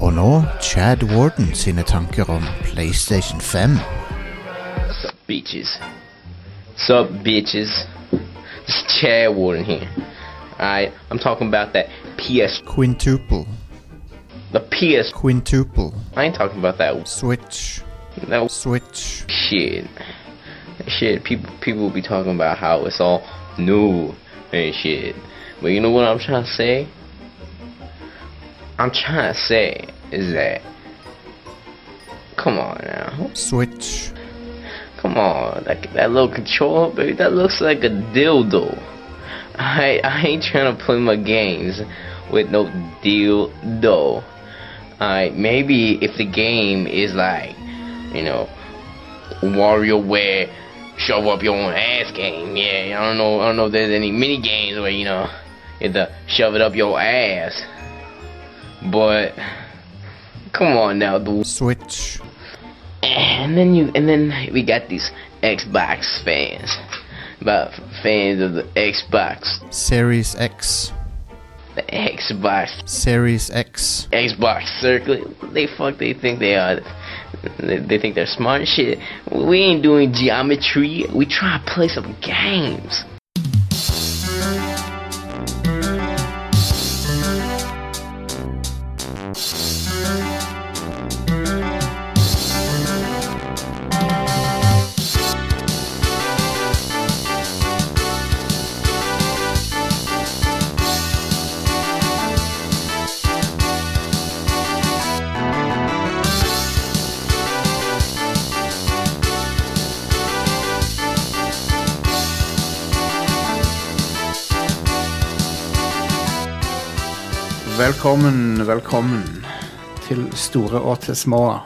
Og nå Chad Warden sine tanker om PlayStation 5. Sup, bitches? Sup, bitches? It's Chad Warden here. Alright, I'm talking about that PS. Quintuple, The PS. quintuple, I ain't talking about that. switch, That switch. shit. Shit, people people be talking about how it's all new and shit. But you know what I'm trying to say? I'm trying to say is that come on now. Switch. Come on, like that little controller, baby, that looks like a dildo. I I ain't trying to play my games with no dildo. Alright, maybe if the game is like, you know, WarioWare show up your own ass game. Yeah, I don't know, I don't know if there's any mini games where you know you have to shove it up your ass. But come on now, dude. Switch. And then you, and then we got these Xbox fans, but fans of the Xbox, Series X. the Xbox, Series X. Xbox Circle. They fuck, they think they are. They, they think they're smart as shit. We ain't doing geometry. We try to play some games. Velkommen, velkommen til store og til små.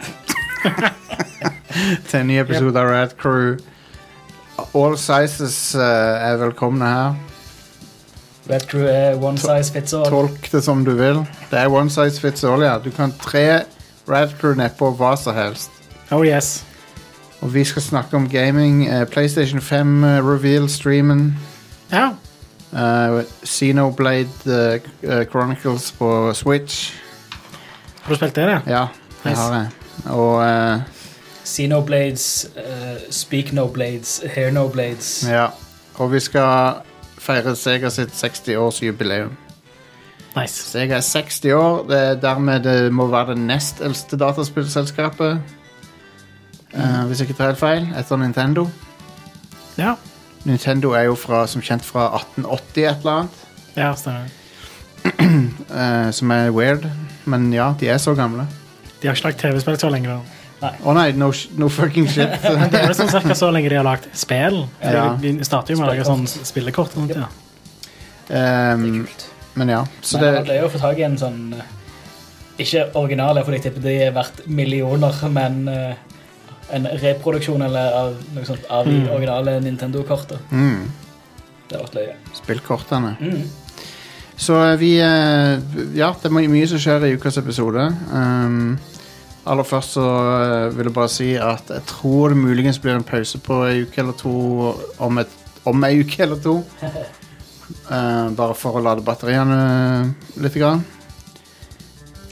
til en ny episode av Rad Crew. All sizes eh, er velkomne her. Red Crew er eh, one size fits all. Tolk det som du vil. Det er one size fits all, ja. Du kan tre Rad Crew nedpå hva som helst. Oh yes. Og vi skal snakke om gaming. eh, PlayStation 5 eh, reveal streamen. Ja. Uh, Xenoblade eh, eh, Chronicles på Switch. Har du spilt det, da? Ja, det Nice. har jeg. Og eh, See no blades, eh, speak no blades, hear no blades. Ja, og vi skal feire Sega sitt 60-årsjubileum. Nice. Sega er 60 år, det er dermed det må være det nest eldste dataspillselskapet. Eh, hvis jeg ikke tar helt feil, etter Nintendo. Ja. Nintendo er jo fra, som kjent fra 1880 et eller annet, Ja, stemmer. eh, som er weird. Men ja, de er så gamle. De har ikke lagd TV-spill så lenge. da. Å nei, no, sh- no fucking shit. Eh, Det er vel sånn cirka så lenge de har lagd spill. Ja. De de starter jo med å lage sånn spillekort. og sånt, ja. Ehm, men ja, så Men han det, pleier å få tak i en sånn eh, Ikke originale, for jeg tipper de er verdt millioner, men eh, en reproduksjon eller av noe sånt av de originale Nintendo-kortet. mm, Det har vært løye. spillkortene. Mm. Så eh, vi eh, Ja, det er my- mye som skjer i ukas episode. Um, aller først så eh, vil jeg bare si at jeg tror det muligens blir en pause på ei uke eller to om, et, om ei uke eller to. Eh, bare for å lade batteriene litt. Grann.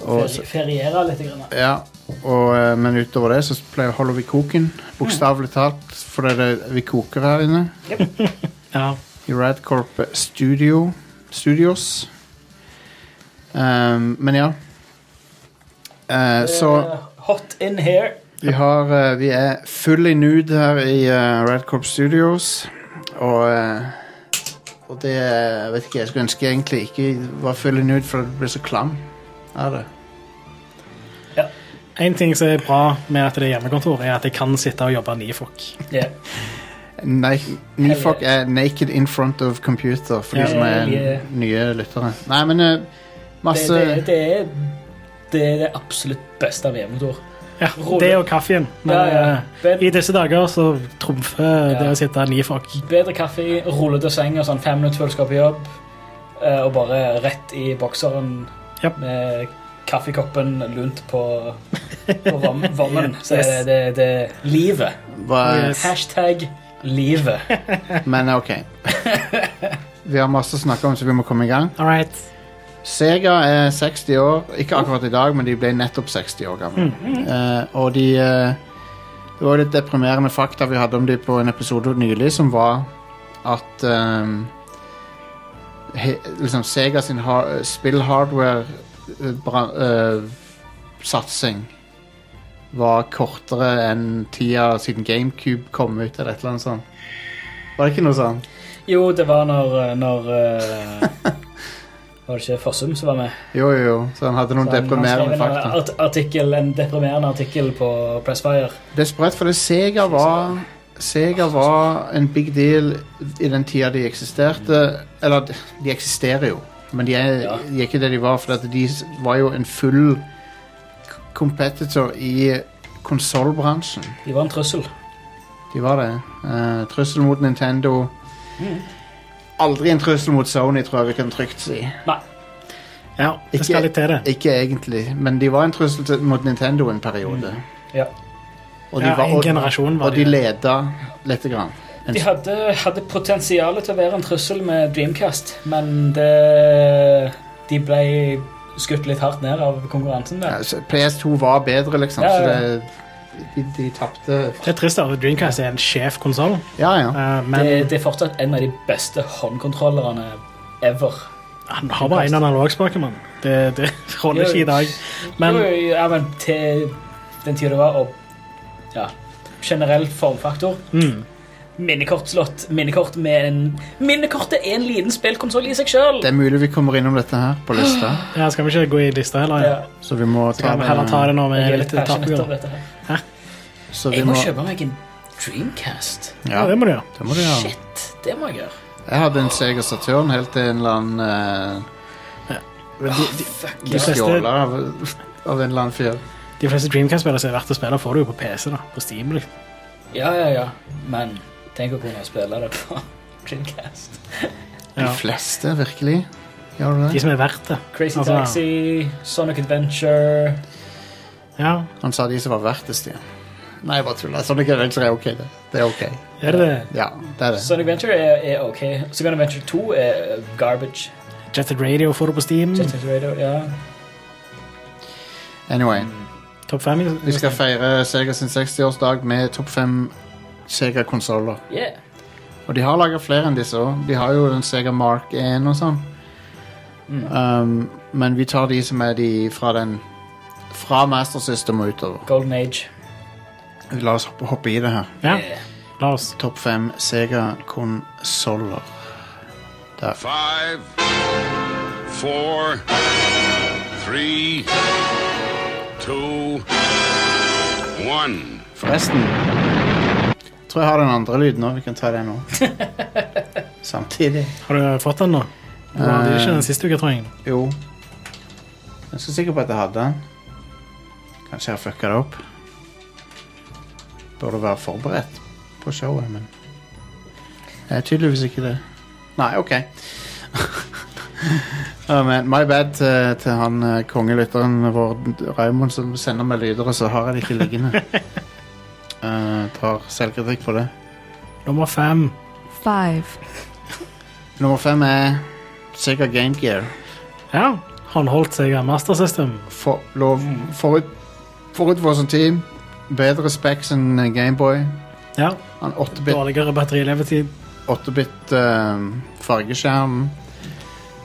Og, så- Feri- Feriere litt. Grann. da. ja, og, eh, men utover det så pleier, holder vi koken. Bokstavelig talt, for det er det vi koker her inne ja. i Radcorp Studio Studios. Ehm, men ja. Eh, så Eh, hot in here. vi har eh, Vi er fully nude her i eh, Radcorp Studios. Og eh, Og det eh, Jeg vet ikke, jeg skulle ønske jeg egentlig ikke var fully nude, for det blir så klam av det. En ting som er bra med at det er hjemmekontor, er at jeg kan sitte og jobbe nifok. Yeah. Nei, Nifok er naked in front of computer, for de Ja, som er ja. nye lyttere. Nei, men eh, Det, masse det, det, er, det er det absolutt beste av hjemmekontor. Ja, det og kaffen. Men Ja, ja. eh, i disse dager så trumfer det Ja. å sitte nifok. Bedre kaffe, rullete seng og sånn fem minutter før du skal på jobb. eh, Og bare rett i bokseren Japp. med kaffekoppen lunt på, på vam- vammen. Så er det, Yes. det, det er livet. hva- Yes. Hashtag livet. Men ok. Vi har masse å snakke om, så vi må komme i gang. All right. Sega er 60 år, ikke akkurat i dag, men de ble nettopp 60 år gamle. Eh, og de eh, Det var jo litt deprimerende fakta vi hadde om de på en episode nylig, som var at ehm, he, liksom Sega sin ha- spill-hardware-satsing var kortere enn tida siden GameCube kom ut, eller et eller annet sånt. Var det ikke noe sånt? Jo, det var når, når eh, Var det ikke Fossum som var med? Jo, jo, jo. Så han hadde noen Så han- han deprimerende skrev en fakta. art- Artikkel, en deprimerende artikkel på Pressfire. Det er sprøtt, for det Sega var Sega var en big deal i den tida de eksisterte. Eller, de eksisterer jo, men de er, Ja. de er ikke det de var. For at de s- var jo en full k- competitor i konsollbransjen. De var en trussel. De var det. Eh, trussel mot Nintendo. Aldri en trussel mot Sony, tror jeg vi kan trygt si. Ja, det skal Ikke- litt til, det. Ikke egentlig, men de var en trussel til, mot Nintendo en periode. Mm. Ja. Og de, Ja, var, en og, generasjon var og de det. leda lite grann. De hadde, hadde potensial til å være en trussel med Dreamcast, men det, de ble skutt litt hardt ned av konkurransen. Ja, Der. så PS2 var bedre, liksom. Ja, ja, Så ja. det, de, de tapte Det er trist, da. Dreamcast er en sjef konsoll, Ja, ja. men det, det er fortsatt en av de beste håndkontrollerne ever. han har bare én analogspake, mann. Det, det holder ikke i dag. Men Jo, jo, ja, men til den tida det var, og ja, generell formfaktor mm, Minnekortslott. Minnekort med en Minnekort er en liten spillkonsoll i seg sjøl! Det er mulig vi kommer innom dette her på lista, ja, skal vi ikke gå i lista heller? Ja. Ja, så vi må ta Skal vi heller ta det når vi jeg er er litt litt passionate om tapegale? dette. her. Så vi Jeg må, må kjøpe meg en Dreamcast. Ja, ja, det må du gjøre. det må du gjøre. Shit, det må jeg gjøre. Jeg hadde en Sega Saturn helt til en eller annen eh, men de, de, Ah, Fuck, de ja. fleste- stjåla av, av en eller annen fyr. De fleste Dreamcast-spillere som er verdt å spille, får du jo på PC. da, på Steam. liksom. Ja, ja, ja. Men tenk å kunne spille det på Dreamcast. Ja. De fleste, virkelig. Gjør du De det? som er verdt det. Crazy Altså- Taxi, Sonic Adventure Ja, Han sa de som var vertest, ja. Nei, jeg bare tuller. Sånn ikke det, så er ok, det. Det er ok. er det det? Ja, det er det. Sonic Adventure er, er ok. Sonic Adventure 2 er garbage. Jetted Radio får du på Steam. Jet Set Radio, ja. Anyway. Topp fem. liksom? Vi skal feire Sega sin 60-årsdag med topp fem Sega-konsoller. Yeah. Og de har laga flere enn disse òg. De har jo den Sega Mark 1 og sånn. Um, men vi tar de som er de fra den Fra Master System og utover. Golden Age. La oss hoppe, hoppe i det her. Ja, la oss. Topp fem Sega-konsoller. Der. Five, four, three, two, one. Forresten Tror jeg har den andre lyden òg. Vi kan ta den nå. Samtidig. Har du fått den nå? Du hadde ikke Eh. den siste uka, tror jeg. Jo. Jeg er ganske sikker på at jeg hadde den. Kanskje jeg har fucka det opp. Burde være forberedt på showet, men Jeg er tydeligvis ikke det. Nei, OK. Ja, men my bad til, til han eh, kongelytteren vår, Raymond, som sender meg lyder, og så har jeg det ikke liggende. Eh, tar selvkritikk for det. Nummer fem. five, Nummer fem er Sega Game Gear. Ja. Håndholdt seg av Master System. for, lov, forut, forut for sin tid Bedre specs enn eh, Gameboy Ja. Han 8-bit Dårligere batterilevetid. 8-bit ehm, fargeskjerm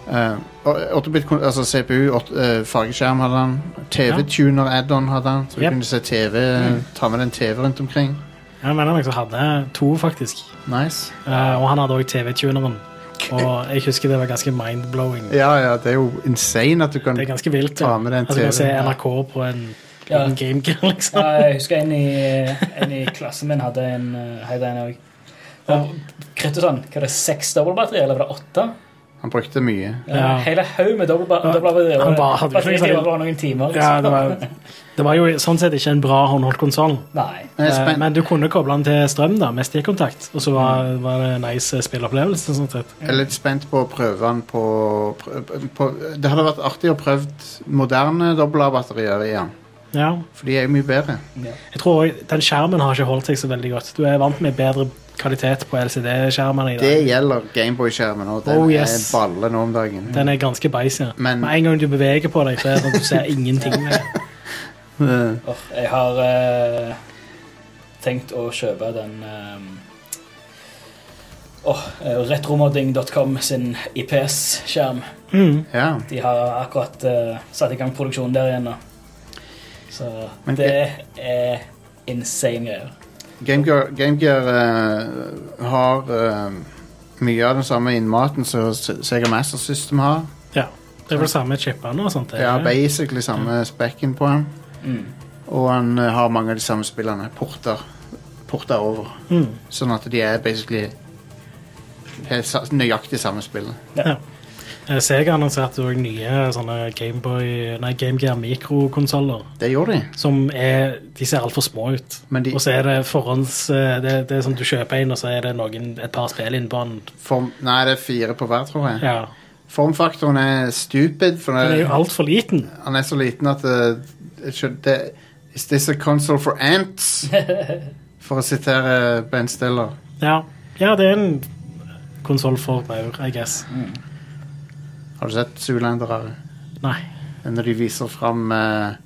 Eh, og- 8-bit kon- altså CPU åt- eh, fargeskjerm hadde han TV-tuner add-on hadde han Så du Yep. kunne se TV Mm. Ta med den TV rundt omkring Jeg mener meg så hadde jeg to, faktisk. Nice Eh, og han hadde òg TV-tuneren. Og jeg husker det var ganske mind-blowing. Ja, ja, det er jo insane at du kan Det er ganske vilt. Ta med den altså, du kan se TV-en, ja. NRK på en, Ja. en GameGear, liksom. Ja, jeg husker en i, en i klassen min hadde en eh, hadde en òg. Og krittet sånn, hva er det, seks dobbeltbatterier, eller var det åtte? Han brukte mye Ja. Hele haug med dobbeltba- Ja, dobbeltbatterier. han bare hadde jo ikke Batteriet var sånn- bare noen timer. Ja, liksom. det var, det var jo sånn sett ikke en bra håndholdt konsoll. Nei. Men jeg er spent Eh, Men du kunne koble den til strøm da, med stikkontakt, og så var, var det en nice spillopplevelse. Sånn sett. Jeg er litt spent på å prøve den på, prø- på Det hadde vært artig å prøve moderne dobbel-A-batterier i den. Ja. For de er jo mye bedre. Jeg tror også, Den skjermen har ikke holdt seg så veldig godt. Du er vant med bedre kvalitet på LCD-skjermene i Det dag. gjelder Gameboy-skjermen, og den Oh, yes. er balle nå om dagen. Den er ganske beis, ja. Men- Med en gang du beveger på deg, så er det sånn at du ser ingenting. Eh, Åh, jeg har eh, tenkt å kjøpe den eh, åh, eh, retromodding.com sin IPS-skjerm. Mm. ja. De har akkurat eh, satt i gang produksjonen der igjen. nå. Så Men det er insane greier. Gamegear, Gamegear eh, har eh, mye av den samme innmaten som S- Sega Master System har. Ja. Det er vel samme chipene og sånt? det Det er er- basically samme spekken på den. Mm. Og han eh, har mange av de samme spillene. Porter, porter over. Mm. Sånn at de er basically helt sa- nøyaktig samme spillet. Ja. Eh, Sega annonserte også nye sånne Gameboy, nei, Game Gear mikrokonsoller. Det gjorde de. Som er De ser altfor små ut. Men de- Og så er det forhånds eh, det, det er sånn du kjøper en, og så er det noen, et par spill innpå den. Form, nei, det er fire på hver, tror jeg. Ja. Formfaktoren er stupid, for Den er jo det, altfor liten. han er så liten at det, det, skjø- det, Is this a console for ants? For å sitere Ben Stiller. Ja, ja det er en konsoll for maur, I guess. Har du sett Zoolander? Are? Nei. Når de viser fram eh,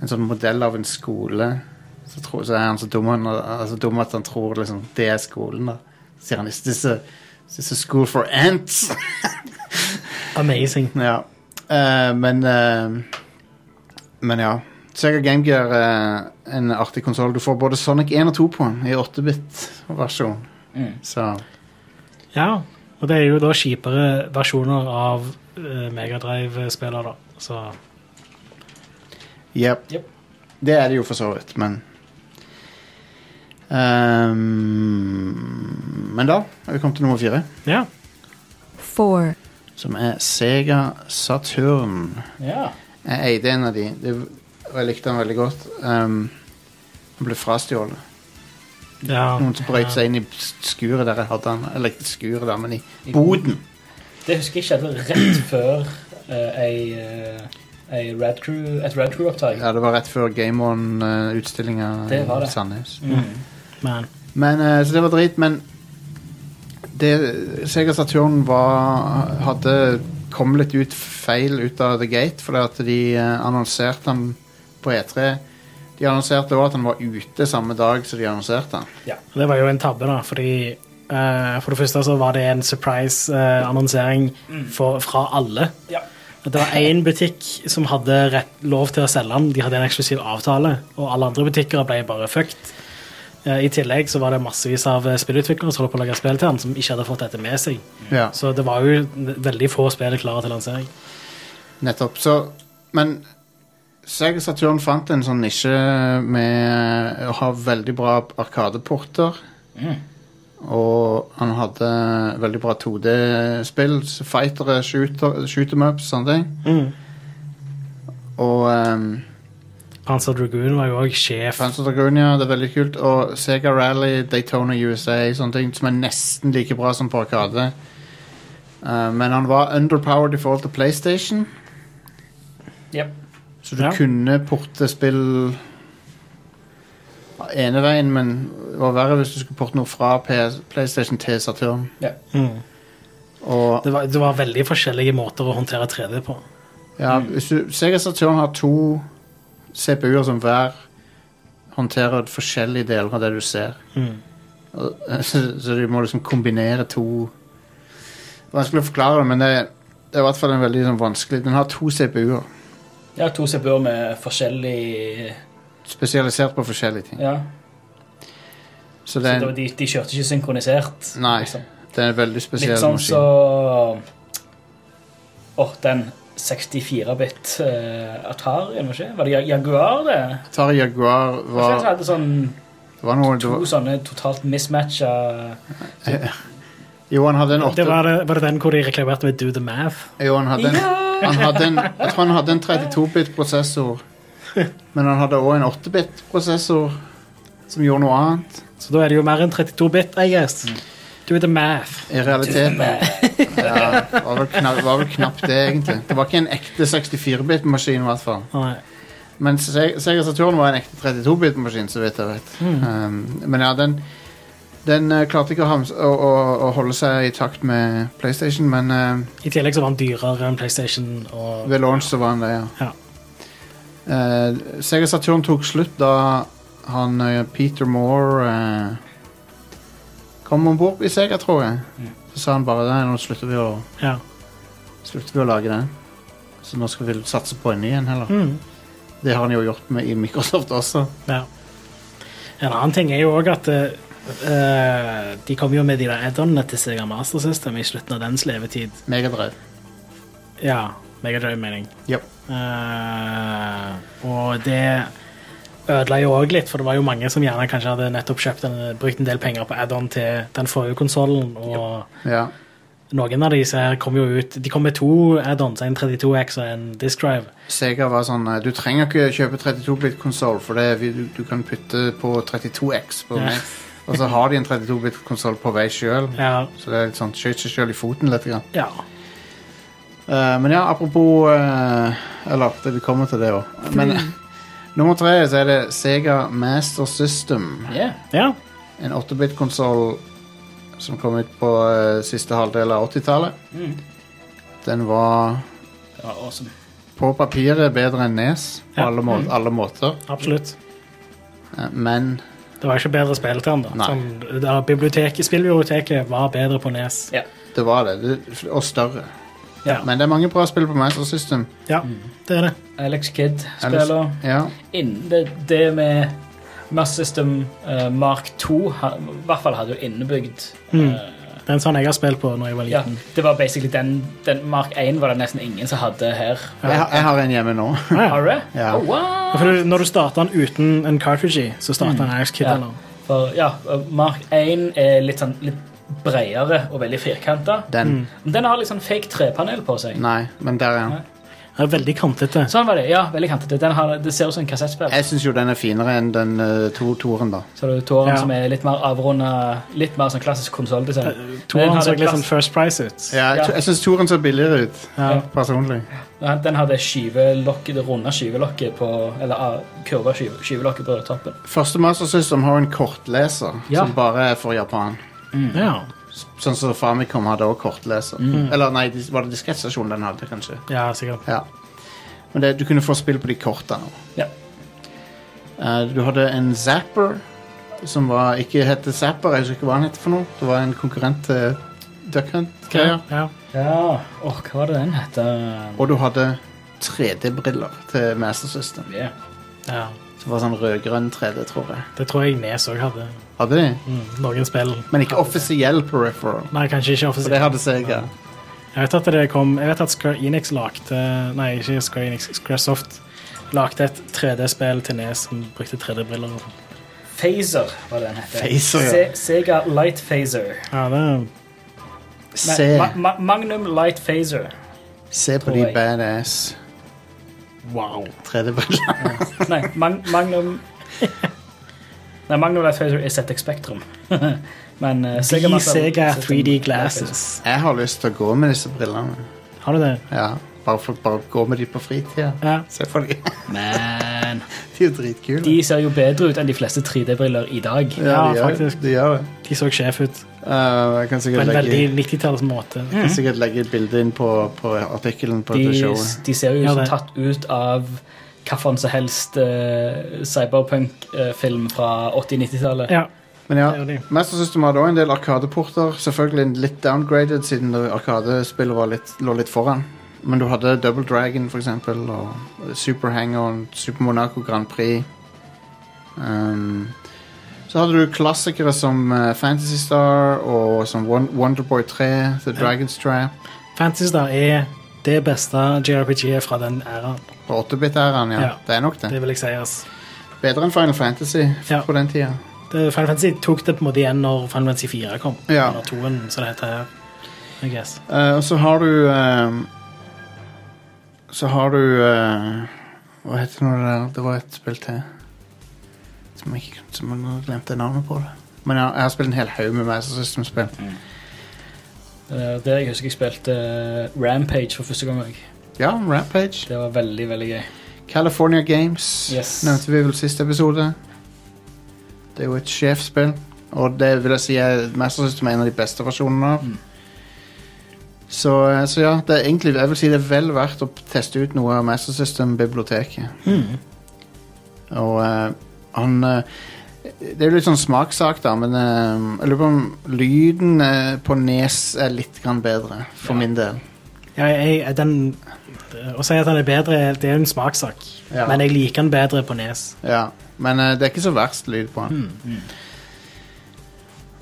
en sånn modell av en skole, så, tror, så er han så dum, han, han er så dum at han tror liksom, det er skolen. da. Så sier han Is this a, is this a school for ants? Amazing. Ja. Eh, men eh, Men ja. Sega Game Gear eh, en artig konsoll. Du får både Sonic 1 og 2 på den i 8-bit-versjon. Mm. Så Ja, og det er jo da kjipere versjoner av eh, Mega Drive-spiller, da. Så jepp. Jep. Det er det jo for så vidt, men Ehm, Men da er vi kommet til nummer fire, ja. four, som er Sega Saturn. Ja. Jeg eide en av de, det, og jeg likte den veldig godt. Um, den ble frastjålet. ja. Noen sprøyt seg inn i skuret der jeg hadde den. Jeg likte skuret der, men i boden. Det husker jeg skjedde rett før eh, ei, eh, ei Rad Crew, et Rad Crew-opptak. Ja, det var rett før Game On-utstillinga Det i var det. Sandnes. Mm. Man. Men, eh, så det var drit, men det, Sega Saturn var, hadde kom litt ut feil ut av The Gate, fordi at de eh, annonserte den på E3. De annonserte også at den var ute samme dag som de annonserte den. Det var jo en tabbe, da, fordi eh, For det første så var det en surprise-annonsering Mm. fra alle. Ja. Det var én butikk som hadde rett, lov til å selge den. De hadde en eksklusiv avtale, og alle andre butikker ble bare fucked. Eh, I tillegg så var det massevis av eh, spillutviklere som holdt på å lage spill til den, som ikke hadde fått dette med seg. Ja. Så det var jo veldig få spill klare til lansering. Nettopp. Så, men Sega Saturn fant en sånn nisje med å ha veldig bra arkadeporter. Og han hadde veldig bra 2D-spill. så Fightere, shooter, shoot 'em ups, sånne ting. Og um, Panzer Dragoon var jo òg sjef. Panzer Dragonia, det er veldig kult. Og Sega Rally, Daytona USA, sånne ting som er nesten like bra som på Arkade. Uh, men han var underpowered i forhold til PlayStation. Jep. Så du Ja. kunne porte spill ene veien, men det var verre hvis du skulle porte noe fra PS, PlayStation til Saturn. Mm. Og Det, var, det var veldig forskjellige måter å håndtere 3D på. ja, hvis du, Sega Saturn har to CPU-er som hver håndterer forskjellige deler av det du ser. Mm. Og- Så, så du må liksom kombinere to Vanskelig å forklare det, men det, det er i hvert fall en veldig sånn, vanskelig Den har to CPU-er, Jeg har to CPU-er med forskjellig spesialisert på forskjellige ting. Ja. Så Så det det er, var de, de kjørte ikke synkronisert. en- nei, liksom. det er en veldig spesiell Litt sånn maskin. så Åh, den 64-bit uh, Atarien, var det ikke? Var det Jaguar, det? Atari Jaguar Hva? Jeg var, hadde sånn det var noe det to var, sånne totalt mismatcha Jo, han hadde en åtte Det var, det, var det den hvor de reklamerte med Do the Math? Jo, han hadde en, han hadde en Jeg tror han hadde en 32-bit-prosessor. Men han hadde òg en 8-bit-prosessor som gjorde noe annet. Så da er det jo mer enn 32-bit, I guess. Do the math. I realiteten ja, var, vel knapt, var vel knapt det, egentlig. Det var ikke en ekte 64-bit-maskin, i hvert fall. Nei. Men Hmm. Se- Sega Saturn var en ekte 32-bit-maskin, så vidt jeg vet. Um, men ja, den Den eh, klarte ikke å, hams- å, å, å holde seg i takt med PlayStation, men eh, I tillegg så var den dyrere enn PlayStation. Og, ved launch så var han det, ja. ja. Eh, Sega Saturn tok slutt da han eh, Peter Moore eh, kom om bord i Sega, tror jeg. Så sa han bare det, nå slutter vi å, Ja. slutter vi å lage det. Så nå skal vi satse på en ny en heller. Mm. Det har han jo gjort med i Microsoft også. Ja. En annen ting er jo òg at eh, de kom jo med de der add-onene til Sega Master System i slutten av dens levetid. Megadrev. Ja, Megadrive, mening. Yep. Eh, og det ødela jo òg litt, for det var jo mange som gjerne kanskje hadde nettopp kjøpt en, brukt en del penger på add-on til den forrige konsollen, og Ja. noen av disse her kom jo ut De kom med to add-ons, en 32X og en Disk Drive. Sega var sånn eh, Du trenger ikke kjøpe 32-bit-konsoll, for det, vi- du, du kan putte på 32X. på Ja. meg. Og så har de en 32-bit-konsoll på vei sjøl, Ja. så det er litt sånn skyt seg sjøl i foten litt. Grann. ja. Eh, men ja, apropos eh, Eller, det, vi kommer til det òg. Men eh, nummer tre så er det Sega Master System. Yeah. ja. En 8-bit-konsoll som kom ut på eh, siste halvdel av 80-tallet. Mm. Den var Det var awesome. på papiret bedre enn Nes på Ja. Mm. alle, må alle måter, Absolutt. Eh, men Det var ikke bedre spill til den, da. Nei. Sånn, det der biblioteket, spillbiblioteket var bedre på E Nes. Ja. det var det. det og større. Ja. Men det er mange bra spill på Master System. Ja, det er det. Alex Kidd Ellers- spiller Ja, innen det, det med Mass System eh, Mark 2 ha, i hvert fall hadde jo innebygd Mm. eh, Det er en sånn jeg har spilt på når jeg var ja, liten. Det var basically den, den Mark 1 var det nesten ingen som hadde her. jeg, har- jeg har en hjemme nå. Ja. Har du det? Ja. Oh, wow! Ja, For du- når du starter den uten en cartridge i, så starter den Axe Kid. Ja. Eller? For, ja, Mark 1 er litt sånn litt bredere og veldig firkanta. Den. Mm. Men Den har litt sånn fake trepanel på seg. Nei, men der er Nei. den. Det er veldig kantete. Sånn var det. Ja, veldig kantete. Den har, det ser ut som en kassettspill. Jeg syns jo den er finere enn den uh, to toeren, da. Så har du tåren Ja. som er litt mer avrunda, litt mer sånn klassisk konsolldesign. Men Toeren den så hadde litt sånn plass- First Price ut. Ja, jeg Ja. tror- jeg syns toeren ser billigere ut, Ja. personlig. Den hadde skyvelokket, det runde skyvelokket på Eller ah, kurva skyve, skyvelokket på toppen. Første Master System har en kortleser Ja. som bare er for Japan. Ja. Sånn som Famicom hadde også kortleser. Eller nei, dis- var det diskrettstasjonen den hadde, kanskje? ja, sikkert. Ja. Men det, du kunne få spill på de kortene. Ja. Eh, du hadde en Zapper som var, ikke het Zapper, jeg husker ikke hva han het for noe. Det var en konkurrent til Duck Hunt-greier. Ja. Ja, åh, hva var det den het? Og du hadde 3D-briller til Master System. Yeah. ja. Det var sånn rød-grønn 3D, tror jeg. Det tror jeg Nes òg hadde. Hadde de? Mm. Noen spill. Men ikke offisiell peripheral. Nei, kanskje ikke For det offisielt. hadde Sega. Jeg vet at det kom Jeg vet at Square Enix lagde Nei, ikke Square Enix, Square Soft lagde et 3D-spill til Nes som brukte 3D-briller. og sånn. Phaser var det den het. Phaser, ja. Se Sega Light Phaser. Ja, det er Nei, Se, Ma Ma Magnum Light Phaser. se på tror de jeg. badass Wow. 3D-brillene. Nei, Mag Magnum Nei, Magnum Light Phaser er ZX Spektrum. Men eh, Sega De Master- Sega System- 3D Glasses. Jeg har lyst til å gå med disse brillene. Har du det? Ja, bare, for, bare gå med de på fritida. Ja. Se på de. Men De er dritkule. de ser jo bedre ut enn de fleste 3D-briller i dag. Ja, de gjør- faktisk. De gjør det. De så sjef ut Uh, jeg kan på sikkert en veldig legge, 90-talls måte. jeg kan sikkert legge et bilde inn på, på artikkelen på det De, showet. de ser jo Ja, ut som det. tatt ut av hvilken som helst eh, cyberpunk-film fra 80-90-tallet. Ja. Men ja, Det gjør de. Master System hadde også en del arkadeporter. Selvfølgelig en litt downgraded, siden det arkadespillet var litt, lå litt foran. Men du hadde Double Dragon, for eksempel, og Super Hang-On, Super Monaco Grand Prix. Um, så hadde du klassikere som eh, Fantasy Star og som Won- Wonderboy 3, The Dragon's Trap Fantasy Star er det beste JRPG-et fra den æraen. på 8-bit-æraen. Ja. Ja. Det er nok det. Det vil jeg si. ass. Bedre enn Final Fantasy f- Ja. på den tida. Det, Final Fantasy tok det på en måte igjen når Final Fantasy 4 kom. Ja. Eller 2-en, som det heter her. I guess. Eh, og så har du eh, Så har du eh, Hva heter det nå det der? Det var et spill til. Som jeg, ikke- som jeg nå glemte navnet på. det Men jeg, jeg har spilt en hel haug med Master System-spill. Eh, Det jeg husker jeg spilte eh, Rampage for første gang. jeg. Ja, Rampage. Det var veldig, veldig gøy. California Games Yes. nevnte vi vel siste episode. Det er jo et sjefsspill. Og det vil jeg si er Master System er en av de beste versjonene av. Så, eh, så ja, det er egentlig, jeg vil si det er vel verdt å teste ut noe av Master System-biblioteket. Og eh, han eh, Det er jo litt sånn smakssak, da, men eh, jeg lurer på om lyden eh, på Nes er litt grann bedre, for min del. Ja, jeg, jeg- den, eh, å si at den er bedre, det er jo en smakssak. Ja. Men jeg liker den bedre på nes. Ja, men eh, det er ikke så verst lyd på den.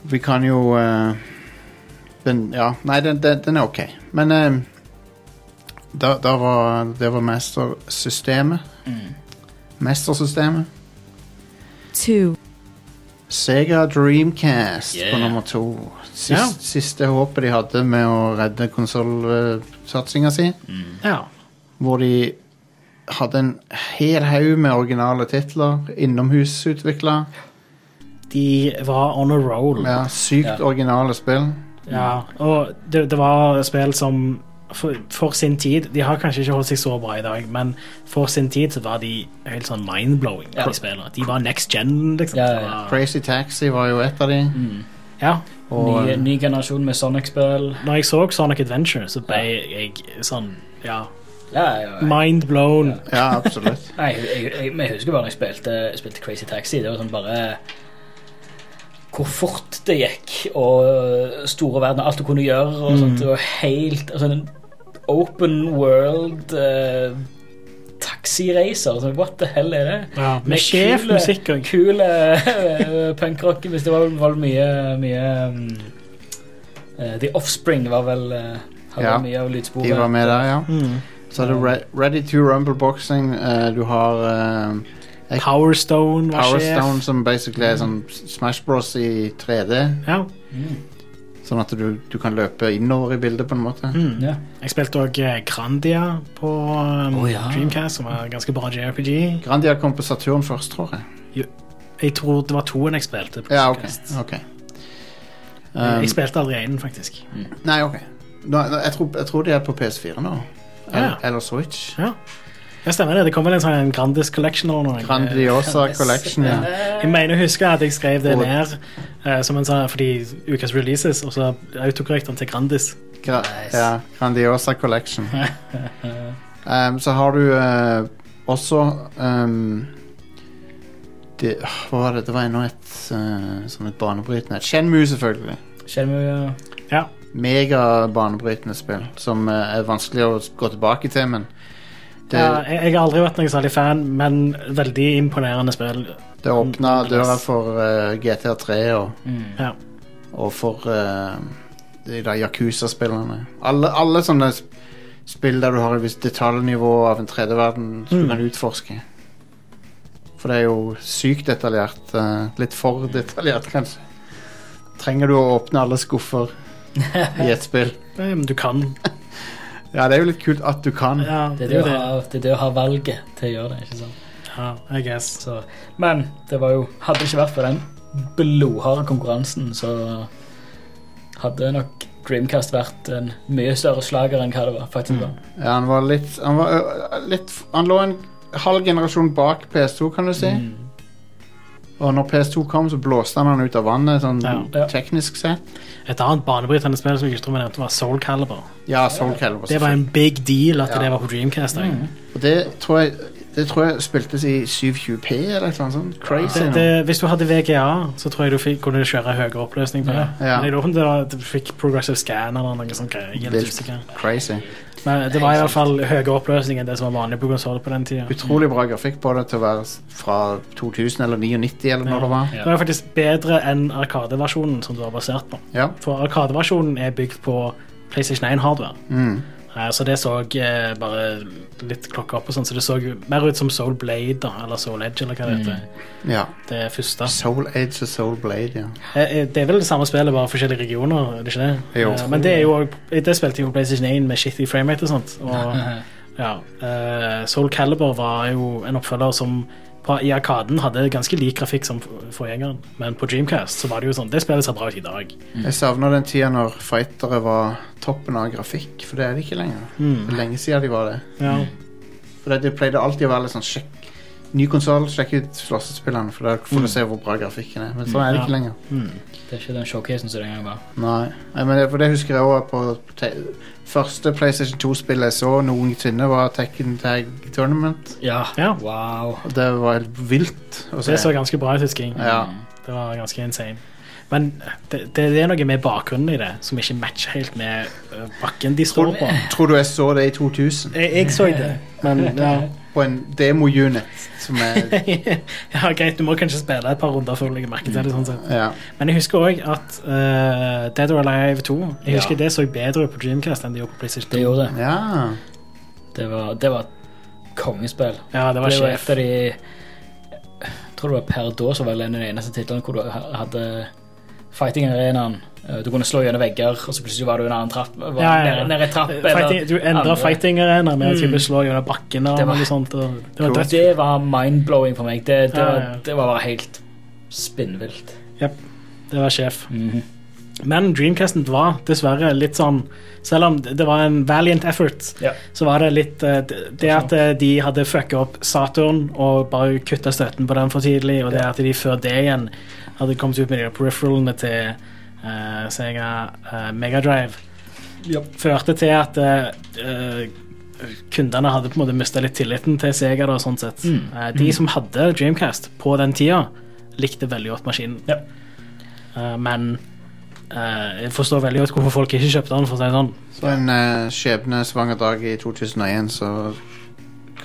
Vi kan jo eh, den, Ja, nei, den, den, den er ok. Men eh, da, da var Det var mestersystemet. Mestersystemet. 2. Sega Dreamcast på Yeah. nummer to. Sist, Ja. Siste håpet de hadde med å redde konsollsatsinga si. Ja. hvor de hadde en hel haug med originale titler innomhusutvikla. De var on a roll. Ja. Ja, sykt Ja. originale spill. Og det, det var spill som for, for sin tid De har kanskje ikke holdt seg så bra i dag, men for sin tid så var de helt sånn mind-blowing. Ja. De, spillene. de var next gen, liksom. Ja, ja, ja. Det var- Crazy Taxi var jo et av de. ja. Og Ny, ny generasjon med Sonic-spill. Når jeg så Sonic Adventure, så ble jeg sånn ja, Ja, ja, ja. mind blown. Ja, absolutt. Nei, jeg, jeg, men jeg husker bare når jeg spilte, spilte Crazy Taxi. Det var sånn bare Hvor fort det gikk, og store verden, alt du kunne gjøre. og Mm. sånt, Det var helt altså, en Open world eh, taxireiser. Så what the hell er det? Ja, med Med sjef kule- musikk og Kul eh, punkrock. Hvis det var vel- var vel mye, mye mm, eh, The Offspring var vel eh, hadde Ja, mye av lydsporet. De var med der, ja. Så er det Re Ready to Rumble Boxing. eh, du har eh, Power Stone var Power sjef. Stone, som basically er sånn Smash Bros i 3D. Ja. Sånn at du, du kan løpe innover i bildet, på en måte. Mm. Ja. Jeg spilte òg Grandia på um, Å, ja. Dreamcast, som var en ganske bra JRPG. Grandia kom på Saturn først, tror jeg. Jeg tror det var toen jeg spilte. på Ja, ok. Dreamcast. ok. Um, Jeg spilte aldri én, faktisk. Nei, ok. Nå, nå, jeg, tror, jeg tror de er på PS4 nå. Eller, eller Switch. Ja. ja, stemmer det. Det kom vel en sånn Grandis Collection eller noe. Grandiosa Collection, ja. Jeg mener å huske at jeg skrev det Og- ned eh, som en sånn, fordi ukas releases, og så autokorrekte den til Grandis. Gra ja Grandiosa Collection. Um, så har du eh, også um, det, åh, Hva var det? Det var ennå et eh, sånn et banebrytende Shenmue, selvfølgelig. Kjenner vi, ja. Ja. Mega-banebrytende spill som eh, er vanskelig å gå tilbake til, men det, Ja, jeg, jeg har aldri vært noen særlig fan, men veldig imponerende spill. det åpna Mm, døra yes. for eh, GTA3 og mm. Ja. Og for eh, de der Yakuza-spillerne. Alle, alle sånne sp- spill der du har et visst detaljnivå av en tredje verden som Mm. du kan utforske. For det er jo sykt detaljert. eh, litt for Mm. detaljert, kanskje. Trenger du å åpne alle skuffer i et spill? Eh, men Du kan. Ja, det er jo litt kult at du kan. Ja, Mm. Det er det, å ha, det er det å ha valget til å gjøre det. ikke sant? Ja, I guess. Så, men det var jo, hadde det ikke vært for den blodharde konkurransen, så hadde nok Dreamcast vært en mye større slager enn hva det var. faktisk var. Ja, han var litt Han, var, ø, litt, han lå en halv generasjon bak PS2, kan du si. Mm. Mm. Og når PS2 kom, så blåste han han ut av vannet, sånn Ja. teknisk sett. Et annet banebrytende spill som jeg ikke tror vi nevnte, var Soul Calibur. Ja, Soul Calibur. Det var en big deal at Ja. det var på Dreamcast. da. Og det tror jeg det tror jeg spiltes i 720p eller et eller annet sånt. Crazy. Det, nå. det, hvis du hadde VGA, så tror jeg du fikk, kunne kjøre høyere oppløsning på det. Ja. Men jeg lurer på om det var, du fikk progressive scan eller noe sånt. greier. Jeg er litt Vilt. usikker. Crazy. Men det var i hvert fall høyere oppløsning enn det som var vanlig på konsoll på den tida. Utrolig bra grafikk på det til å være s- fra 2000 eller 99 eller når det var. Det var faktisk bedre enn Arkadeversjonen som det var basert på. Ja. For Arkadeversjonen er bygd på PlayStation 1-hardware. Mm. Eh, Så det så eh, bare litt klokka opp, og sånn, så det så jo mer ut som Soul Blade da, eller Soul Edge. eller hva Det heter. ja. Det første. Soul Edge og Soul Blade, ja. Eh, eh, Det er vel det samme spillet, bare forskjellige regioner. er det ikke det? Jo. Eh, Men det, er jo, også- det spilte jeg på PlayStation 1 med shitty framerate og sånt. Og, ja, eh, Soul Calibur var jo en oppfølger som på, i Arkaden hadde ganske lik grafikk som for- forgjengeren, men på Dreamcast så var det jo sånn Det spillet ser bra ut i dag. Jeg savner den tida når fightere var toppen av grafikk, for det Mm. er de ikke lenger. Det er lenge siden de var det. Ja. For det, det pleide alltid å være litt sånn sjekk ny konsoll, sjekk ut slåssespillene, for da får du se hvor bra grafikken er. Men sånn er det ikke Mm. Ja. lenger. Mm. Det er ikke den showcasen som det en gang var. Nei, Nei, men det, for det husker jeg også på te- første PlayStation 2-spillet jeg så noensinne, var Tekken Tag Tournament. Ja. Ja. Wow. Og det var helt vilt å se. Det så ganske bra ut, husker jeg. Ja. Det var ganske insane. Men det, det det er noe med bakgrunnen i det som ikke matcher helt med ø, bakken de står på. Tror du jeg så det i 2000? Jeg, jeg så det, men ja. På en demo-unit som er ja, greit, du må kanskje spille et par runder før du legger merke til det. sånn sett. Ja. Men jeg husker òg at ø, Dead or Alive 2 Jeg husker Ja. det så bedre ut på Dreamcast enn det gjorde på PlayStation 2. Det gjorde det. ja. Det var, det var et kongespill. Ja, det var det var sjef. et av de Jeg tror det var per da som var den eneste tittelen hvor du ha- hadde fighting arenaen. Eh, Du kunne slå gjennom vegger, og så plutselig var du i en annen trapp. Var Ja, ja, ja. nede- Nede i trapp eller Eh, Fighting, du endrer andre. Mm. fighting-arenaer med å type slå gjennom bakken Det eller var- noe sånt. Og det var Cool. dødt. Det var mind-blowing for meg. Det, det, Ja, var, ja. det var bare helt spinnvilt. Det var sjef. Men Dreamcasten var dessverre litt sånn Selv om det var en valiant effort, Ja. så var det litt eh, det- Det at eh, de hadde fucka opp Saturn og bare kutta støtten på den for tidlig, og det at de før det igjen hadde kommet ut med de der peripheralene til eh, Sega eh, Mega Drive førte til at eh, eh, kundene hadde på en måte mista litt tilliten til Sega. Da, sånn sett. Eh, de som hadde Dreamcast på den tida, likte veldig godt maskinen. Ja. Eh, men eh, jeg forstår veldig godt hvorfor folk ikke kjøpte den. for å si det sånn. Så en eh, skjebnesvanger dag i 2001, så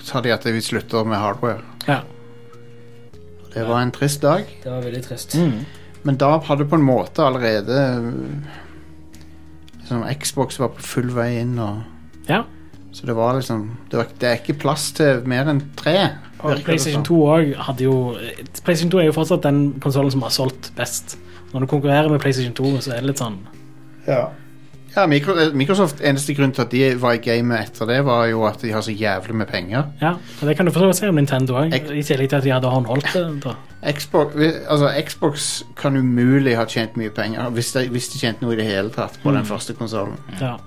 sa de at vi slutter med hardware. Ja. Det var en trist dag, Det var veldig trist. men da hadde på en måte allerede eh, liksom, Xbox var på full vei inn og ja. Så det var liksom Det, var, det er ikke plass til mer enn tre. virker Og det PlayStation som. 2 også hadde jo PlayStation 2 er jo fortsatt den konsollen som har solgt best. Når du konkurrerer med PlayStation 2, så er det litt sånn Ja, ja Mikro, eh, Microsoft eneste grunn til at de var i gamet etter det, var jo at de har så jævlig med penger. Ja, og Det kan du for så vidt si om Nintendo òg, Jeg- i tillegg til at de hadde håndholdt det. da. Xbox, vi- altså, Xbox kan umulig ha tjent mye penger hvis de, hvis de tjente noe i det hele tatt på Mm. den første konsollen. Ja.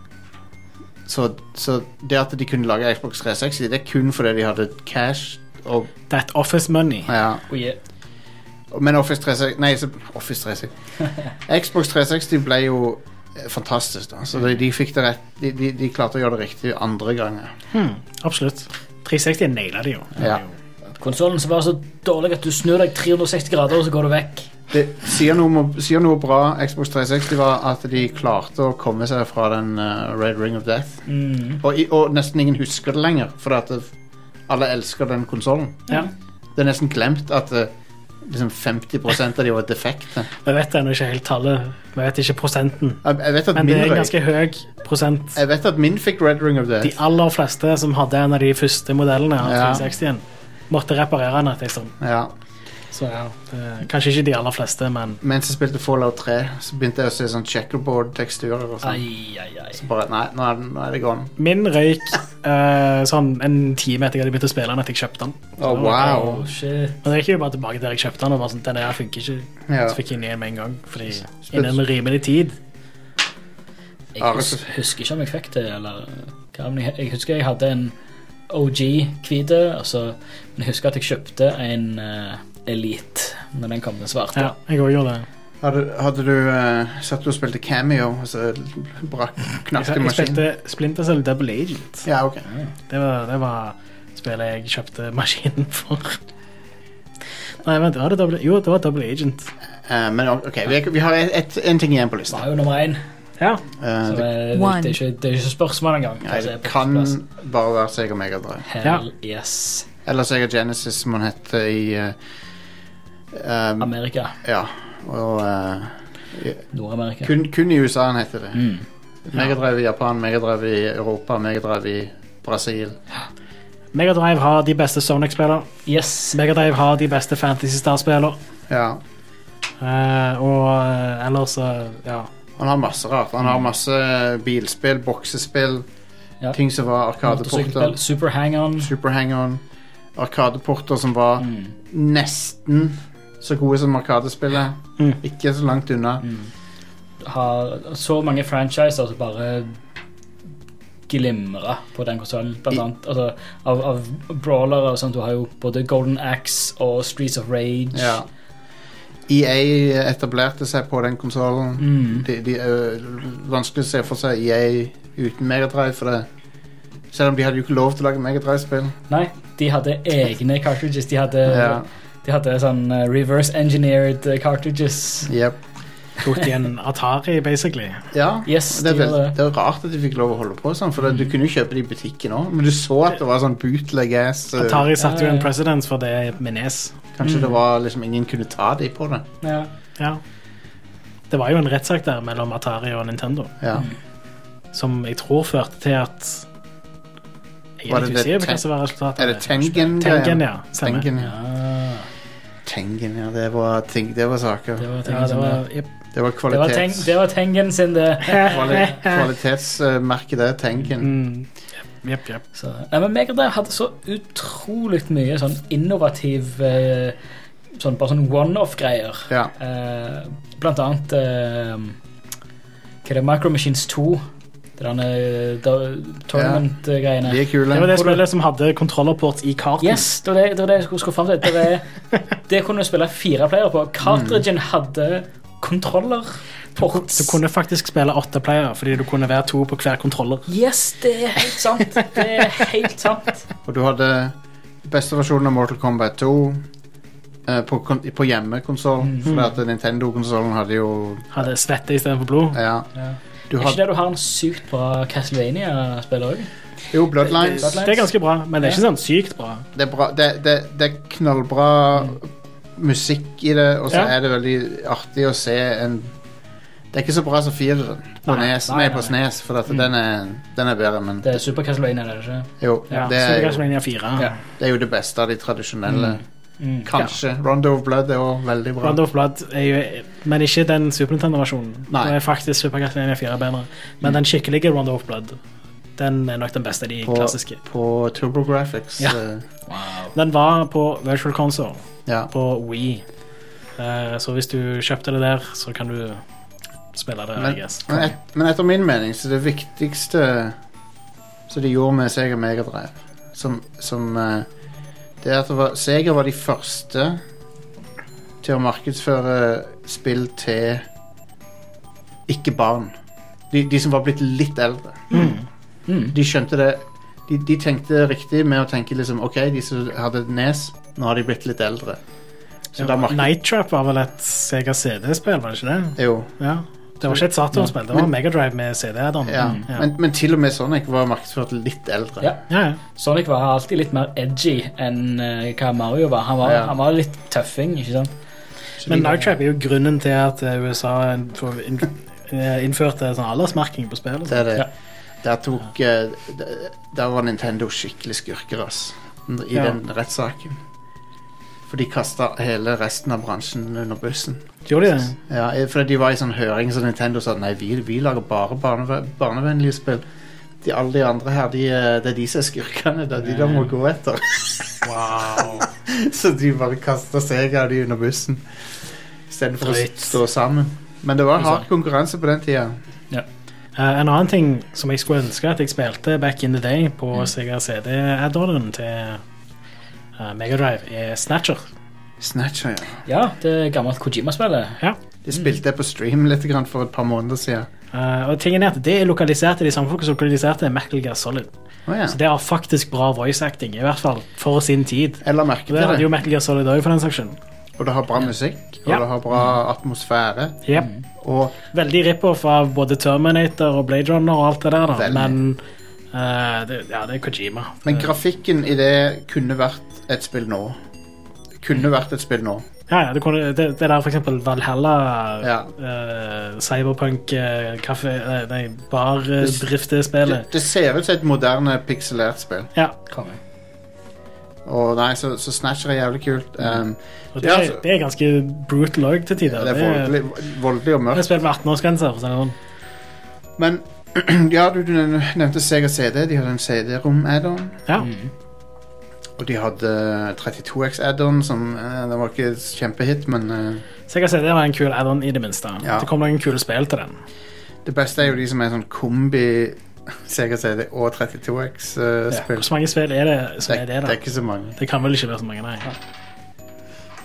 Så, så det at de kunne lage Xbox 360, det er kun fordi de hadde cash. Og, That Office Money. ja. Og je- Men Office 360 Nei, så, Office 360 Xbox 360 ble jo eh, fantastisk. da Så de, de fikk det rett de, de, de klarte å gjøre det riktig andre ganger. Absolutt. 360 naila de jo. Ja. Konsollen som var så dårlig at du snur deg 360 grader, og så går du vekk. Det sier noe, om- sier noe bra Xbox 360 var at de klarte å komme seg fra den eh, Red Ring of Death. Mhm. Mm. Og, i- og nesten ingen husker det lenger, fordi at det, alle elsker den konsollen. Ja. Det er nesten glemt at eh, liksom 50 av de var defekte. Vi vet ennå ikke helt tallet. Vi vet ikke prosenten. Jeg, jeg, vet at Men det min, er en røyk- ganske høy prosent. jeg vet at min fikk Red Ring of Death. De aller fleste som hadde en av de første modellene av Ja. 360-en, måtte reparere den etter en stund. Ja. Så ja, det- kanskje ikke de aller fleste, men Mens jeg spilte Fallout 3, så begynte jeg å se sånn checkerboard-teksturer og sånn. Ai, ai, ai. Så bare, nei, nå er, den- nå er det gone. min røyk eh, sånn en time etter jeg hadde begynt å spille den, etter jeg kjøpte den. Å, wow. Oh, shit. Men jeg gikk jo bare tilbake der jeg kjøpte den, og bare sånn, denne her funker ikke. Ja. Så fikk jeg den igjen med en gang, fordi innen en rimelig tid Jeg Ja, hus det- husker ikke om jeg fikk det, eller hva, men jeg, jeg husker jeg hadde en OG hvit, altså, men jeg husker at jeg kjøpte en eh, Elite når den kom, den svarte. Ja, jeg òg gjorde det. Hadde, hadde du uh, satt du og spilte cameo, og så brakk knakk det Jeg maskinen? spilte Splinter Cell Double Agent. Ja, ok. Det var, det var spillet jeg kjøpte maskinen for. Nei, vent, var det Double, jo, det var Double Agent. Eh, men ok, vi, vi har et, et, en ting igjen på Det lista. var jo nummer én, Ja. Eh, så det, det, det, One. det, er ikke, det er ikke spørsmål engang. nei, Altså, det jeg er på kan plass. bare være Sega Mega Drive. Hell yes. Eller Sega Genesis, som han het i eh, eh, Amerika. Ja. Og eh, Nord-Amerika. kun, kun i USA han heter det. Mm. Megadrive i Japan, Megadrive i Europa, Megadrive i Brasil. Megadrive har de beste Sonic-spillere. Yes. Megadrive har de beste Fantasy Star-spillere. Ja. Eh, og eh, ellers eh, ja. Han har masse rart. Han har masse bilspill, boksespill, Ja. ting som var Motorsykkelspill. arkadeporter. Super hang-on. Super Hang-On. Arkadeporter som var Mm. nesten så gode som Arkadespillet. Mm. Ikke så langt Mm. unna. Har så mange franchiser som bare glimra på den konsollen, blant annet. Altså, av, av brawlere og sånt. Du har jo både Golden Axe og Streets of Rage. Ja. EA etablerte seg på den konsollen. Mm. Det de er vanskelig å se for seg EA uten Megadrive. For det. Selv om de hadde jo ikke lov til å lage Megadrive-spill. Nei, de hadde egne cartridges. De hadde, Ja. de hadde sånn eh, reverse engineered eh, cartridges. Yep. Tok de en Atari, basically? Ja, Yes, det, er de vel, gjorde det. Mm. det er rart at de fikk lov å holde på sånn, for det, du kunne jo kjøpe det i butikken òg, men du så at det var sånn bootleg ass. eh, Atari satte jo Ja, mm. ja, en ja. presidence for det med E nes. Kanskje det var liksom ingen kunne ta de på det. Ja. Ja. Det var jo en rettssak der mellom Atari og Nintendo, Ja. Mm. som jeg tror førte til at Jeg Var er det litt det usikker på hva Ten- som var resultatet. Er det Tengen? Tengen, ja. Stemmer. Tengen, ja. Ah, Tengen, ja. Det var, ting, det var saker. det var Tengen Ja, det sin, det. var, jep. Det var Det var, teng, kvalitets... det var Tengen sin, eh, det. Kvali kvalitetsmerket, det. Tengen. Mm. Jep, jep. Så, nei, men Megadrive hadde så utrolig mye sånn innovativ eh, sånn, Bare sånn one-off-greier. Ja. Eh, blant annet eh, Hva er det? Micro Machines 2. Det derne tournament-greiene. De er kule. Det var det spillet som hadde controllerports i kartet. Yes, det var det, det, var det jeg skulle, skulle fram til. Det, var, det kunne du spille fire playere på. Cartridgen hadde kontroller. Ports. Du kunne faktisk spille åtte player, fordi du kunne være to på hver kontroller. Yes, det er helt sant. Det er helt sant. Og du hadde beste versjonen av Mortal Kombat 2 eh, på, kon- på hjemmekonsoll. Mm. For at Nintendo-konsollen hadde jo Hadde svette istedenfor blod. Ja. Ja. Du Er ikke hadde det du har en sykt bra Castlevania-spiller òg? Jo, Bloodlines. Det- Det er ganske bra, men det er ikke sånn sykt bra. Det er, bra, det, det, det er knallbra musikk i det, og så Ja. er det veldig artig å se en Det er ikke så bra som fireren på, Nei, nes, nei, nei, på nei. Snes, for at den, er, den er bedre, men Det er Super Castlevania, er det ikke? jo, Ja, det, Super er jo, Castlevania 4. Ja. det er jo det beste av de tradisjonelle. Mm. Kanskje. Rondo of Blood er òg veldig bra. Brand of Blood er jo Men ikke den Super Nintendo-versjonen. Nei. Da er faktisk Super Castlevania 4 bedre. Men den skikkelige Round of Blood, den er nok den beste av de På- klassiske. På TurboGrafx. Ja. eh, Den var på Virtual Console, ja. på Wii. Eh, Så hvis du kjøpte det der, så kan du spille det. Men, I guess. men, et, men etter min mening så det viktigste som de gjorde med Sega Megadrive, som, som eh, Det er at det var, Sega var de første til å markedsføre spill til ikke barn. De, de som var blitt litt eldre. Mm. De skjønte det de, de tenkte riktig med å tenke liksom OK, de som hadde nes, nå har de blitt litt eldre. Så da marked- Night Trap var vel et Sega CD-spill, var det ikke det? Jo. Ja. Det var ikke et Saturn-spill, det var Megadrive med CD-add-on. Ja. Mm, Ja. Men, men til og med Sonic var markedsført litt eldre. Ja. Ja, ja. Sonic var alltid litt mer edgy enn eh, hva Mario var. Han var, Ja. han var litt tøffing, ikke sant? Men Night Trap er jo grunnen til at eh, USA inn- for- inn- eh, innførte sånn aldersmerking på spillet. Det er det. Ja. Der tok eh, d- Der var Nintendo skikkelig skurker, ass. I Ja. den rettssaken. For de kasta hele resten av bransjen under bussen. Gjorde de det? Ja, eh, for de var i sånn høring, så Nintendo sa nei, vi, vi lager bare barneve barnevennlige spill. De, alle de andre her, de, eh, det er de som er skurkene. Det er de de må gå etter. Wow. Så de bare kasta Sega og de under bussen. Istedenfor å Drøyt. stå sammen. Men det var hard konkurranse på den tida. Eh, en annen ting som jeg skulle ønske at jeg spilte back in the day på Mm. Sega CD-add-onen til uh, Megadrive, er Snatcher. Snatcher, ja. Ja, det gammelt Kojima-spillet. De spilte det på stream litt grann for et par måneder siden. Eh, og tingen er at Det er lokalisert i de samme folk som lokaliserte Metal Gear Solid. Å, ja. Så det har faktisk bra voice acting, i hvert fall for sin tid. Jeg la merke Og det hadde til jo det. Metal Gear Solid òg, for den saks skyld. Og det har bra musikk, og Ja. det har bra atmosfære. Yep. Og Veldig rip-off av både Terminator og Blade Runner og alt det der, da. Veldig. men eh, det, ja, det er Kojima. Men Det- grafikken i det kunne vært et spill nå. Kunne vært et spill nå. ja, ja, det, kunne, det, det der for eksempel Valhalla, Ja. eh, Cyberpunk, eh, kaffe, eh, nei, Det- Det, bardriftespillet. det ser ut som et moderne pikselert spill. ja, Konge. Og nei, så, så Snatcher er jævlig kult. Um, det og det, er er, altså- det er ganske brutal òg til tider. det er voldelig, voldelig og det er mørkt. spill med 18-årsgrense. for å si det sånn. Men ja, du, du nevnte Sega CD. De hadde en CD-rom-add-on. Ja. Mm. Og de hadde 32X-add-on, som eh, det var ikke et kjempehit, men eh, Så jeg kan si det var en kul add-on, i det minste. Ja. Det kom noen kule spill til den. Det beste er jo de som er sånn kombi Sega CD og 32X-spill. Hvor mange spill er det som det, er- er det, eh, det da? er ikke så mange, Det kan vel ikke være så mange, nei.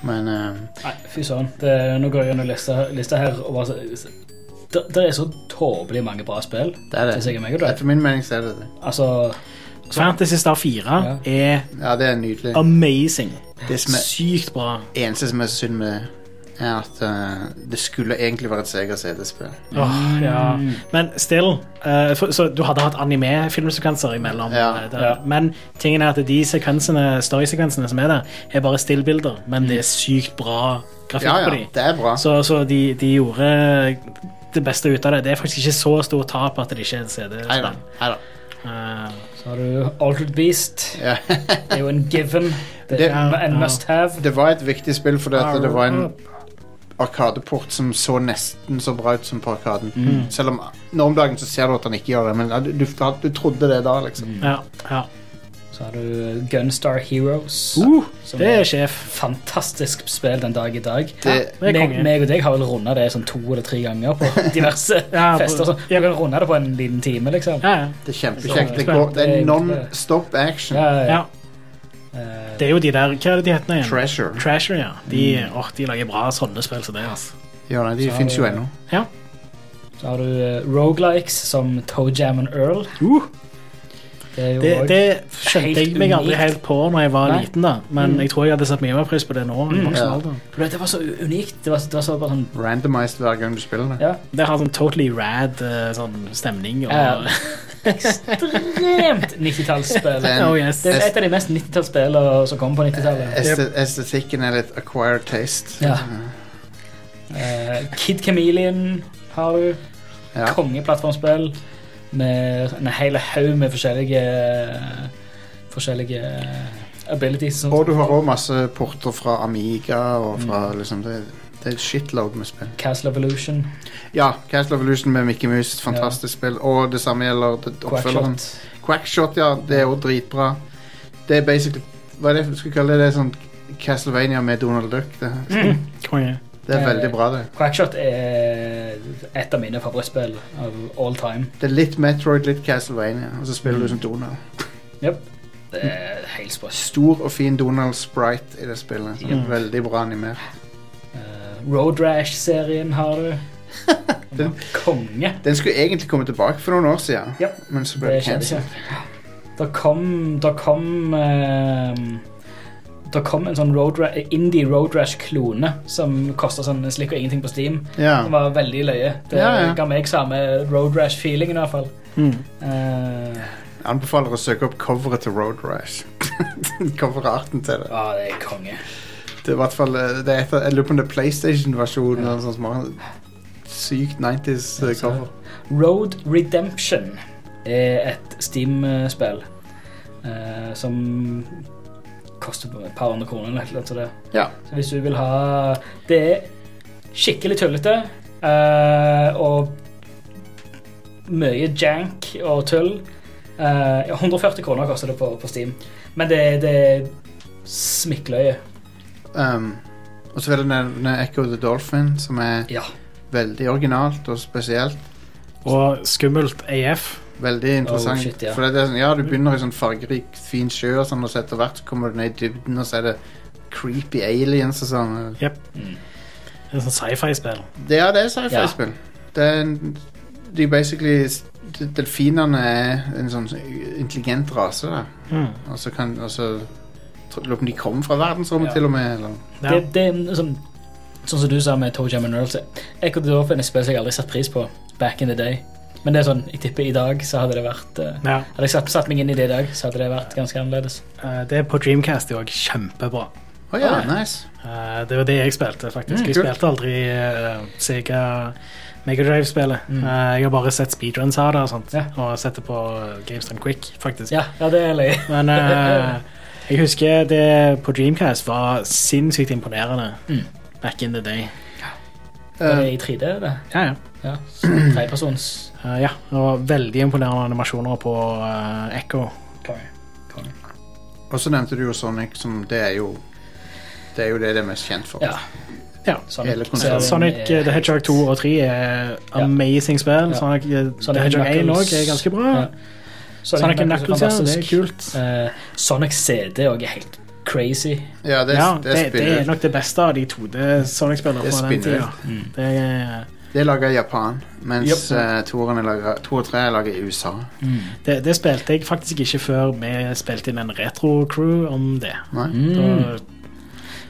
men eh, Nei, fy søren. Det- Nå går jeg gjennom lista, lista her. Og bare, så- det, det er så tåpelig mange bra spill. det er Det er sikkert meg og det. deg. Etter min mening så er det det. Altså Fantasy Star 4 er Ja, det er nydelig. amazing. Det som er Sykt bra. eneste som er synd med det, er at eh, det skulle egentlig være et Sega CD-spill. Åh, ja. Men still, eh, for, så du hadde hatt anime-filmsekvenser imellom. Ja. eh, det. Ja. Men tingen er at de sekvensene, storysekvensene som er der, er bare stillbilder, men det er sykt bra grafikk Mm. Ja, ja, på de. det er bra. Så, så de, de gjorde det beste ut av det. Det er faktisk ikke så stort tap at det ikke er et Neida, CD-spill. neida. Eh, Så har du Altered Beast. Ja. Det er jo en given. Det Det- er en, en ja. must have. Det var et viktig spill fordi at det var en Arkadeport som så nesten så bra ut som på Arkaden. Selv om nå om dagen så ser du at han ikke gjør det, men ja, du, du, du trodde det da, liksom. ja, ja. Så har du eh, Gunstar Heroes. Uh, som det er er et sjef. fantastisk spill den dag i dag. Det- det er meg, konge. meg og deg har vel runda det sånn to eller tre ganger på diverse Ja, på- fester. altså. Så du kan runde det på en liten time, liksom. Ja, ja. Det er kjempekjekt. Det, går- det er non stop action. Ja, ja. ja. Eh, Det er jo de der Hva er det de heter nå igjen? Treasure. Trasher, ja. De, Mm. åh, de lager bra sånne spill som det. Altså. Ja, nei, de Så- finnes jo ennå. Ja. Så har du uh, Rogelikes som Toe Jam and Earl. Uh. Det er jo Det, også- det skjønte jeg Helt meg aldri unikt. helt på når jeg var Nei. Mm. liten, da. men jeg tror jeg hadde satt mye mer pris på det nå. i voksen Ja. alder. For det var så unikt. Det var, det var så bare sånn Randomized hver gang du spiller det. Ja. Det har sånn totally rad eh, sånn stemning. Og, Ja. Ekstremt 90-tallsspill. Det er Oh, en- yes. Det er et av de mest 90-tallsspillene som kom på 90-tallet. este- Estetikken er litt acquired taste. Ja. Eh, Kid Chameleon har du. Ja. Kongeplattformspill med en hel haug med forskjellige Forskjellige abilities. Sånn. Og du har òg masse porter fra Amiga og Mm. fra liksom det, det er et shitload med spill. Castle Evolution, Ja, Castle of Illusion med Mickey Mouse, et fantastisk spill. Og det samme gjelder det- oppfølgeren. Quackshot. Quackshot, ja. Det er òg dritbra. Det er basically Hva er det vi skal kalle det? Det er sånn Castlevania med Donald Duck. Det, Mm. Konge. det er veldig bra, det. Quackshot er et av mine favorittspill av all time. Det er litt Metroid, litt Castlevania, og så spiller Mm. du som Donald. Yep. Det er helt sprøtt. Stor og fin Donald Sprite i det spillet. så Mm. Veldig bra animert. Eh, Road Rash-serien har du. Den- Konge. Den skulle egentlig komme tilbake for noen år siden, Ja. men så ble Det det skjedde cancelled. ikke. Da kom Da kom ehm, Da kom en sånn road ra indie Road Rash-klone som kosta sånn en slikk og ingenting på Steam. Ja. Den var veldig løye. Det Ja, ja. ga meg samme Road Rash-feelingen, i hvert fall. Mm. Eh, Jeg anbefaler å søke opp coveret til Road Rash. Coverarten til det. Ja, det er konge. Det er i hvert fall eh, det er et, av- Jeg lurer på om det er PlayStation-versjonen. eller Sånn som har sykt 90s eh, så- cover. Road Redemption er et Steam-spill eh, som koster et par hundre kroner eller noe sånt. det. Ja. Så hvis du vil ha Det er skikkelig tullete eh, og mye jank og tull. Eh, ja, 140 kroner koster det på, på Steam, men det, det er smikkløye. Um, og så vil jeg nevne Echo the Dolphin, som er Ja. veldig originalt og spesielt. Og skummelt AF. Veldig interessant. Oh, shit, ja. For det er sånn, ja, du begynner i sånn fargerik, fin sjø, og sånn, og så etter hvert så kommer du ned i dybden, og så er det creepy aliens og sånn. Det er Sånn sci-fi-spill. Det, ja, det er sci-fi-spill. Ja. Det er en- De basically Delfinene er en sånn intelligent rase, da. Mm. Og så kan og så, tro- Lurer på om de kommer fra verdensrommet, Ja. til og med. Eller? Ja. Det, det er liksom, sånn som du sa med Toe Jam and Earl, så Echo the Dolphin er et spill som jeg aldri satt pris på back in the day. Men det er sånn, jeg tipper i dag så hadde det vært eh, Ja. Hadde jeg satt, satt meg inn i det i dag, så hadde det vært ganske annerledes. Eh, Det er på Dreamcast det er òg kjempebra. Å ja, Ah, ja. nice. Eh, Det var det jeg spilte, faktisk. Mm, jeg kult. spilte aldri eh, Sega Megadrive-spillet. Mm. Eh, jeg har bare sett speedruns av det og sånt, Ja. og sett det på eh, GameStone Quick, faktisk. Ja, ja det er løye. Men eh, jeg husker det på Dreamcast var sinnssykt imponerende Mm. back in the day. Det er Eh, i 3D, er det. Ja, ja. Ja, så Trepersons. Eh, ja. Og veldig imponerende animasjoner på eh, Echo. og så nevnte du jo Sonic, som det er jo Det er jo det det er mest kjent for. Ja. Ja, Sonic. hele konsollen. Så- Sonic eh, The Hedgehog 2 og 3 er amazing spill. Ja. Sonic, eh, The Hedgehog 1 også er ganske bra. Ja. Sonic and Knuckles, ja, det er fantastisk. kult. Eh, Sonic CD også er helt crazy. Ja, det, Ja, det, det, det er spiller. nok det beste av de 2D-Sonic-spillene Det fra den spinner. tida. Det er, Det er laget i Japan, mens Japp. eh, toeren er laget- to og tre er laget i USA. det, det spilte jeg faktisk ikke før vi spilte inn en retro-crew om det. Nei? Mm. Da,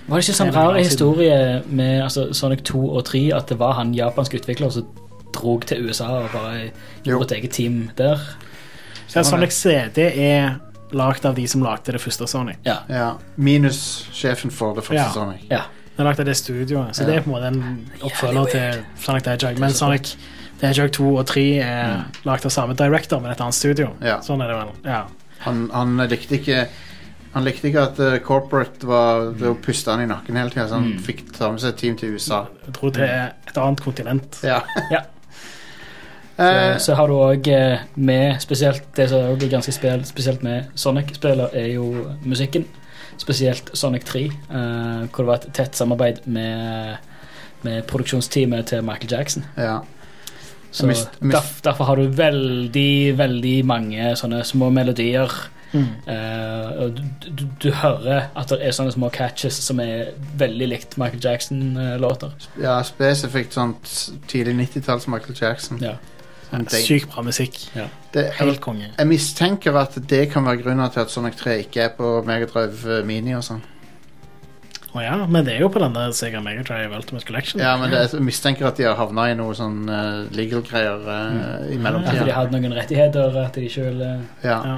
Var det ikke sånn Det er rar bra siden. historie med altså, Sonic 2 og 3 at det var han japanske utvikler som drog til USA og bare Jo. gjorde et eget team der? ja, Sonic CD er lagd av de som lagde det første Sonic. Ja. Ja. Minus sjefen for det første Ja. Sonic. ja. Det er lagt av det studioet, så Ja. det er på en måte en oppfølger Jævlig til Sonic the Hedgehog. Men Sonic the Hedgehog 2 og 3 er lagt av samme director, men et annet studio. Ja. Sånn er det vel. Ja. Han, han likte ikke han likte ikke at eh, corporate Mm. var Det å puste han i nakken hele tida, så han fikk ta med seg et team til USA. Jeg tror Mm. det er et annet kontinent. Ja. Ja. Eh, Så har du òg med spesielt Det som også er ganske spel, spesielt med Sonic-spiller, er jo musikken. Spesielt Sonic 3, eh, hvor det var et tett samarbeid med, med produksjonsteamet til Michael Jackson. ja. Så Mist- mist- derf- derfor har du veldig, veldig mange sånne små melodier. Mm. Eh, og du, du, du hører at det er sånne små catches som er veldig likt Michael Jackson-låter. ja, spesifikt sånt sånn tidlig 90-talls Michael Jackson. Ja. Sånn det- Sykt bra musikk. det, jeg, Helt konge. jeg mistenker at det kan være grunnen til at Sonic 3 ikke er på Megadrive Mini og sånn. Å ja, men det er jo på denne Sega Mega Drive Ultimate Collection. Ja, men det, jeg mistenker at de har havna i noe sånn eh, legal greier eh, i At de mellomtida. hadde noen rettigheter. At de ikke ville Ja. Ja.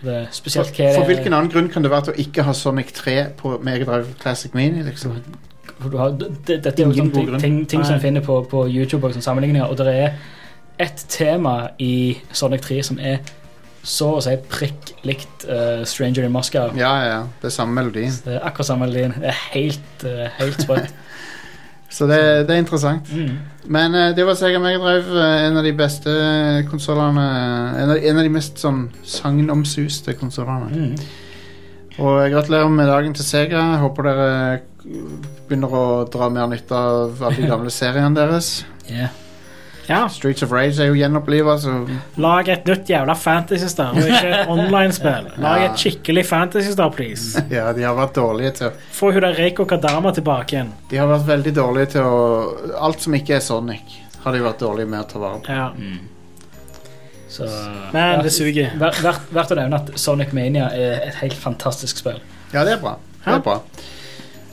det, er For, Spesielt hva for hvilken annen grunn kan det være til å ikke ha Sonic 3 på Megadrive Classic Mini? liksom? for du har, det, det, Dette er jo Ingen sånne god ting, grunn. ting, ting som Nei. en finner på, på YouTube, og sånne sammenligninger, og det er ett tema i Sonic 3 som er så å si prikk likt eh, Stranger in Moscow. Ja, ja, ja. Det er samme melodien. Det er akkurat samme linjen. Det er helt, eh, helt sprøtt. Så det, det er interessant. Mm. Men eh, det var Sega Mega Drive, eh, en av de beste konsollene. En, av- en av de mest sånn sagnomsuste konsollene. Mm. Og jeg gratulerer med dagen til Sega. Håper dere eh, begynner å dra mer nytte av alle de gamle seriene deres. Ja. ja. Streets of Rage er jo gjenoppliva, så Lag et nytt jævla fantasy-star, og ikke et online-spill. Lag Ja. et skikkelig fantasy-star, please. ja, de har vært dårlige til Få hun der Reiko Kadama tilbake igjen. De har vært veldig dårlige til å Alt som ikke er Sonic, har de vært dårlige med å ta vare på. Ja. Så, Men det suger. Ver- Verdt verdt å nevne at Sonic Mania er et helt fantastisk spill. Ja, det er bra. Det er bra.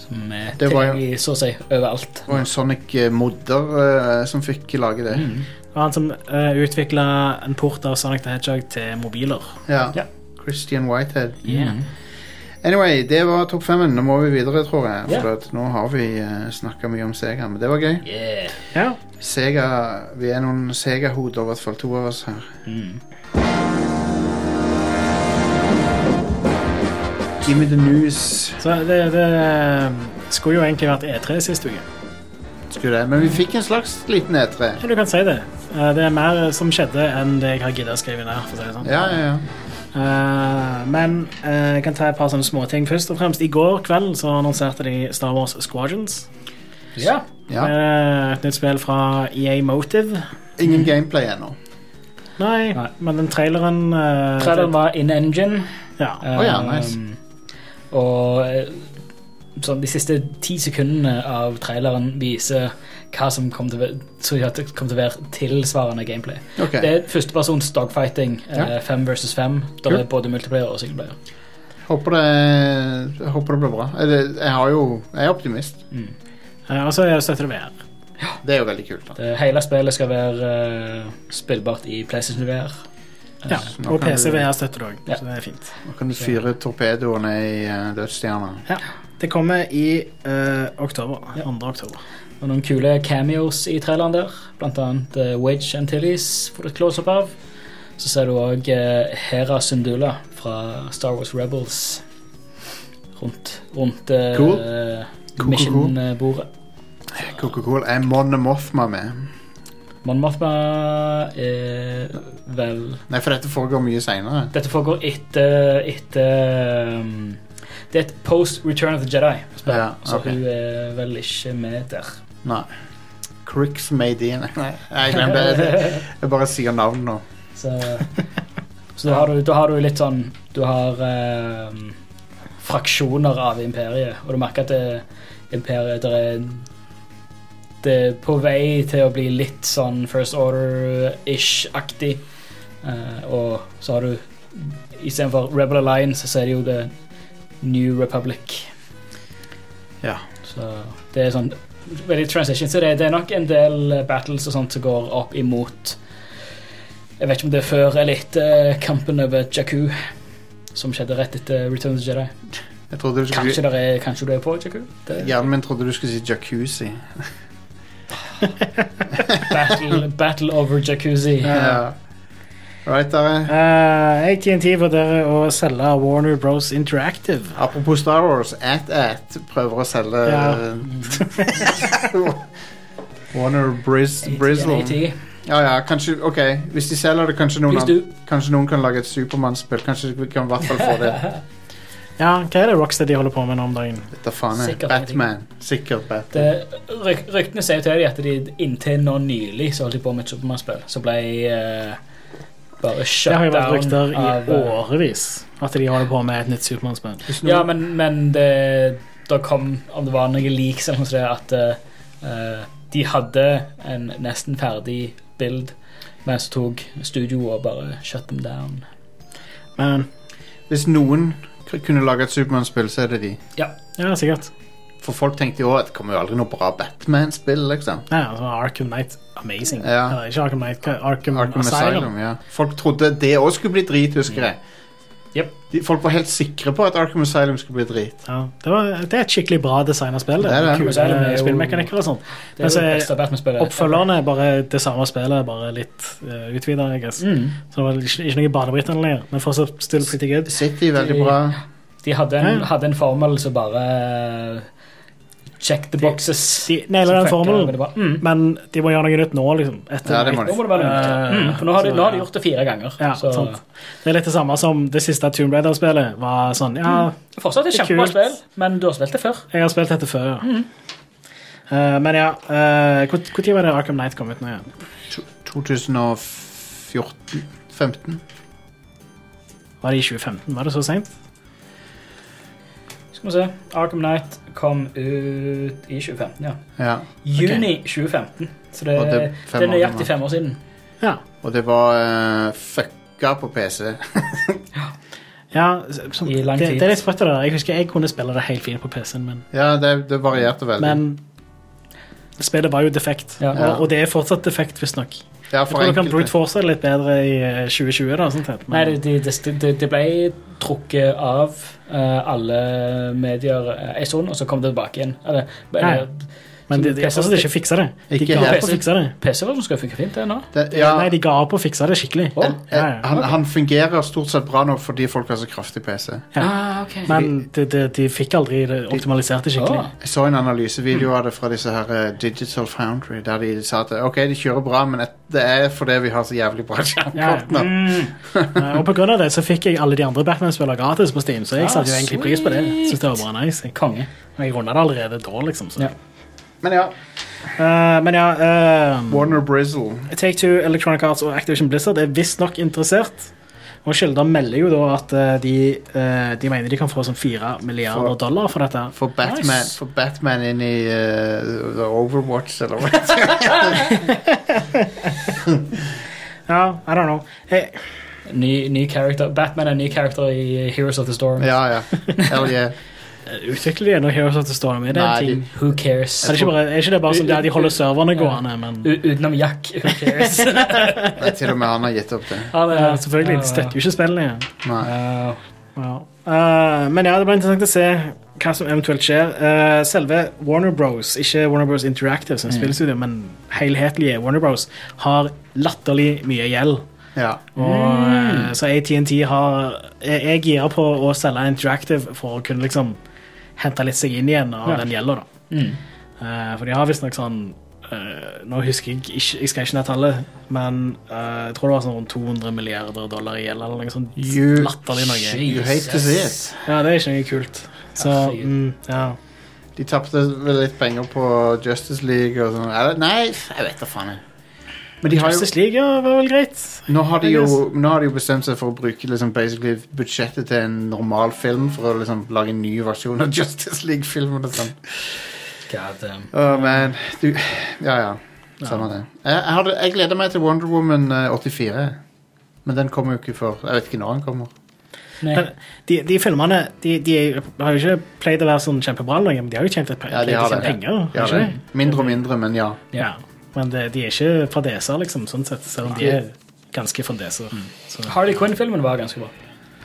Som er Det var jo- tilgjengelig så å si overalt. Og en Sonic-modder eh, som fikk lage det. Det var Han som uh, utvikla en port av Sonic the Hedgehog til mobiler. Ja. Ja. Christian Whitehead. Mm. Yeah. Anyway, det var topp femmen. Nå må vi videre, tror jeg. For Ja. at nå har vi uh, snakka mye om Sega, men det var gøy. Yeah. Ja. Sega, Vi er noen Sega-hoder, i hvert fall to av oss her. Give me the news. Så det, det eh, skulle jo egentlig vært E3 sist uke. Skulle det. Men vi fikk en slags liten E E3. Ja, du kan si det. Eh, det er mer som skjedde enn det jeg har giddet å skrive ned. For å si det sånn. Ja, ja, ja. Eh, men eh, jeg kan ta et par sånne småting først. og fremst I går kveld så annonserte de Star Wars Squadrons. Ja. ja. Eh, et nytt spill fra EA Motive. Ingen gameplay ennå. Nei, Nei. men den traileren eh, Traileren var in engine. Ja. Um, ja, nice. Og eh, sånn, de siste ti sekundene av traileren viser hva som kommer til, å være- så at det kommer til å være tilsvarende gameplay. Ok. Det er førstepersons dogfighting. Ja. eh, Fem versus fem. Der Kult. er både multiplayer og singleplayer. Håper det, jeg håper det blir bra. Eller, Jeg, har jo, jeg er optimist. Eh, og så er det støtte til VR. Det er jo veldig kult. da. Det hele spillet skal være eh, spillbart i PlayStation VR. Ja. Så nå Og kan PC du- VR støtter det òg, Ja. så det er fint. Nå kan du fyre torpedoene i uh, dødsstjerna. Ja. Det kommer i eh, oktober. 2. oktober. Og noen kule cameos i traileren der. Blant annet eh, Wedge Antilles får du et close-up av. Så ser du òg Hera Sundula fra Star Wars Rebels rundt, rundt eh, Cool. eh, cool, Mission-bordet. Coca-Cola er Mon Mothma med. Mon Mothma er vel Nei, for dette foregår mye seinere. Dette foregår etter, etter um, Det er et post Return of the Jedi-spill, Ja, så ok. hun er vel ikke med der. Nei. Cricks made in. Nei, jeg glemte det. Jeg bare sier navn nå. Så, så da, har du, da har du litt sånn Du har eh, fraksjoner av imperiet, og du merker at det, imperiet der er det er på vei til å bli litt sånn First Order-ish-aktig. Eh, og så har du istedenfor Rebel Alliance, så er det jo The New Republic. Ja. Så det er sånn veldig transition. Så det, det er nok en del eh, battles og sånt som går opp imot Jeg vet ikke om det er før eller etter eh, kampen over Jakku, som skjedde rett etter Return of the Jedi. Jeg trodde du Kanskje, skulle, der er, kanskje du er på Jakku? Det, hjernen min trodde du skulle si jacuzzi. battle, battle over Jacuzzi. Ja. Right, dere. Eh, AT&T vurderer å selge Warner Bros Interactive. Apropos Star Wars, AT-AT prøver å selge Mm. Warner Bris Brislon. 1880. Ja, ja, kanskje, ok Hvis de selger det, kanskje noen, Please do. an- kanskje noen kan lage et Supermann-spill. Kanskje vi kan i hvert fall få det. Ja, Hva er det Rocksteady holder på med nå om dagen? Dette faen er Sikkert Batman. Sikkert Batman. Det- ryk- Ryktene sier jo til dem at de inntil nå nylig så holdt de på med et Supermann-spill, som ble eh, bare Det shut har jo vært down rykter i av eh, årevis at de holder på med et nytt Supermann-spill. Ja, men, men det, da kom, om det var noe leaks eller noe sånt, at eh, de hadde en nesten ferdig bild, men så tok studio og bare shut them down. Men Hvis noen k- kunne lage et Supermann-spill, så er det de. ja, sikkert. For folk tenkte jo at det kommer jo aldri noe bra Batman-spill, liksom. Ja, altså, Arkham Knight, amazing. Ja. Eller, ikke Arkham Knight, hva- Arkham, Arkham Asylum. Asylum, ja. Folk trodde det òg skulle bli drit, husker jeg. Jep. De, folk var helt sikre på at Arkham Asylum skulle bli drit. Ja, det, var, det er et skikkelig bra designet spill. Det Det er det. er Arkham Asylum er kule jo- spillmekanikker og sånt. Det er Men så jo det er beste Batman-spillet. Oppfølgerne er bare det samme spillet, bare litt uh, utvida. Mm. Så det var ikke, ikke noe barnebritt eller lenger, men fortsatt still pretty good. City, veldig bra. De hadde en, Ja. hadde en formel som bare eh, Check the boxes. De nailer Som den funker formelen, veldig bra. Mm. men de må gjøre noe nytt nå, liksom. Etter, Ja, det må Nå de. må det være noe nytt. Eh, Mm, for nå har, de, så- nå har de gjort det fire ganger. Ja, så sant. Det er litt det samme som det siste Tomb Raider-spillet var sånn Ja, Mm. fortsatt et Det er kjempebra kult. spill, men du har spilt det før. jeg har spilt dette før, ja. Mm. Eh, men ja, eh, hvor når var det Arkham Knight kom ut nå igjen? To- 2014 15? Var det i 2015? Var det så seint? Skal vi se. Arkham Knight kom ut i 2015, ja. Ja. Juni 2015. Så det, Og det Eh, det, er fem er år nøyaktig gammelt. fem år siden. Ja. Og det var eh, fucka på PC. Ja, s- som, I lang det, tid. det er litt sprøtt. det der. Jeg husker jeg kunne spille det helt fint på PC-en min, Ja, det, det varierte veldig. men spillet var jo defekt. Ja. Og, og det er fortsatt defekt, visstnok. Jeg ja, for tror du kan enkelte. brute force det litt bedre i eh, 2020. da, sånn sett. Nei, Men, det, det, det, det, det ble trukket av eh, alle medier eh, en stund, og så kom det tilbake igjen. Eller, Ja. eller, men de, de, jeg synes de ikke fiksa det. De Ikke ga helt. opp å fikse det. PC-versjonen skal funke fint, det nå. Det, ja, Nei, de ga opp å fikse det skikkelig. Å, en- en- ja, ja. Han, han fungerer stort sett bra nå fordi folk har så kraftig PC. Ah, ok. Men de, de, de fikk aldri det optimalisert det skikkelig. Å. Jeg så en analysevideo av det fra disse her eh, Digital Foundry, der de sa at ok, de kjører bra, men et- det er fordi vi har så jævlig bra skjermkort nå. Mm. Eh, Og på grunn av det så fikk jeg alle de andre Batman-spillene gratis på Steam, så jeg Ah, satte jo egentlig pris på det. Synes det var bra nice. Jeg, Konge. men jeg runda det allerede da, liksom. Så. Ja. Men ja, Eh, men ja eh, Warner Brizzle. Take Two, Electronic Arts og Activision Blizzard er visstnok interessert. Og Kilder melder jo da at eh, de, eh, de mener de kan få sånn fire milliarder For- dollar for dette. For Batman, Nice. for Batman inn i eh, The Overwatch, eller hva? Ja, I don't know. Jeg, Ny, ny character. Batman er en ny character i Heroes of the Storm. ja, ja. Hell yeah. Eh, utvikler de noe Heroes of the Storm? Er det Nei, en ting? de- Who cares? Er det, ikke bare, er ikke det bare sånn at de holder serverne gående, men eh, U utenom Jack, who cares? Nei, til og med han har gitt opp det. ja, ja, Selvfølgelig, de støtter jo ikke spillene. igjen. Nei. Wow. Ja. Eh, men ja, det blir interessant å se hva som eventuelt skjer. Eh, selve Warner Bros, ikke Warner Bros Interactive, som spillstudio, men helhetlige Warner Bros, har latterlig mye gjeld. Ja. Og, eh, Så AT&T har Jeg jeg girer på å selge Interactive for å kunne liksom hente litt seg inn igjen av Ja. den gjelda, da. Mm. Eh, For de har visstnok sånn eh, eh, Nå husker jeg ikke Jeg skal ikke ned tallet, men eh, jeg tror det var sånn rundt 200 milliarder dollar i gjeld eller noe sånt You- latterlig noe. You hate to see it. Ja, det er ikke noe kult. Så Herregud. mm, ja. De tapte vel litt penger på Justice League og sånn. Eller, nei, jeg vet da faen. jeg. Men de har jo, Justice League ja, var vel greit. nå, har de I jo, guess. nå har de jo bestemt seg for å bruke liksom, basically budsjettet til en normal film for å liksom, lage en ny versjon av Justice League-filmen. og sånn. God, um, Åh, men du, Ja, ja. Samme det. Jeg, jeg, hadde, jeg gleder meg til Wonder Woman eh, 84. Men den kommer jo ikke for Jeg vet ikke når den kommer. nei. Men de, de filmene de, de er- har jo ikke pleid å være sånn kjempebra, lenger, men de har jo tjent, et, pe- Ja, de pleid å har tjene det. penger. Ja, har ikke det- mindre og mindre, men ja. de? Ja. Men de, de er ikke fadeser, liksom, sånn sett, selv om de er ganske fadeser. Mm. Så. Harley Quinn-filmen var ganske bra.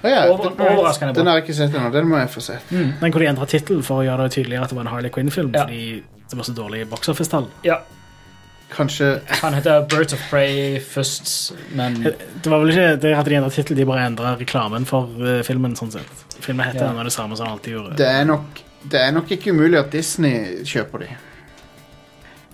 Å ja Over- overraskende bra. den, den har jeg ikke sett ennå. Den må jeg få sett. Den kunne de endra tittel for å gjøre det tydeligere at det var en Harley Quinn-film, Ja. fordi det var så dårlig box office-tall. Ja, Kanskje Han heter Birds of Prey først, men Det var vel ikke, det hadde de endra tittel, de bare endra reklamen for eh, filmen, sånn sett. Filmen heter Ja. ennå det samme som den alltid gjorde. Det er nok det er nok ikke umulig at Disney kjøper de.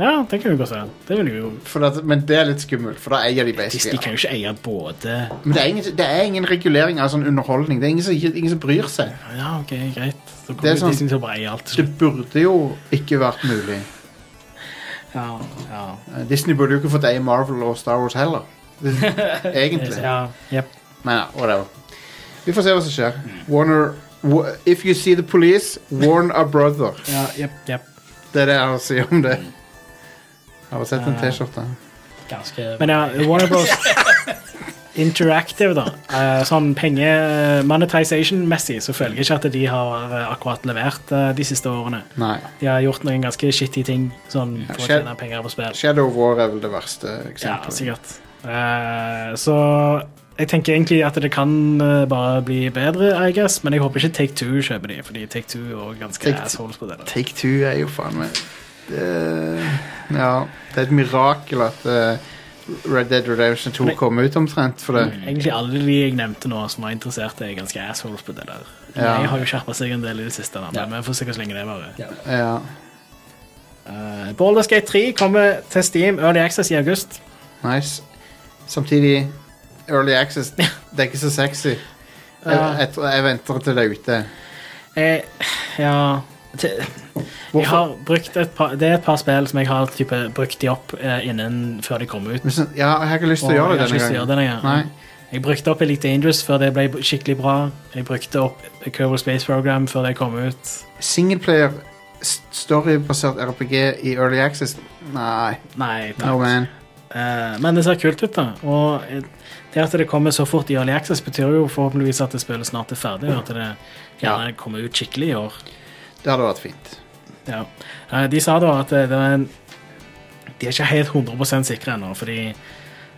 Ja, det kan vi godt se. Det vil vi jo For at, men det er litt skummelt, for da eier de Disney basically kan jo ikke eie både Men det er, ingen, det er ingen regulering av sånn underholdning. Det er ingen som, ingen som bryr seg. Ja, ok, greit. Så Det kommer er jo sånn- Disney til å bare eie alt. til Det slutt. burde jo ikke vært mulig. Ja, ja. Eh, Disney burde jo ikke fått eie Marvel og Star Wars heller. Egentlig. ja jep. Men ja, whatever. Vi får se hva som skjer. Warner wa- If you see the police, warn a brother. Ja, jep, jep. Det er det jeg har å si om det. Jeg har sett en T-skjorte. ganske Men ja, Warner Bros. Interactive, da. Eh, sånn penge monetization-messig så føler jeg ikke at de har eh, akkurat levert eh, de siste årene. Nei. De har gjort noen ganske shitty ting sånn, for å skjedd. tjene penger på spill. Shadow of War er vel det verste Ja, eksempelet. sikkert. Eh, så jeg tenker egentlig at det kan eh, bare bli bedre, I guess, men jeg håper ikke Take Two kjøper de, fordi Take Two er også ganske Take Two- assholes på det. da. Take Two er jo faen meg det, Ja, det er et mirakel at eh, Red Dead Redemption 2 Men- Mm. kom ut omtrent for det. Egentlig alle de jeg nevnte nå som var interessert, er ganske assholes på det der. Ja. Jeg har jo skjerpa seg en del i det siste, da, men Ja. vi får se hvor lenge det varer. ja. Ja. Uh, Baldur's Gate 3 kommer til Steam Early Access i august. Nice. Samtidig, Early Access Det er ikke så sexy. Jeg, jeg, tror- jeg venter til det er ute. Jeg, ja til- jeg har brukt et par, Det er et par spill som jeg har type, brukt de opp eh, innen før de kom ut. Men sånn- Ja, jeg har ikke lyst til Og å jeg gjøre har det ikke lyst til å denne gjøre gangen. det denne Nei. gangen. Jeg brukte opp Elite Dangerous før det ble skikkelig bra. Jeg brukte opp Kerbal Space Program før det kom ut. Singleplayer, s- storybasert RPG i Early Access? Nei. Nei, takk. No man. Eh, men det ser kult ut, da. Og eh, det at det kommer så fort i Early Access, betyr jo forhåpentligvis at det spillet snart er ferdig, og at det gjerne kommer ut skikkelig i år. Det hadde vært fint. Ja. Eh, De sa da at det det var en De er ikke helt 100 sikre ennå, fordi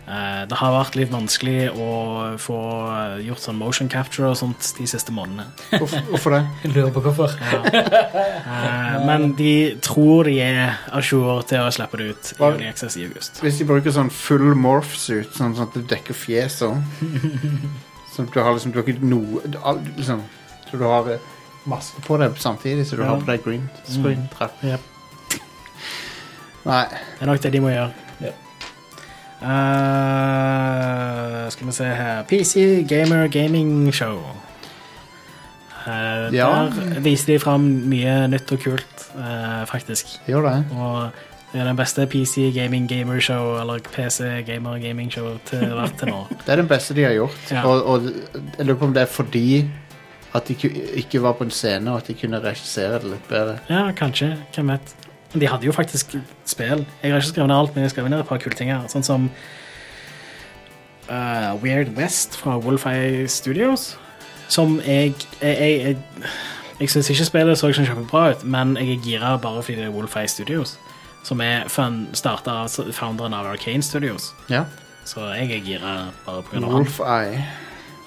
eh, det har vært litt vanskelig å få eh, gjort sånn motion capture og sånt de siste månedene. Hvorfor, hvorfor det? Lurer på hvorfor. Eh, Men de tror de er à jour til å slippe det ut i Hva- Early Access i august. Hvis de bruker sånn full morph suit, sånn, sånn at du dekker fjeset om. Sånn at du har liksom du har ikke noe du- all- liksom, Så du har eh, maske på deg samtidig, så du Ja. Mm. har på deg green screen. trapp. Jep. Nei. Det er nok det de må gjøre. Ja. Eh, skal vi se her PC Gamer Gaming Show. Eh, Ja. Der viser de fram mye nytt og kult, eh, faktisk. Det gjør det. Og det er den beste PC Gaming Gamer Show, eller PC Gamer Gaming Show, til vært til nå. Det er den beste de har gjort. Ja. Og, og jeg lurer på om det er fordi at de ku- ikke var på en scene, og at de kunne regissere det litt bedre. Ja, kanskje. Hvem vet. Men De hadde jo faktisk spill. Jeg har ikke skrevet ned alt, men jeg har skrevet ned et par kule ting her. Sånn som eh, Weird West fra Wolfeye Studios. Som jeg Jeg, jeg, jeg, jeg syns ikke spillet så kjempebra ut, men jeg er gira bare fordi det er Wolfeye Studios. Som er starta av s- founderen av Arcane Studios. Ja. Så jeg er gira bare pga. han. Wolf Eye,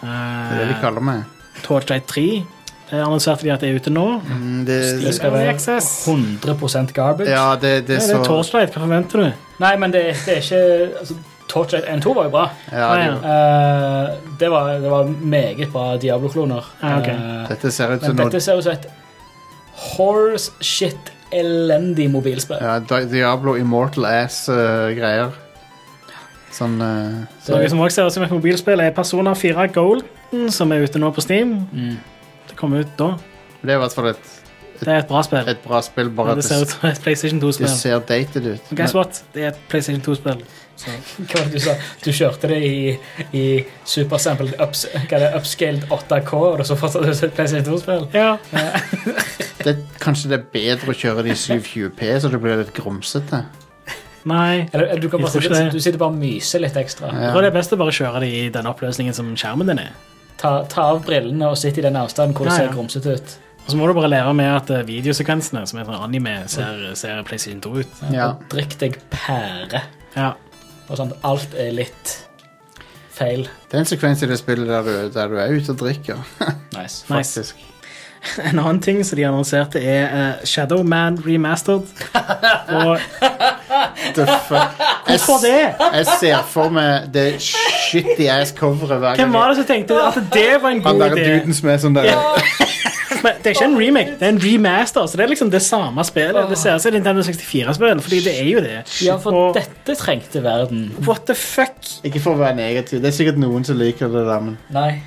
det er det de Uh, kaller meg. Torchlight 3 eh, annonserte de at det er ute nå. Mm, Det, Det skal Early være access. 100 garbage. ja, det, det Ja, er det er så Torchlight, hva forventer du? Nei, men det, det er ikke altså, Torchlight N2 var jo bra. ja, Nei, det, Eh, det, var, det var meget bra Diablo-kloner. Ja, ok. Eh, Dette ser ut som men noe dette ser ut som et horse shit elendig mobilspill. Ja, Di- Diablo Immortal Ass-greier. sånn eh, Så- Noe som også ser ut som et mobilspill, er Persona 4 Golden, som er ute nå på Steam. Mm. Det kommer ut da. Det er i hvert fall et, Det er et bra spill. et bra spill, bare Men at det det, ser ut s- som et PlayStation det 2-spill. ser dated ut. Guess what? Det er et PlayStation 2-spill. Hva var det du sa? Du kjørte det i, i supersampled ups, hva er det, upscaled 8K, og så fortsatte du et PlayStation 2-spill? Ja. Men det, kanskje det er bedre å kjøre det i 720P, så det blir litt grumsete. Nei. Eller, eller du, kan Jeg bare tror ikke sitte, det. du sitter bare og myser litt ekstra. Jeg tror det er best å bare kjøre det i den oppløsningen som skjermen din er. Ta, ta av brillene og sitt i den avstanden hvor det Ja, ja. ser grumsete ut. Og så må du bare leve med at eh, videosekvensene som er sånn anime, ser, ser PlayStation 2 ut. Ja. Og drikk deg pære. Ja. Og sånn, alt er litt feil. Det er en sekvens i det spillet der du, der du er ute og drikker, Nice. Nice. faktisk. En annen ting som de annonserte, er eh, Shadow Man Remastered. Og The fuck? hvorfor det? Jeg ser for meg det shitty ass-coveret hver Hvem var det som tenkte at det var en Han god der idé? duden som er sånn der Men det er ikke en remake, det er en remaster. Så det er liksom det samme spillet. Det ser ut som et Nintendo 64-spill, fordi det er jo det. Ja, for Og dette trengte verden. what the fuck? Ikke for å være negativ, det er sikkert noen som liker det der, men Nei.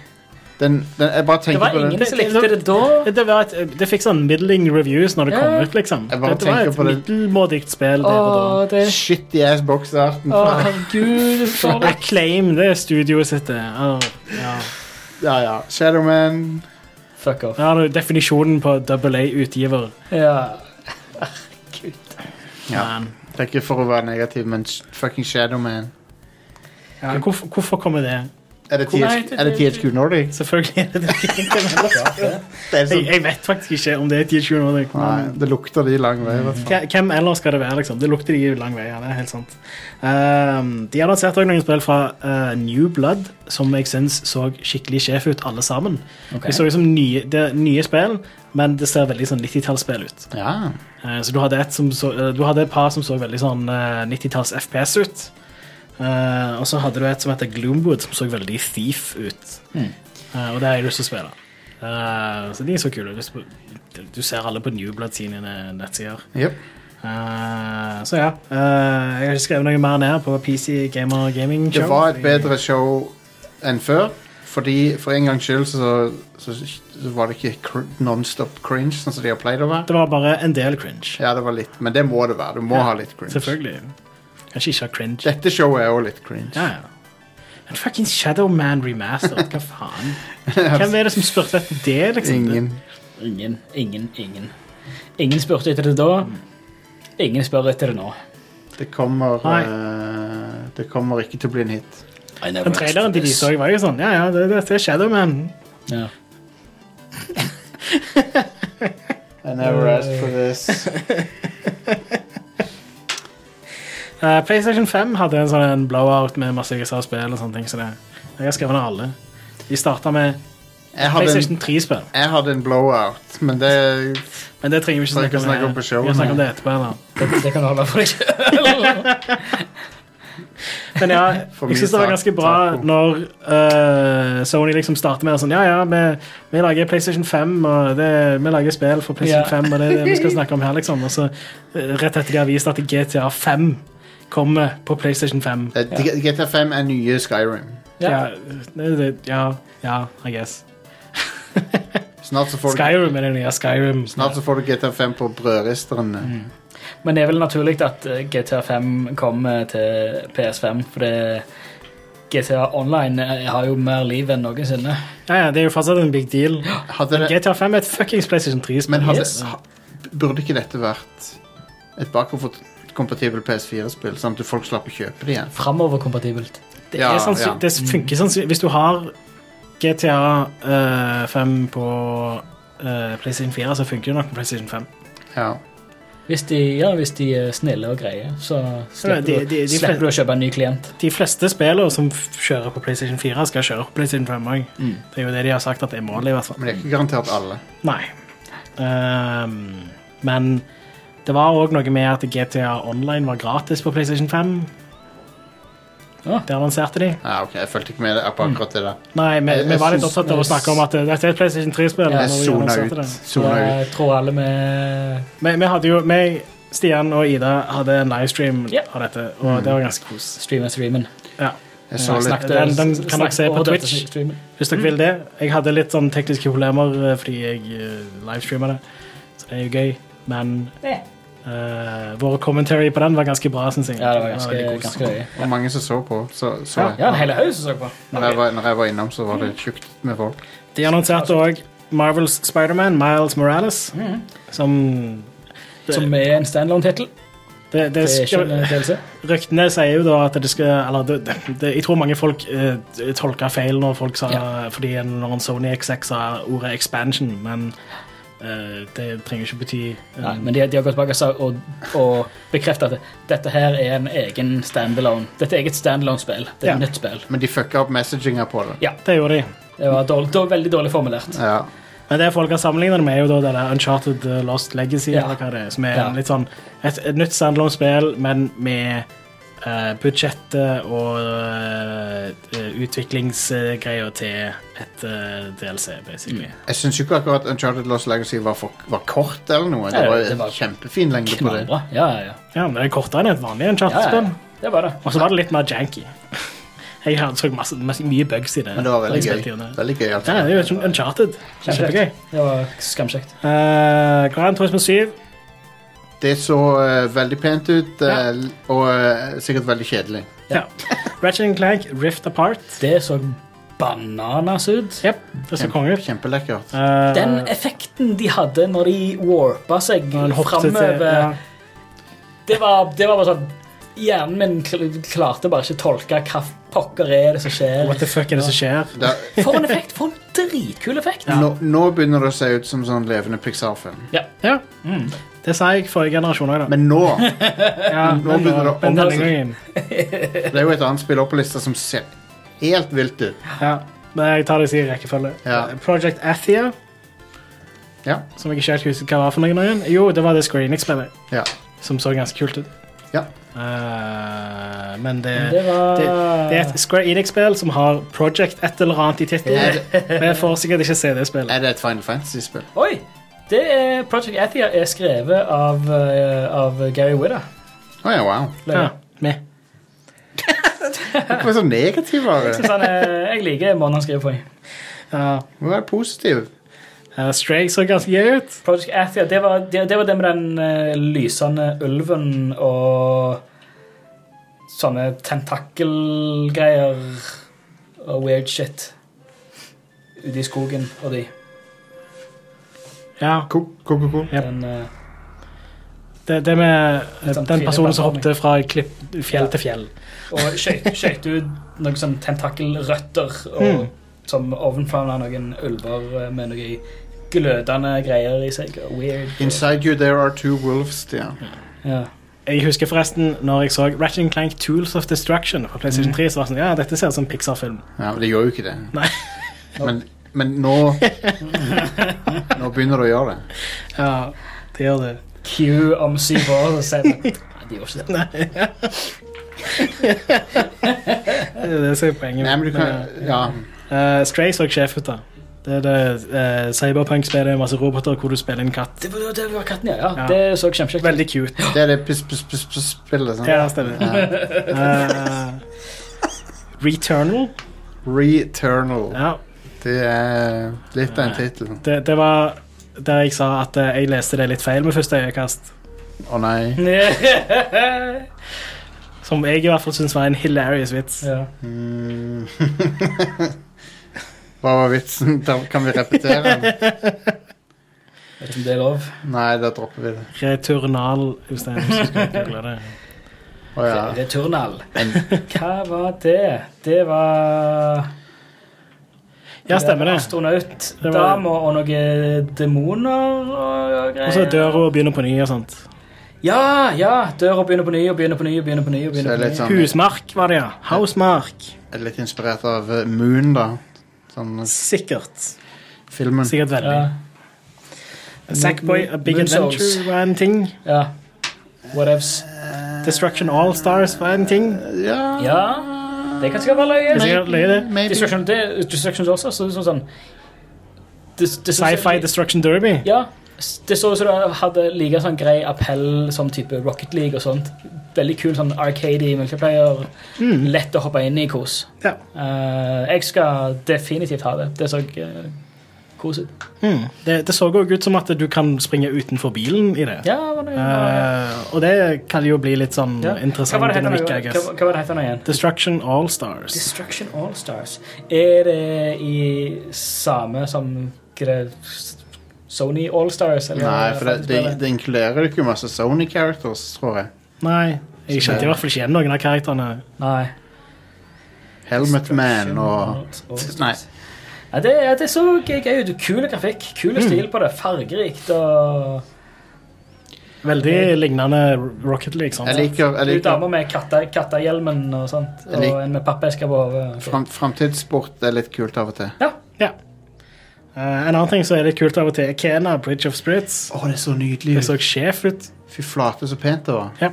den, den, jeg bare Det tenker var på ingen den. det- som det- likte det da. Det, var et, det fikk sånn middling reviews når det kom Ja. ut, liksom. Jeg bare Dette var tenker et på det. middelmådig spill Å, der og da. det Shitty ass-boksearten. Å, herregud. for- Acclaim, det er studioet sitt. det. Åh, ja. Ja, ja. Shadowman. Fuck off. Der har du definisjonen på double A-utgiver. Ja. Ja. Det er ikke for å være negativ, men sh- fucking Shadowman. Hvorfor, hvorfor kommer det? Er det, Hvor- Nei, THQ, det- er det THQ Nordic? Selvfølgelig er det det. Det, er Jeg, sånn, jeg vet faktisk ikke om det er THQ Nordic. men- nei, det lukter de lang vei. i hvert fall. Hva- Hvem ellers skal det være? liksom? Det lukter de lang vei. ja, det er helt sant. Ehm, de annonserte også noen spill fra eh, New Blood som jeg syns så skikkelig sjef ut, alle sammen. Ok. De så ut som nye, det er nye spill, men det ser veldig sånn 90-tallsspill ut. Ja. Eh, så du hadde, et som så, eh, du hadde et par som så veldig sånn eh, 90-talls FPS ut. Eh, og så hadde du et som heter Gloomwood, som så veldig Thief ut. Eh, og det har jeg lyst til å spille. Eh, så de er så kule. Du, du ser alle på New Blood sine nettsider. Jep. Eh, så ja. eh, jeg har ikke skrevet noe mer ned på PC Gamer Gaming Show. Det var et bedre show enn før. Fordi For en gangs skyld så, så, så var det ikke cr nonstop cringe, sånn som de har pleid å være. Det var bare en del cringe. Ja, det var litt, men det må det være. Du må Ja, ha litt cringe. Selvfølgelig. Kanskje ikke ha cringe. Dette showet er òg litt cringe. Ja, ja. En fucking Shadowman remastered. Hva faen? Hvem er det som spurte etter det, liksom? Ingen. Ingen, ingen, ingen. Ingen spurte etter det da. Ingen spør etter det nå. Det kommer Nei. eh, Det kommer ikke til å bli en hit. Den traileren de viste også var jo sånn. Ja, ja, det, det er Shadowman. Ja. I never asked for this. Eh, PlayStation 5 hadde en sånn en blowout med masse USA-spill og sånne ting. Så det. Jeg har skrevet ned alle. De starta med Jeg hadde en, PlayStation 3-spill. jeg hadde en blowout, men det Men det trenger vi Trenger ikke ikke snakke om på showet, Vi kan snakke om nei. det etterpå. Eller? Det, det kan du holde for deg sjøl. Men ja, For jeg mye synes det var tak- ganske bra taco. når eh, Sony liksom starter med sånn Ja, ja, vi, vi lager PlayStation 5, og det, vi lager spill for PlayStation Ja. 5, og det er det vi skal snakke om her, liksom. Og så eh, rett etter de har vist at GTA 5 kommer på PlayStation 5. det- GTA5 er nye Skyrim. Ja, Ja. det, det, ja, ja I guess. Snart så får du, Skyrim er det nye Skyrim. snart så får du GTA5 på brødristerne. Men det er vel naturlig at eh, GTA 5 kommer til PS5, for det GTA Online eh, har jo mer liv enn noensinne. Ja, ja, det er jo fortsatt en big deal. Hadde det, GTA 5 er et fuckings PlayStation 3-spill. men hadde, Yes. ha- burde ikke dette vært et bakoverkompatibel PS4-spill, sånn at folk slapp å kjøpe det igjen? Framoverkompatibelt. Det, Ja, er sannsy- ja. det funker sannsynligvis Hvis du har GTA eh, 5 på eh, PlayStation 4, så funker det nok på PlayStation 5. Ja. Hvis de, ja, hvis de er snille og greie, så Ja, de- slipper, de- de- du, slipper du å kjøpe en ny klient. De fleste spillere som f- kjører på PlayStation 4, skal kjøre på PlayStation 5 òg. Mm. Det er jo det de har sagt at er målet, i hvert fall. Men det er ikke garantert alle. Nei. Ehm, men det var òg noe med at GTA Online var gratis på PlayStation 5. Ah. Der lanserte de. Ja, ok, Jeg fulgte ikke med på akkurat det der. Nei, vi, Jeg- vi jeg var litt synes- opptatt av å snakke om at eh, dette er et PlayStation 3-spill. Ja, når Jeg vi sona lanserte ut. det. Sona ut. Jeg tror alle vi Vi, vi hadde jo meg, Stian og Ida hadde en livestream Ja. av dette, og det var ganske kos. streamer streamen. Ja. Jeg så litt. Den- den kan dere se på Twitch. Hvis Mm. dere vil det. Jeg hadde litt sånn tekniske problemer eh, fordi jeg uh, livestreama det, så det er jo gøy. Men Ja. eh, vår commentary på den var ganske bra, syns jeg. Ja, det var ganske, veldig kos. ganske løye. Og mange som så på. Så, så Ja, en hel haug som så på. Når, jeg var, når jeg var innom, så var det tjukt med folk. De annonserte òg Marvels Spiderman, Miles Morales, Mm. som Som er en standalone-tittel. det, det, Det er ikke en eh, skal, DLC. Ryktene sier jo da at det skal Eller det, det, det, jeg tror mange folk eh, tolka feil når folk sa Fordi en- når en Sony XX sa ordet 'expansion', men eh, det trenger jo ikke bety eh, Nei, men de, de har gått tilbake og sa- og, og bekreftet at dette her er en egen standalone. Dette er eget standalone-spill. Det er et Ja. nytt spill. Men de fucka opp messaginga på det. Det gjorde de. Det var dårlig, dårlig, veldig dårlig formulert. Ja. Men det folk har sammenlignet det med, er jo da det der Uncharted eh, Lost Legacy, Ja. eller hva det er, som er Ja. en litt sånn et, et nytt standalone-spill, men med eh, budsjettet og uh, utviklingsgreier til et eh, DLC, basically. Mm. Jeg syns jo ikke akkurat Uncharted Lost Legacy var, for, var kort eller noe. Det Nei, var det var- en kjempefin lengde på det. Knallbra. Ja, ja, ja. Ja, men det er kortere enn et vanlig ja, ja, Uncharted-spill. ja. Det var det. Og så var det litt mer janky. Jeg har- så masse, masse, mye bugs i det. Men det var veldig Jeg gøy. spilte gjennom det. Veldig gøy Ja, altså. det er jo som Uncharted. Kjempegøy. Det var skamkjekt. Uh, Grand Turismo 7. Det så eh, veldig pent ut, eh, og eh, sikkert veldig kjedelig. Ja. Ratchet Clank Rift Apart. Det så bananas ut. Yep, det så konge ut. Kjempelekkert. Eh, Den effekten de hadde når de warpa seg når han hoppet til- framover ja. det, var, det var bare sånn Hjernen min kl- klarte bare ikke å tolke hva pokker er det som skjer. What the fuck er det som skjer? Da, For en effekt! For en dritkul effekt! nå, nå begynner det å se ut som sånn levende Pixar-film. Ja. Mm. Det sa jeg forrige generasjon òg, da. Men nå Ja, nå begynner det å men denne åpne seg. gangen. Det er jo et annet spill opp på lista som ser helt vilt ut. Ja. Men jeg tar det i rekkefølge. Ja. Project Athia, Ja. som jeg ikke helt husker hva var for noen igjen. Jo, det var det Square Enix-spillet, Ja. som så ganske kult ut. ja. Eh, men det, Det var det, det er et Square Enix-spill som har Project et eller annet i Er, tittelen. det- Vi får sikkert ikke se det spillet. er det et Final Fantasy-spill? Oi! Det er Project Athia er skrevet av, eh, av Gary Widder. Å ja, wow. Ja, med. Hvorfor er så negativ? Are? Jeg, synes han er- jeg liker måten han skriver på. i. Ja. Må være positiv. Eh, Stray så ganske gøy ut. Project Athia, det var det, det var det med den eh, lysende ulven og sånne tentakelgreier og weird shit ute i skogen og de. Ja, Ko-ko-ko. Yep. Den, eh, det, det med eh, Litt sånn den personen som trilleplattforming. hoppet fra klipp, fjell til fjell. og skøyt skøyt ut noen sånne tentakelrøtter og, Hmm. som ovenfavna noen ulver eh, med noe glødende greier i seg. og Weird. Inside you there are two wolves, Stian. Ja. Jeg husker forresten når jeg så Ratchet Clank Tools of Destruction på Mm. PlayStation 3. så var det sånn, ja, dette ser ut som en Pixar-film. Ja, men det gjør jo ikke det. Nei. Men, men nå Nå begynner det å gjøre det. Ja, det gjør det. Q om syv år og sier at Nei, de gjorde ikke det. Det er det som er poenget. Nei, men du kan Ja. Eh, Stray så sjef ut, da. Det er det eh, cyberpunk-spillet, masse roboter hvor du spiller en katt. Det var, det var katten, ja. ja. Ja. Det så kjempekjekt ut. Veldig cute. Det er det piss-piss-piss-spillet, sant? Ja, stemmer. Eh, Returnal. Returnal. Ja, Det er litt av en tittel. det, det var der jeg sa at eh, jeg leste det litt feil med første øyekast. Å nei. Som jeg i hvert fall syns var en hilarious vits. ja. Mm. Hva var vitsen? Da kan vi repetere den? Vet ikke om det er lov. Nei, da dropper vi det. Returnal, Jostein. hvis du skal google det. Å ja. Returnal. Hva var det? Det var Ja, stemmer det. Astronaut, var- dame og noen demoner og og greier. Og så dør hun og begynner på ny og sånt. Ja, ja. Dør og begynner på ny og begynner på ny. og begynner på ny, og Så det begynner er på ny. litt sånn Husmark var det, ja. Housemark. Litt inspirert av eh, Moon, da. Sånn Sikkert. filmen. Sikkert veldig. Ja, Sackboy, A Big Moon Adventure Souls. var en ting. ja. Whatevs. Destruction All Stars var en ting. Ja. Ja. Det kan sikkert være løye. Det er sikkert løye, det. Maybe. Destruction, det, Destructions også, så det er sånn sånn det- det- Sci-fi Destruction Derby. Ja, s- det så ut som det hadde like sånn grei appell som type Rocket League og sånt. Veldig kul sånn arcade i multiplayer. Lett å hoppe inn i kos. Mm. Ja. Eh, jeg skal definitivt ha det. Det så uh, kos ut. Mm. Det, det så jo ut som at du kan springe utenfor bilen i det. Ja, hva var det? Eh, og det kan jo bli litt sånn ja. interessant Hva var det heter nå dynamikk, I igjen? guess. Hva- hva var det heter nå igjen? Destruction All Stars. Destruction All Stars. Er det i samme som gre- Sony All Stars? eller- Nei, for det, det, det inkluderer jo ikke masse Sony characters, tror jeg. Nei, jeg kjente i hvert fall ikke igjen noen av karakterene. Nei. Helmet Man og Nei. Nei. Ja, det, ja, det så gøy gøy ut. Kul grafikk, kul Mm. stil på det. Fargerikt og Veldig lignende Rocket League. Sånn. Jeg liker, jeg Hun liker dama med katta, kattehjelmen og sånt. Jeg lik- Og en med pappeske på hodet. fram, Framtidssport er litt kult av og til. Ja. Eh, en annen ting som er litt kult av og til, er Kena, Bridge of Spirits. Å, det er så nydelig Det så sjef ut. Fy flate, så pent det var. Ja.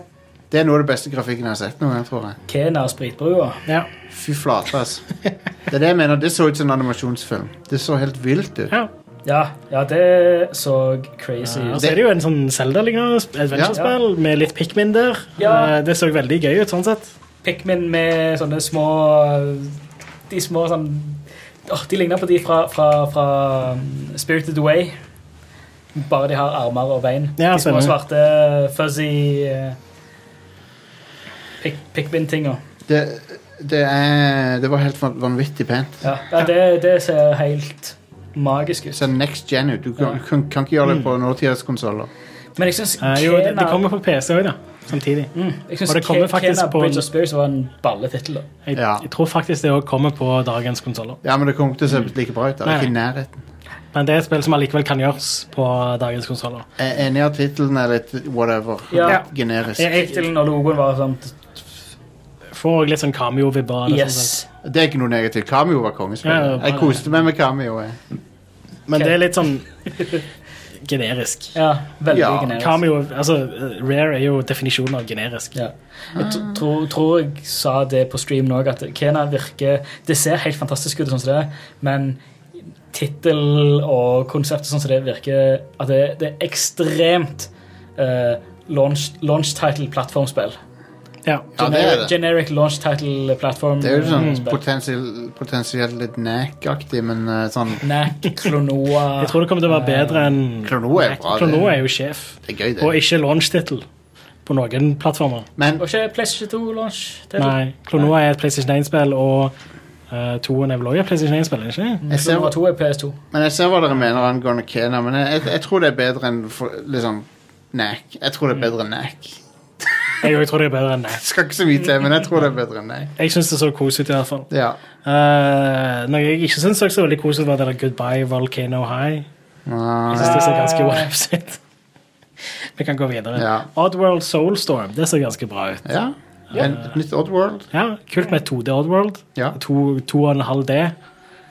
Det er noe av det beste grafikken jeg har sett noen gang, tror jeg. Kena og spritbrua. Ja. Fy flate, altså. Det er det jeg mener. Det så ut som en animasjonsfilm. Det så helt vilt ut. ja. Ja, ja, det så crazy Og ut. så er det jo en sånn Zelda-lignende sp- adventure-spill med litt Pikmin der. Ja. Eh, det så veldig gøy ut, sånn sett. Pikmin med sånne små De små sånn Åh, De ligner på de fra, fra, fra um, Spirited Away. Bare de har armer og bein. Ja, de små stemmer. svarte, fuzzy eh, pik Pikmin-tinga. Det, det, er, det var helt van- vanvittig pent. Ja, ja det, det ser helt magisk ut. Så next gen ut. Du kan, kan, kan ikke gjøre det på nåtidskonsoller. Men jeg syns Eh, jo, det, det kommer på PC òg, da. Samtidig. mm, jeg synes og det kommer Ke- faktisk Kena på- Bridge of Spirits var en balletittel. da. Jeg, Ja. jeg tror faktisk det òg kommer på dagens konsoller. Ja, men det kommer ikke til å se like bra ut. da. Det er ikke i nærheten. Men det er et spill som allikevel kan gjøres på dagens konsoller. Jeg er enig i at tittelen er litt whatever. Ja. Generisk. Jeg- jeg- Tittelen og logoen var sånn Får også litt sånn cameo-vibber. av det, sånn sett. Yes. Det er ikke noe negativt. Cameo var kongespill. Ja, ja, bare- jeg koste meg med cameo. jeg. Men det er litt sånn generisk. Ja, veldig Ja, generisk. Cameo, altså eh, Rare er jo definisjonen av generisk. Ja. Jeg tr- tror, tror jeg sa det på streamen òg, at Kena virker Det ser helt fantastisk ut, sånn som det er, men tittel og konseptet sånn som det er, virker At det, det er ekstremt eh, launch, launch title-plattformspill. Ja. Ja, det er det. Generic launch title-plattform. Det er jo sånn spill. potensielt, potensielt litt nack-aktig, men eh, sånn Knack, Klonoa Jeg tror det kommer til å være bedre enn Eh, Klonoa er bra, det. Klonoa er jo sjef, Det er gøy, det. og ikke launch-tittel på noen plattformer. Men Var ikke PlayStation 2 launch? Nei, Klonoa er et PlayStation 1-spill, og uh, toen er vel også et PlayStation 1-spill? ikke? Mm. jeg ser, Klonoa 2 er PS2. men jeg ser hva dere mener angående Kena, men jeg, jeg, jeg tror det er bedre enn for, liksom nack. Jeg tror det er bedre enn nack. Jeg, jeg tror det er bedre enn det. Jeg skal ikke så mye til, men jeg tror det er bedre enn nack. Jeg syns det så koselig ut, i hvert fall. Ja. Uh, noe jeg ikke syns så veldig koselig ut, var det der Goodbye Volcano High. Jeg synes det ser ganske whatevs ut. Vi kan gå videre. Ah. Ja. Oddworld Soulstorm, det ser ganske bra ut. ja. En, et nytt Oddworld. Ja, Kult med 2D Oddworld. Ja. 2,5D,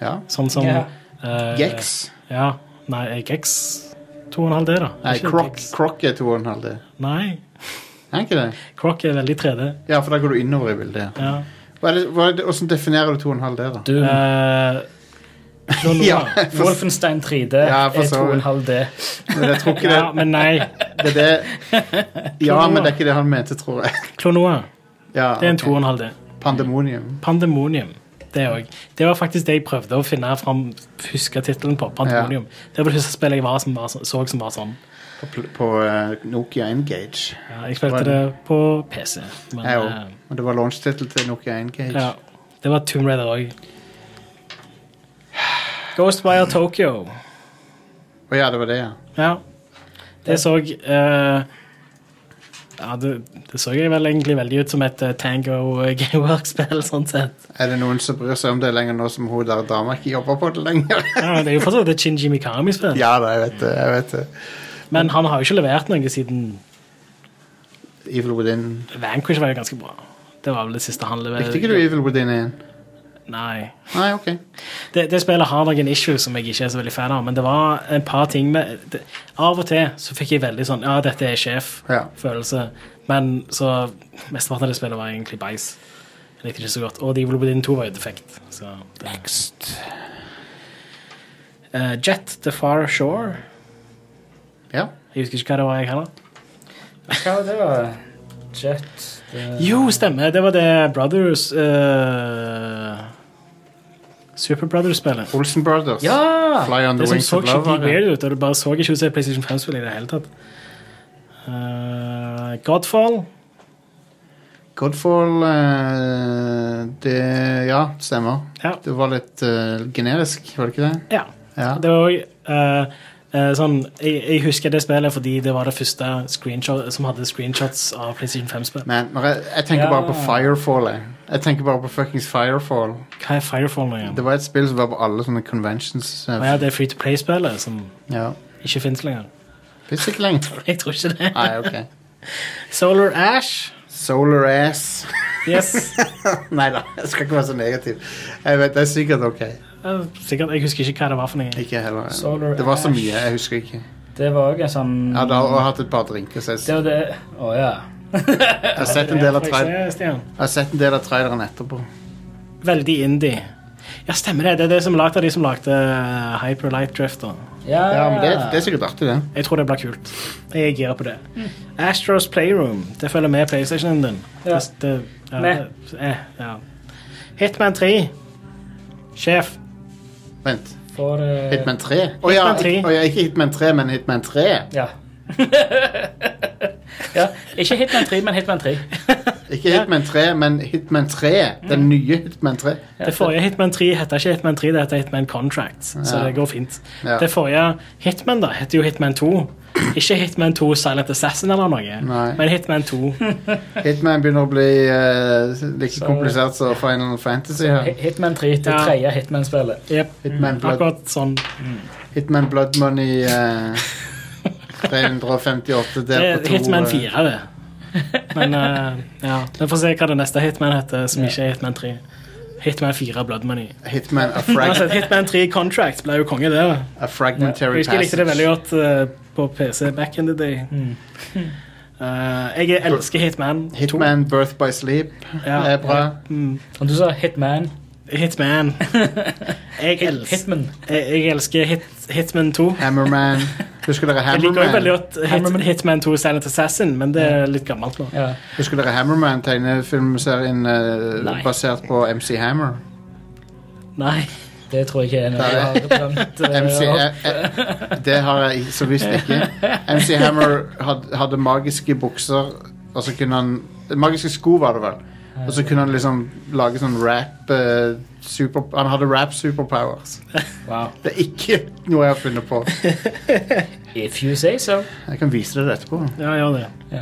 Ja. sånn som Ja. eh, Gex. Ja, nei, Gex 2,5D, da. Nei, Ikke Croc, Gex. Croc er to og en halv D. Nei, Er ikke det? Croc er veldig 3D. Ja, for da går du innover i bildet. Ja. Hva er det, hva er det, hvordan definerer du to og en halv D, da? Eh, Klonoa. Ja, Wolfenstein 3D Ja, er for så vidt. 2,5D. men jeg tror ikke det. ja, men nei. det, er det. Ja, men det er ikke det han mente, tror jeg. Klonoa. Ja, Det er en ok. 2,5D. Pandemonium. Pandemonium. Det òg. Det var faktisk det jeg prøvde å finne fram huske tittelen på. Pandemonium. Det var det første spillet jeg var som var, så- så som var sånn. På, pl- på eh, Nokia Engage. Ja, jeg spilte Var det- det på PC. Men, Jeg eh, òg. Og det var launchtittel til Nokia Engage. ja, det var Tomb Raider òg. Ghostwire Tokyo. Å ja, det var det, ja. Ja. Det så eh, ja, det, det så jeg vel egentlig veldig ut som et eh, Tango eh, Gamework-spill, sånn sett. Er det noen som bryr seg om det lenger nå som hun der dama ikke jobber på det lenger? Ja, det er jo fortsatt et Shinji Mikami-spill, ja da, jeg vet det. jeg vet det. men han har jo ikke levert noe siden Evil Within. Vanquish var jo ganske bra. Det var vel det siste han leverte. Likte ikke du Evil Within 1? Nei. Nei, ok. Det, det spillet har noen issues som jeg ikke er så veldig fan av, men det var en par ting med det, Av og til så fikk jeg veldig sånn Ja, dette er Ja. sjef-følelse, men så Mesteparten av det spillet var egentlig bæsj. Likte det ikke så godt. Og Devil Within 2 var jo defekt. Så det. Next. Eh, Jet The Far Shore. Ja. Jeg husker ikke hva det var, jeg heller. Hva var det, da? Jet det- Jo, stemmer. Det var det Brothers eh, Super Brothers-spillet. Olsen Brothers. Ja! Fly on the Det som wings så of love. var skikkelig det. weird ut, og det bare så ikke ut som et PlayStation 5-spill i det hele tatt. Eh, Godfall. Godfall eh, Det Ja, stemmer. Ja. Det var litt eh, generisk, var det ikke det? ja. Ja. Det var òg sånn jeg, jeg husker det spillet fordi det var det første screenshot, som hadde screenshots av PlayStation 5-spill. Men når jeg, jeg tenker Ja. bare på Firefall. Jeg. jeg tenker bare på fuckings Firefall. Hva er Firefall nå igjen? Det var et spill som var på alle sånne conventions. eh, Å ja, det er Free to Play-spillet som ja. ikke fins lenger. Fins ikke lenger. Jeg tror ikke det. Nei, ok. Solar Ash. Solar ass. Yes. Nei da, jeg skal ikke være så negativ. Jeg vet, Det er sikkert ok. Ja, Sikkert, Jeg husker ikke hva det var for noe. Ikke heller. Solar det var så Ash. mye, jeg husker ikke. Det var òg en sånn Jeg hadde også hatt et par drinker, så Det jeg, var det Å ja. jeg, har, sett en del av Får trail- jeg se, Stian? jeg har sett en del av traileren etterpå. Veldig indie. Ja, stemmer det. Det er det som er laget av de som lagde eh, Hyper Light Drifter. Ja, Ja, men det, det er sikkert artig, det. Jeg tror det blir kult. Jeg er gira på det. Astros Playroom. Det følger med PlayStationen din. Ja. Det, det, ja, Med. det- eh, ja. Hitman 3. Sjef. Vent. For, eh, Hitman 3? Å ja, Hitman 3. ikke- å ja, ikke Hitman 3, men Hitman 3. Ja. ja. Ikke Hitman 3, men Hitman 3. Ikke Hitman 3, men Hitman 3. Mm. Den nye Hitman 3. Det forrige Hitman 3 heter ikke Hitman 3, det heter Hitman Contracts. Så Ja. det går fint. Ja. Det forrige Hitman da, heter jo Hitman 2. Ikke Hitman 2 Silent Assassin eller noe, Nei. men Hitman 2. Hitman begynner å bli eh, like komplisert som Final Fantasy. her. Hi- Hitman 3, det Ja. tredje Hitman-spillet. Yep. Hitman Blood, Akkurat sånn. Hitman Blood Money eh, 358 Det delt er på to. Hitman eh, 4, det. Men eh, ja, vi får se hva det neste Hitman heter, som ikke er Hitman 3. Hitman 4 Blood Money. Hitman a, frag Uansett, Hitman 3 Contract ble jo konge, det. da. a Jeg Fragmentary husker Altså, jeg likte det veldig Passage. godt eh, på PC back in the day. Eh, jeg elsker Hitman 2. Hitman Birth by Sleep Ja. er bra. Mm. Og du sa Hitman. Hitman. Jeg, Hit, els- Hitman. jeg, jeg elsker hit, Hitman 2. Hammerman. Husker dere Jeg liker jo veldig Hammerman? godt hit, Hitman 2 Silent Assassin, men det er litt gammelt nå. Ja. Husker dere Hammerman tegnefilmserien eh, Nei. basert på MC Hammer? Nei. Det tror jeg ikke er noe Nei. jeg har blant eh, MC, opp. eh, eh, det har jeg så visst ikke. MC Hammer had, hadde magiske bukser, og så kunne han Magiske sko, var det vel. Og så kunne han liksom lage sånn rap eh, super, Han hadde rap superpowers. Wow. Det er ikke noe jeg har funnet på. If you say so. Jeg kan vise dere det etterpå. Ja, gjør det. Ja.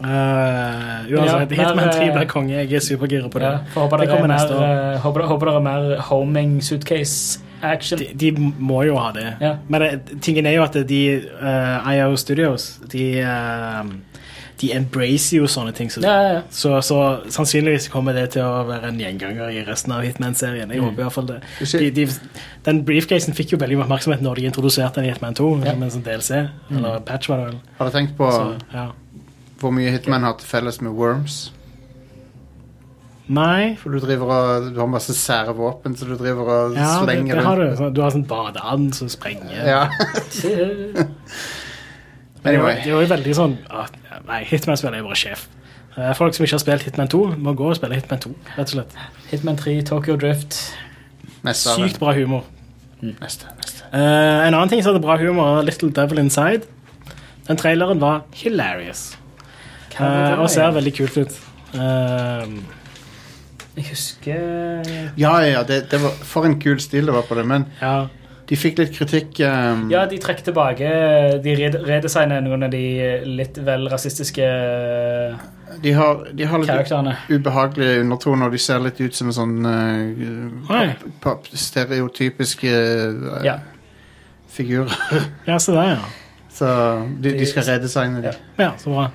Eh, uansett, Ja, Hitman men, 3 ble eh, konge. Jeg er supergira på det. Ja, for håper det dere er kommer mer, neste år. eh, håper, håper dere er mer homing suitcase action. De, de må jo ha det. Ja. Men det, tingen er jo at de eh, IO Studios de, eh, de embracer jo sånne ting. Så, Ja, ja, ja. så, så sannsynligvis kommer det til å være en gjenganger i resten av Hitman-serien. Mm. Jeg håper i hvert fall det. De, de, den briefcasen fikk jo veldig mye oppmerksomhet når de introduserte den i Hitman 2. Ja. Mm. Som en sånn DLC, eller patch, var det vel. Har du tenkt på Så, ja. hvor mye Hitman har til felles med Worms? Nei. For du driver og Du har masse sære våpen, så du driver og Ja, det, slenger det har du. rundt. Sånn- Du har sånn badeand som sprenger. Ja. Anyway. Anyway. Det var jo veldig sånn ah, Nei, Hitman-spill er jo bare sjef. Eh, Folk som ikke har spilt Hitman 2, må gå og spille Hitman 2. rett og slett. Hitman 3, Tokyo Drift. Eh, Neste. Are. Sykt bra humor. Neste, neste. Eh, en annen ting som hadde bra humor, var Little Devil Inside. Den traileren var hilarious Hva var det eh, da, og ser jeg- veldig kult ut. Eh, Jeg husker Ja, ja, ja, det, det var, for en kul stil det var på det, men ja. de fikk litt kritikk ehm, Ja, de trekker tilbake. De red- redesigner noen av de eh, litt vel rasistiske eh, de, har, de har litt karakterene. ubehagelige undertoner, og de ser litt ut som en sånn Oi. eh, pop, pop, stereotypiske eh, Ja. figurer. ja, se der, ja. Så de, de skal redesigne Ja. dem. Ja, Så bra.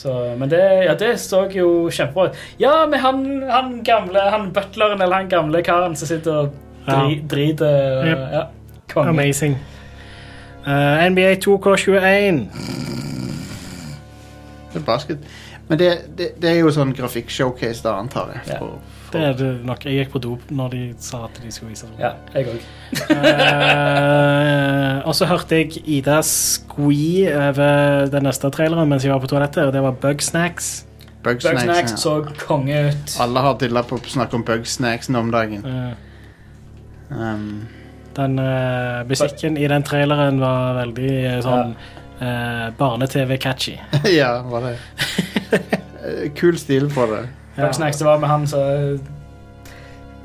Så, men det, ja, det så jo kjempebra ut. Ja, med han, han gamle han butleren eller han gamle karen som sitter og dri, driter. og- Yep. Ja. Konge. Amazing. Eh, NBA 2K21. Det er basket. Men det, det, det er jo sånn grafikk-showcase, da, antar jeg. Ja. for- for- Det er det nok. Jeg gikk på do når de sa at de skulle vise det. Ja, jeg òg. Eh, og så hørte jeg Ida squee over den neste traileren mens jeg var på toalettet, og det var Bugsnacks. Bugsnacks. Bugsnax ja. så konge ut. Alle har dilla på å snakke om bugsnacksen om dagen. Eh, Um, den eh, musikken i den traileren var veldig eh, sånn eh, barne-TV-catchy. ja, var det. Eh, Kul stil på det. Bugsnax, det var med han som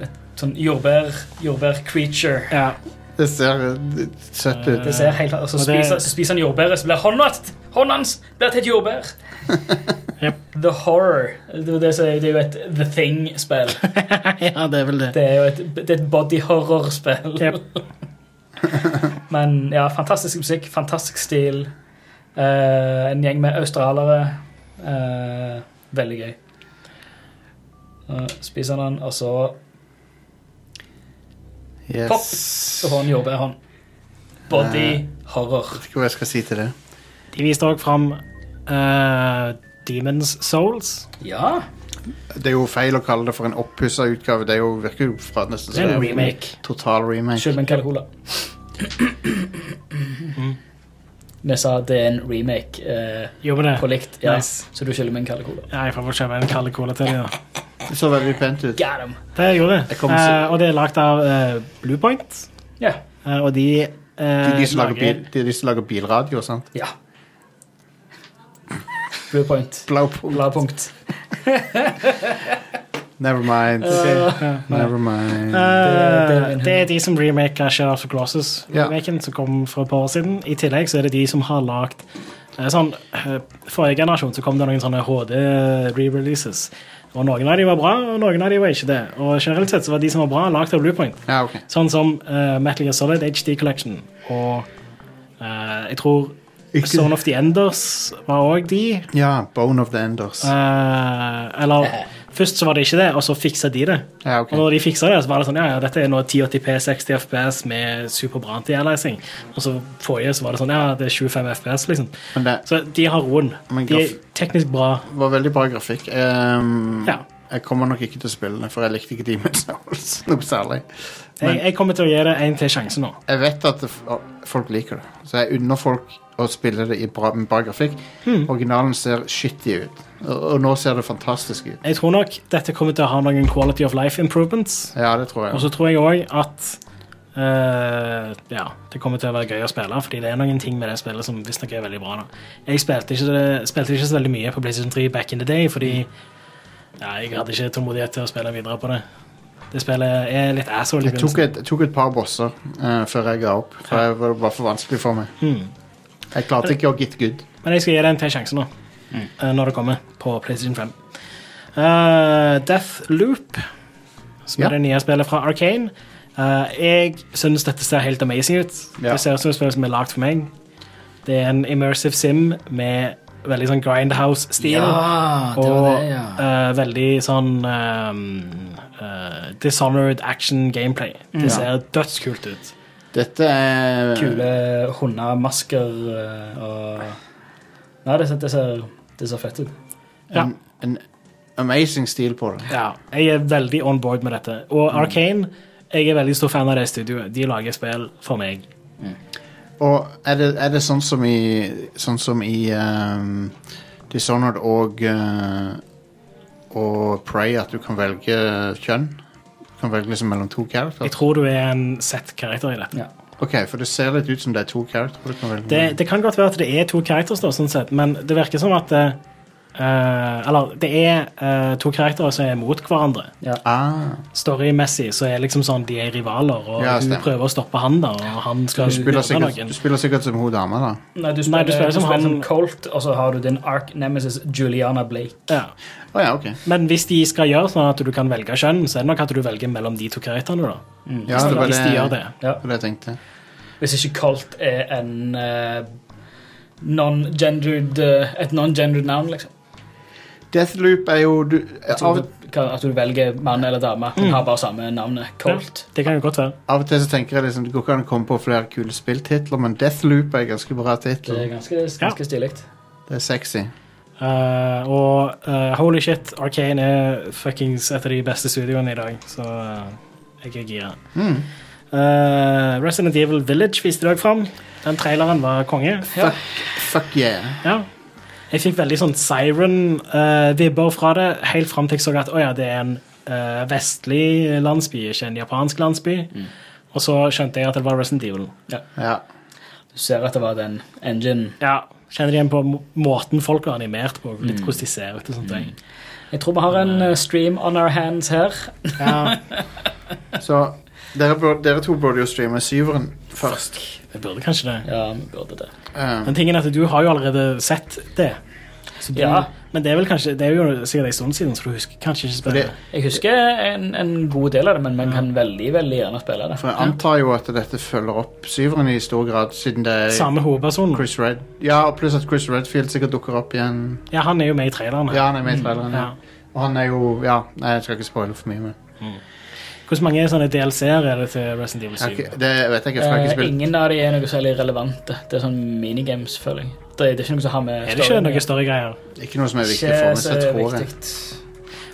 Et sånn jordbær, jordbær-creature. Ja. Det ser eh, søtt ut. Det ser helt Og så Og det- spiser, så spiser han jordbæret, så blir hånda hånden hans blir til et jordbær. Jep. The Horror. Det, var det, som er- det er jo et The Thing-spill. ja, det er vel det. Det er jo et, det er et body horror-spill. Jep. Men ja, fantastisk musikk, fantastisk stil. Eh, en gjeng med australere. Eh, veldig gøy. Uh, spiser han den, og så Pop, Yes. så får han jordbærhånd. Body horror. Jeg vet ikke hva jeg skal si til det. De viste òg fram eh, Demons Souls. Ja. Det er jo feil å kalle det for en oppussa utgave. Det er jo, virker jo fra nesten Det som er en det er remake. Total remake. Skyld meg en Kalle Cola. Vi sa det er en remake eh, Jo, men det. på likt, ja. Nice. så du skylder meg en Kalle Cola. Ja, jeg får vel kjøpe en kald cola til dem. da. Det så veldig pent ut. Got him. Det gjorde det. Jeg kommer til- Eh, og det er lagd av eh, Bluepoint. Ja. Eh, og de eh, Det er de som lager, bil, det er de som lager bilradio, sant? ja. Blue point. Blaupunkt. Bladpunkt. Never Uh, mind. Never mind. Eh, Det- det er en det er de som remaker Shadow of the Colossus, Ja. remaken som kom for et par år siden. I tillegg så er det de som har lagd eh, sånn, eh, Forrige generasjon så kom det noen sånne HD-re-releases. Og Noen av de var bra, og noen av de var ikke det. Og generelt sett så var de som var bra, lagd av Bluepoint. Ja, ok. Sånn som eh, Metal Gear Solid HD Collection og eh, jeg tror Ikke- Zone of the Enders var òg de. Ja, Bone of the Enders. Uh, Eh, eller først så var det ikke det, og så fiksa de det. Ja, ok. Og når de fiksa det, så var det sånn ja, ja, dette er nå 1080P 60 FPS med superbra anti-aliasing. Og så forrige så var det sånn ja, det er 25 FPS, liksom. Men det Så de har roen. Men De er graf- teknisk bra. var veldig bra grafikk. Ehm, Ja. Jeg kommer nok ikke til å spille den, for jeg likte ikke Demon's Souls noe særlig. Jeg, jeg kommer til å gi det en til sjanse nå. Jeg vet at det, f- å, folk liker det, så jeg unner folk å spille det i bra, med bra grafikk. Hmm. Originalen ser shitty ut, og, og nå ser det fantastisk ut. Jeg tror nok dette kommer til å ha noen quality of life improvements. Ja, det tror jeg. Og så tror jeg òg at eh, ja, det kommer til å være gøy å spille, fordi det er noen ting med det spillet som visstnok er veldig bra. Da. Jeg spilte ikke, det- spilte ikke så veldig mye på PlayStation 3 back in the day, fordi ja, jeg hadde ikke tålmodighet til å spille videre på det. Det spillet er litt asshole i Jeg tok begynnelsen. et, tok et par bosser eh, før jeg ga opp, for det var bare for vanskelig for meg. Hmm. Jeg klarte ikke å get good. Men jeg skal gi det en til sjanse nå, Mm. eh, når det kommer på PlayStation 5. Eh, Death Loop, som Ja. er det nye spillet fra Arkane. Eh, jeg syns dette ser helt amazing ut. Ja. Det ser ut som et spill som er lagd for meg. Det er en immersive sim med veldig sånn Grindhouse-stil. det og var det, ja. eh, veldig sånn eh, eh, Dishonored action gameplay. Mm. Det ser dødskult ut. Dette er Kule hundemasker eh, og Nei, det, ser- det, ser, det ser fett ut. Ja. en, en amazing stil på det. Ja, jeg er veldig on board med dette. Og Mm. Arkane, jeg er veldig stor fan av det studioet. De lager spill for meg. Og er det, er det sånn som i, sånn som i ehm, Dishonored og eh, og Prey at du kan velge kjønn? Du kan velge liksom mellom to Jeg characters? tror du er en sett karakter i dette. Ja. Ok, for det ser litt ut som det er to characters du kan velge. Det, mellom. det kan godt være at det er to characters, da, sånn sett, men det virker som at eh, eh, Eller det er eh, to karakterer som er mot hverandre. Ah, Storymessig så er liksom sånn de er rivaler, og Ja, hun stemmer. prøver å stoppe han der, og han skal du, spiller myrde sikkert, noen. du spiller sikkert som hun dama, da. Nei, du Nei, du spiller som han- Colt, og så har du din ark nemesis Juliana Blake. Ja. Å ja, ok. Men hvis de skal gjøre sånn at du kan velge kjønn, så er det nok at du velger mellom de to karakterene, da. Ja, det var Mm, hvis de det, gjør det. Ja. det, var det jeg tenkte. Hvis ikke Colt er en eh, non-gendered eh, Et non-gendered navn, liksom. Deathloop er jo du, av, Mm. At du, at du velger mann eller dame. Hun har bare samme navnet. Colt. Det kan jo godt være. av og til så tenker jeg liksom, det går ikke an å komme på flere kule spilltitler, men Deathloop er en ganske bra Det tittel. er ganske, ganske stilig. Det er sexy. Eh, og eh, holy shit, Arcane er fuckings et av de beste studioene i dag, så eh, jeg er gira. Mm, Eh, Resident Evil Village viste i dag fram. Den traileren var konge. Fuck, fuck yeah. Ja. Jeg fikk veldig sånn siren-vibber fra det, helt fram til jeg så at å ja, det er en eh, vestlig landsby, ikke en japansk landsby. Og så skjønte jeg at det var Resident Evil. Ja. Du ser at det var den engine. Ja, Kjenner igjen på må- måten folk er animert på, litt hvordan de ser ut. og sånne ting. Jeg tror vi har en eh, stream on our hands her. Ja, Så dere, burde, dere to burde jo streame syveren først. jeg burde kanskje det. Ja, vi burde det. Um, Men tingen er at du har jo allerede sett det. Så du, Ja. Men det er vel kanskje, det er jo sikkert en stund siden, så du husker kanskje ikke for det, spillet. Jeg husker en, en god del av det, men man kan veldig veldig gjerne spille det. for jeg antar jo at dette følger opp syveren i stor grad, siden det er Samme hovedperson. Chris Red Ja, og pluss at Chris Redfield sikkert dukker opp igjen. Ja, han er jo med i traileren. her. Ja, han er med i traileren. Ja. Ja. Og han er jo Ja, nei, jeg skal ikke spoile for mye, men Hvor mange sånne DLC-er er det til Resident Evil jeg, 7? har ikke- det vet jeg ikke. for Jeg har ikke Eh, spilt. ingen av de er noe særlig relevante. Det er sånn minigames, føler jeg. Det er det er ikke noe som har med Er det ikke storyen å noe gjøre. større greier? Ikke noe som er viktig Ikke for meg, så så jeg tror jeg. viktig.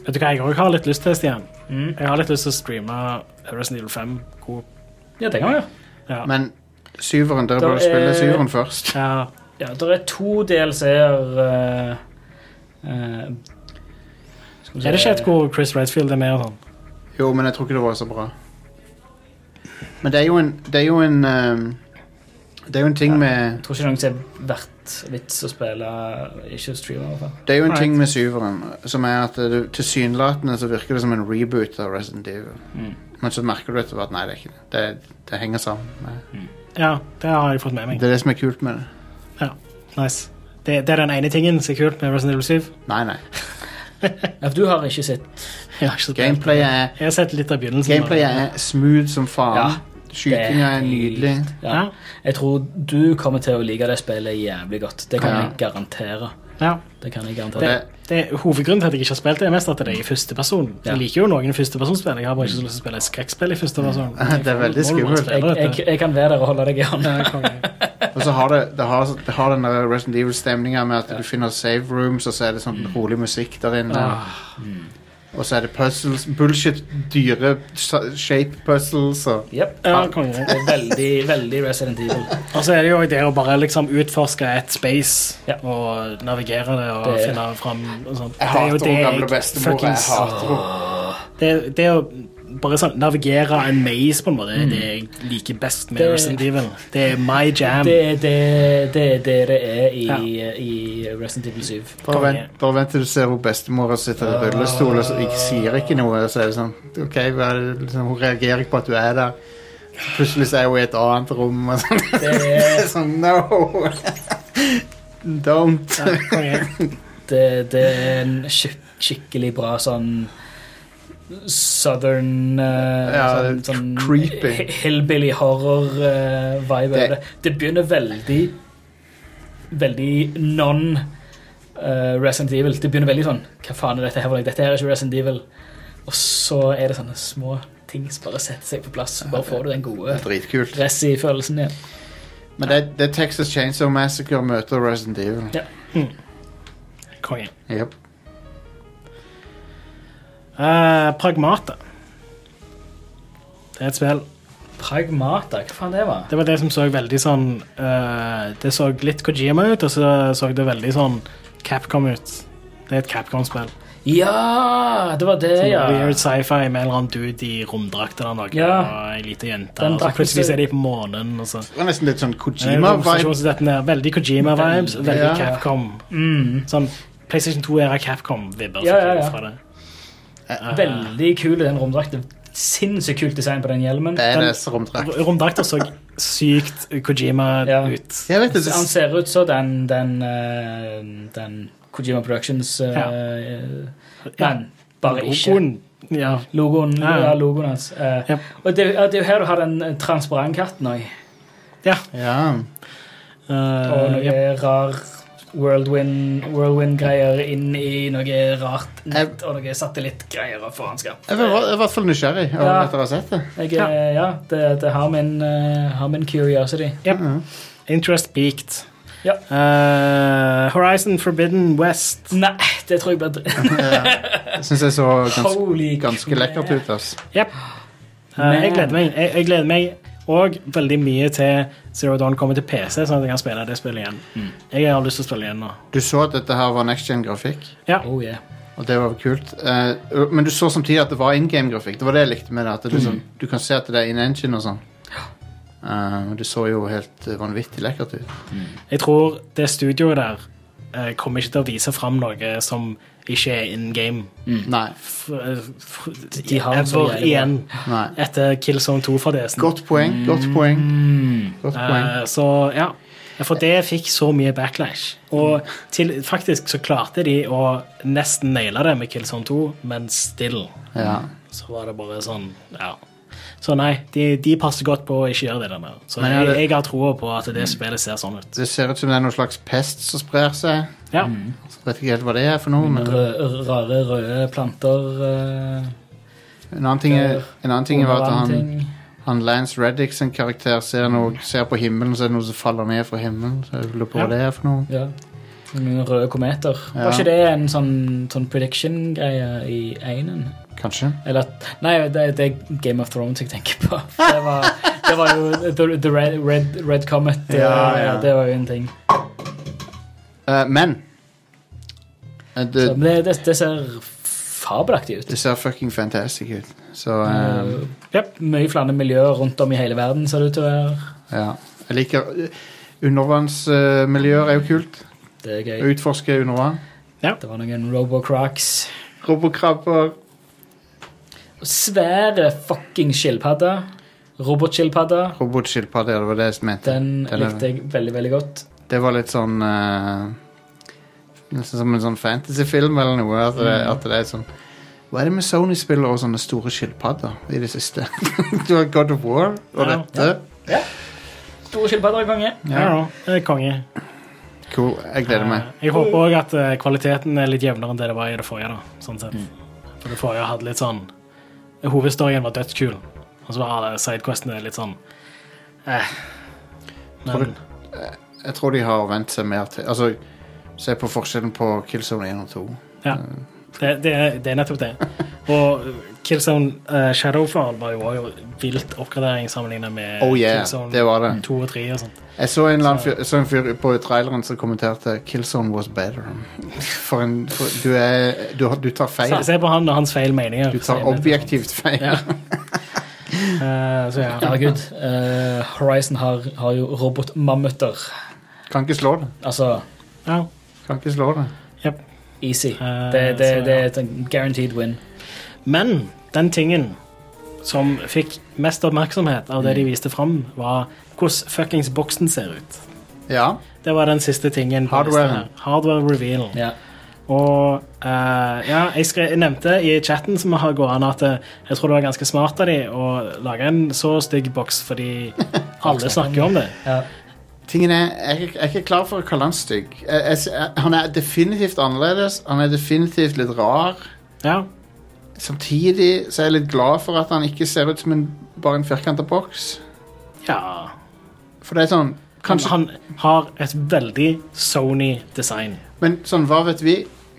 Vet du hva jeg òg har litt lyst til, Stian? Mm. Jeg har litt lyst til å streame Resident Evil 5. Coop. Ja, det kan vi gjøre. Ja. Men syveren, dere Da burde spille er- syveren først. ja. Ja, det er to DLC-er eh, eh, skal vi Er det se- ikke et hvor Chris Redfield er med og sånn? Jo, men jeg tror ikke det var så bra. Men det er jo en Det er jo en, um, det er jo en ting med Jeg tror ikke noen som er verdt vits å spille Ikke streame, i hvert fall. Det er jo en Alright. ting med syveren, som er at eh, det- tilsynelatende så virker det som en reboot av Resident Evil. Mm. Men så merker du etter hvert nei, det er ikke det. Det, det henger sammen. Med. Ja, det har jeg fått med meg. Det er det som er kult med det. Nice. Det, det er den ene tingen som er kult med Resident Evil 7. Nei, nei. Ja, for du har ikke sett Jeg har, ikke spilt. Gameplayet er, jeg har sett litt av begynnelsen. gameplayet er smooth som faen. Ja, Skytinga er nydelig. Ja. Ja. Jeg tror du kommer til å like det spillet jævlig godt. Det kan Ja. jeg garantere. Ja. Det kan jeg Og det, garantere. Det, hovedgrunnen til at jeg ikke har spilt det, er mest at det er i første person. Ja. Jeg liker jo noen førstepersonsspill. Jeg har bare ikke så lyst til å spille et skrekkspill i første person. det er veldig skummelt. Jeg, jeg, jeg kan være der og holde deg i hånda. Ja, konge. Og så har det, det, har, det har den der Resident Evil-stemninga med at du finner save rooms, og så er det sånn rolig musikk der inne. Og så er det puzzles. Bullshit, dyre sa- shape puzzles og Jep. Ja, konge. Det er veldig, veldig Resident Evil. Og så er det jo det å bare liksom utforske et space Ja. og navigere det og Det- finne fram og sånt. Jeg Det er jo hater det hun gamle jeg bestemor. Jeg fuckings- hater hun. det, det å bare sånn navigere en maze på en måte, er Mm. det jeg liker best med Det- Resident Evil. Det er my jam. Det er det det er det, det er i, Ja. i Resident Evil 7. Bare vent, bare vent til du ser hun bestemora sitter i rullestol og så ikke, sier ikke noe. Og så er det sånn, ok, hva er det, liksom, Hun reagerer ikke på at du er der. Så Plutselig så er hun i et annet rom. Og sånn. Det Det er er sånn no! Don't. Ja, konge. det, det er en skik skikkelig bra sånn Southern eh, Ja, sånn, sånn creepy. hi- Hillbilly horror-vibe. Det- det. det begynner veldig Veldig non eh, Resident Evil. Det begynner veldig sånn Hva faen er dette her? for noe? Dette her er ikke Resident Evil. Og så er det sånne små ting som bare setter seg på plass. Bare får du den gode Dritkult. dressy-følelsen igjen. Men det, det er Texas Chainsaw Massacre møter Resident Evil. konge. Yep. Eh, Pragmata. Det er et spill. Pragmata, hva faen det var? Det var det som så veldig sånn eh, Det så litt Kojima ut, og så så det veldig sånn Capcom ut. Det er et Capcom-spill. Ja, det var det, Sånn ja. Weird sci-fi med en eller annen dude i romdrakt eller noe, Ja. og ei lita jente. Den Og så drakten plutselig ser- er de på månen. Og så. Det var nesten litt sånn Kojima-vibe. Kojima veldig Kojima-vibes, Veldig, ja. veldig Capcom. Mm. Sånn PlayStation 2-æra Capcom-vibber. Ja, ja, ja. fra det. Veldig kul i den romdrakten. Sinnssykt kult design på den hjelmen. Det er Den, det som drakt. R- Romdrakter så sykt Kojima Ja. ut. Jeg vet det, han det, ser ut som den, den, eh, den Kojima Productions eh, Ja. eh, Ja. Men bare ikke. Logoen, Ja. Logoen, Ja, ja. ja, logoen hans. Eh, Ja. Og det, ja, det er jo her du har den eh, transparent katten òg. ja. Og Eh, noe ja. rar whirlwind- whirlwind-greier inn i noe rart nett Jeg- og noe satellittgreier og faenskap. Jeg var jeg var i hvert fall nysgjerrig over Ja. at dere har sett det. Jeg, eh, ja, det, det har min, eh, har min curiosity. Interest peaked. Ja. Eh, Horizon Forbidden West. Nei, det tror jeg blir dr- Jeg syns det så ganske, Holy ganske crap. lekkert ut. ass. Yep. Eh, jeg gleder meg. Jeg, jeg gleder meg og veldig mye til Zero Dawn kommer til PC, sånn at jeg kan spille det spillet igjen. Mm. Jeg har lyst til å spille igjen nå. Du så at dette her var next gen-grafikk, Ja. Oh, yeah. og det var kult. Eh, men du så samtidig at det var in game-grafikk. Det var det jeg likte med det. At det, Mm. liksom, du kan se at det er in engine og sånn. Eh, det så jo helt eh, vanvittig lekkert ut. Jeg tror det studioet der eh, kommer ikke til å vise fram noe som ikke er in game. Mm. Nei. F eh, f De har en så ever jævlig igjen. Nei. Etter Killzone 2 for DS-en. Godt poeng, godt poeng. Mm. Godt poeng. Eh, så ja. For det fikk så mye backlash. Og til, faktisk så klarte de å nesten naile det med Killzone 2, men still Ja. så var det bare sånn Ja. Så nei, de, de passer godt på å ikke gjøre det der mer. Så Men er det- Mm. jeg, jeg har troa på at det spillet ser sånn ut. Det ser ut som det er noen slags pest som sprer seg. Ja. Jeg vet ikke helt hva det er for noe, men Rø- rare, røde planter eh, en annen ting, er- en annen ting var at overvann han, ting. han Lance Reddick sin karakter ser, noe, ser på himmelen, så er det noe som faller ned fra himmelen. Så jeg lurer på Ja. hva det er for noe. Ja. Noen Røde kometer. Ja. Var ikke det en sånn, sånn prediction-greie i einen? Kanskje. Eller at Nei, det, det er Game of Thrones jeg tenker på. Det var, det var jo The, the Red, Red, Red Comet. eh, Ja, ja. Det var jo en ting. Eh, men eh, det, Så, men det, det, det ser fabelaktig ut. det ser fucking fantastic ut. Så eh, Jep, Mye flere miljøer rundt om i hele verden, ser det ut til å være. ja. Jeg liker eh, Undervannsmiljøer er jo kult. Det er Å gøy. utforske undervann. Det var noen Robocrocs. Robokrabber. Svære fucking skilpadder. Robotskilpadder. Robotskilpadde, det var det jeg mente. Den Den er- likte jeg veldig, veldig godt. Det var litt sånn eh, Nesten som en sånn fantasyfilm eller noe. At det, Mm. at det er sånn Hva er det med Sony-spillere og sånne store skilpadder i det siste? du har God of War og Ja. dette. Store skilpadder i gange. Ja. ja. eh, Konge. Cool. Jeg gleder meg. Eh, Jeg håper òg at eh, kvaliteten er litt jevnere enn det det var i det forrige. da, sånn sett. Mm. For det forrige hadde litt sånn Hovedstoryen var dødskul, og så var alle sidequestene litt sånn eh. Tror Men du- Jeg tror de har vent seg mer til Altså, se på forskjellen på Killzone 1 og 2. ja, det, det, er- det er nettopp det. Og Killzone eh, Shadowfall var jo også vilt oppgradering sammenlignet med Oh yeah, Eh, Killzone det var det. 2 og 3 og sånt. Jeg så en, eller annen fyr, jeg så en fyr på traileren som kommenterte 'Killzone was better'. For en for, du, er, du, har- du tar feil. Se, se på han og hans feil meninger. Du tar Så er det- objektivt feil. Ja. Eh, så ja. Herregud. eh, Horizon har, har jo robotmammuter. Kan ikke slå det. Altså ja. Kan ikke slå det. easy. Eh, Det, det, så, det ja. er en guaranteed win. Men den tingen som fikk mest oppmerksomhet av det de viste fram, var hvordan fuckings boksen ser ut. Ja. Det var den siste tingen. på Hardwaren. listen her. Hardware reveal. Ja. Og eh, ja, jeg, skre- jeg nevnte i chatten som har gående at eh, jeg tror det var ganske smart av de å lage en så stygg boks, fordi alle snakker om det. Ja. Tingen er, jeg, er ikke- jeg er ikke klar for å kalle han stygg. Jeg, jeg, jeg- han er definitivt annerledes. Han er definitivt litt rar. Ja, Samtidig så er jeg litt glad for at han ikke ser ut som en, bare en firkanta boks. ja. For det er sånn kanskje, Han, han har et veldig Sony-design. Men sånn, hva vet vi?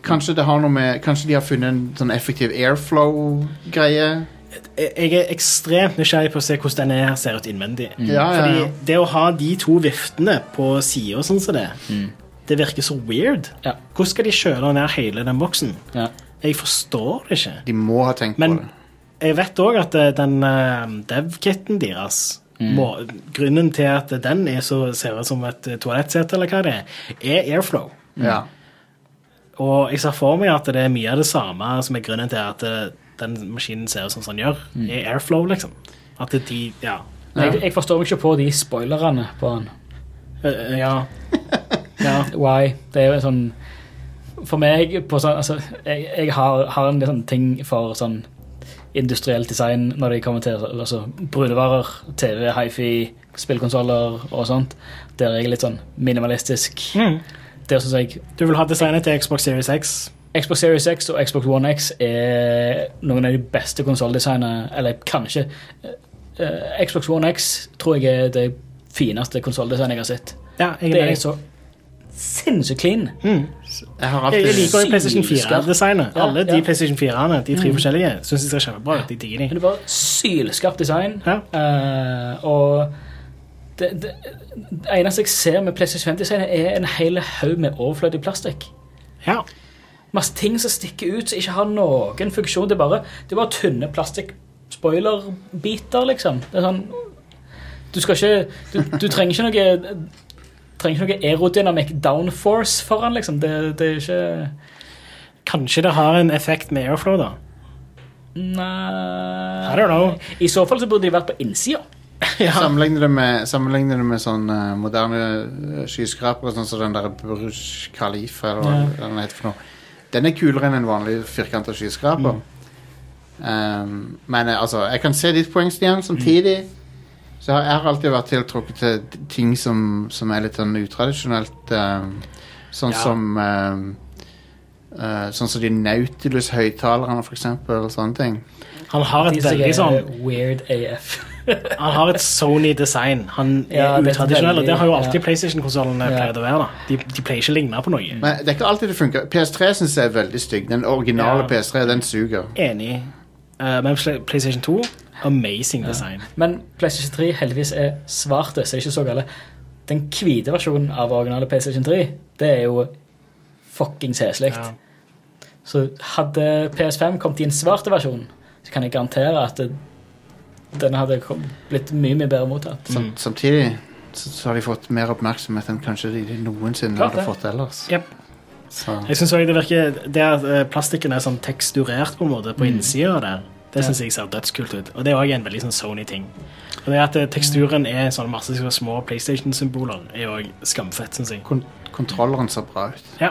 Kanskje det har noe med Kanskje de har funnet en sånn effektiv airflow-greie? jeg jeg er ekstremt nysgjerrig på å se hvordan den er, ser ut innvendig. Mm. Ja, ja, ja. Fordi det å ha de to viftene på sida sånn som det, Mm. det virker så weird. Ja. Hvordan skal de kjøle ned hele den boksen? Ja. Jeg forstår det ikke. De må ha tenkt Men på det. jeg vet òg at eh, den eh, dev-kitten deres Mm. må, Grunnen til at den er så, ser ut som et eh, toalettsete, eller hva det er, er airflow. Ja. Og jeg ser for meg at det er mye av det samme som er grunnen til at eh, den maskinen ser ut som den gjør, Mm. i airflow, liksom. At de Ja. Jeg, jeg forstår meg ikke på de spoilerne på han. Eh, ja. ja. Why? Det er jo en sånn For meg på sånn, altså, Jeg, jeg har, har en del sånn ting for sånn industrielt design når det kommer til altså, brunevarer, TV, hifi, spillkonsoller og sånt. Der er jeg litt sånn minimalistisk. Der syns jeg Du vil ha designet til Xbox Series X. Xbox Series X og Xbox One X er noen av de beste konsolldesignene Eller kanskje eh, Xbox One X tror jeg er sånn det fineste konsolldesignet jeg har sett. Ja, jeg Det er er så sinnssykt clean. Jeg har alltid Jeg liker jo PlayStation 4-designet. Ja, Alle de ja. Mm. PlayStation 4-ene, de tre forskjellige, syns jeg ser kjempebra ut. De digger Men de. det var sylskarpt design. Ja. eh, og det, det, det eneste jeg ser med PlayStation 5-designet, er en hel haug med overflødig plastikk. Ja. Masse ting som stikker ut, som ikke har noen funksjon. Det er bare, det er bare tynne plastikk-spoilerbiter, liksom. Det er sånn Du skal ikke Du, du trenger ikke noe trenger ikke noe aerodynamic downforce foran, liksom. Det, det er ikke Kanskje det har en effekt med airflow, da. Nei I don't know. I så fall så burde de vært på innsida. Sammenligne det med, sammenligne det med sånn eh, moderne eh, skyskrapere, sånn som den der Burj Khalifa, eller hva den heter for noe. Den er kulere enn en vanlig firkanta skyskraper. Ehm, men eh, altså, jeg kan se ditt poeng, Stian, samtidig. Så jeg har alltid vært tiltrukket til t- ting som, som er litt sånn utradisjonelt. ehm, sånn Ja. som ehm, eh, Sånn som de Nautilus-høyttalerne, for eksempel. og Sånne ting. Han har et De som veldig sånn er Weird AF. Han har et Sony-design. Han Ja, er det er utradisjonell, og det har jo alltid veldig- ja. PlayStation-konsollene Ja. pleid å være. da De, de pleier ikke å ligne på noe. Men det er ikke alltid det funker. PS3 syns jeg er veldig stygg. Den originale Ja. Mm. PS3, den suger. Enig. Eh, men Play- PlayStation 2 amazing design. Men PlayStation 3 heldigvis er svarte, så det er ikke så gale. Den hvite versjonen av originale PlayStation 3, det er jo fuckings heslig. Ja. Så hadde PS5 kommet i en svart versjon, så kan jeg garantere at det, den hadde kom- blitt mye, mye bedre mottatt. Sam, Samtidig så, så har de fått mer oppmerksomhet enn kanskje de de noensinne Klart hadde det. fått ellers. Jep. Så. Jeg synes også det virker Det at eh, plastikken er sånn teksturert på en måte Mm. på innsida der, det synes jeg ser dødskult ut. Og det er òg en veldig sånn Sony-ting. Og det at eh, teksturen er sånn masse sånne små PlayStation-symboler, er òg skamfett, synes jeg. Kon kontrolleren ser bra ut. Ja.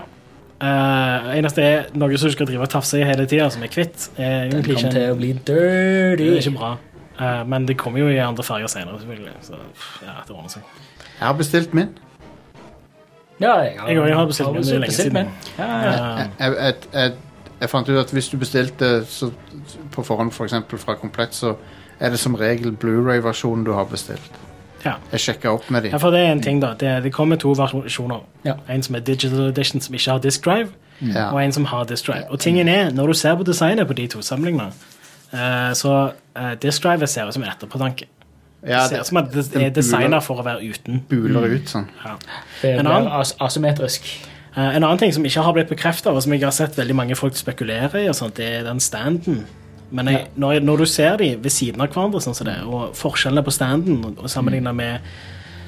Eh, eneste er noe som du skal drive og tafse i hele tida, som er kvitt. Er Den egentlig kom ikke en til å bli Det er dirty. ikke bra. Eh, men det kommer jo i andre farger senere, selvfølgelig. Så pff, ja, det ordner seg. Jeg har bestilt min. Ja, jeg har, Jeg har- jeg har bestilt min, det er lenge bestilt siden. min. Ja, ja. Eh, Jeg, jeg, jeg, jeg fant ut at hvis du bestilte så, på forhånd for eksempel fra Komplett, så er det som regel Blu-ray-versjonen du har bestilt. Ja. Jeg sjekka opp med ja, dem. for det er en ting, da. Det, det kommer to versjoner. Ja. En som er digital edition, som ikke har disk drive, Ja. og en som har disk drive. Og tingen er, når du ser på designet på de to samlingene, eh, så uh, disk drive ser ut som en etterpåtanke. Ja, ser det ut som at det den er Mm. designet buler- for å være uten. buler ut sånn. Ja. Det En er annen? mer as asymmetrisk. Eh, en annen ting som ikke har blitt bekrefta, og som jeg har sett veldig mange folk spekulere i, og sånt, det er den standen. Men jeg, når, jeg- når du ser de ved siden av hverandre, sånn som det, og forskjellene på standen og- og Mm. sammenligna med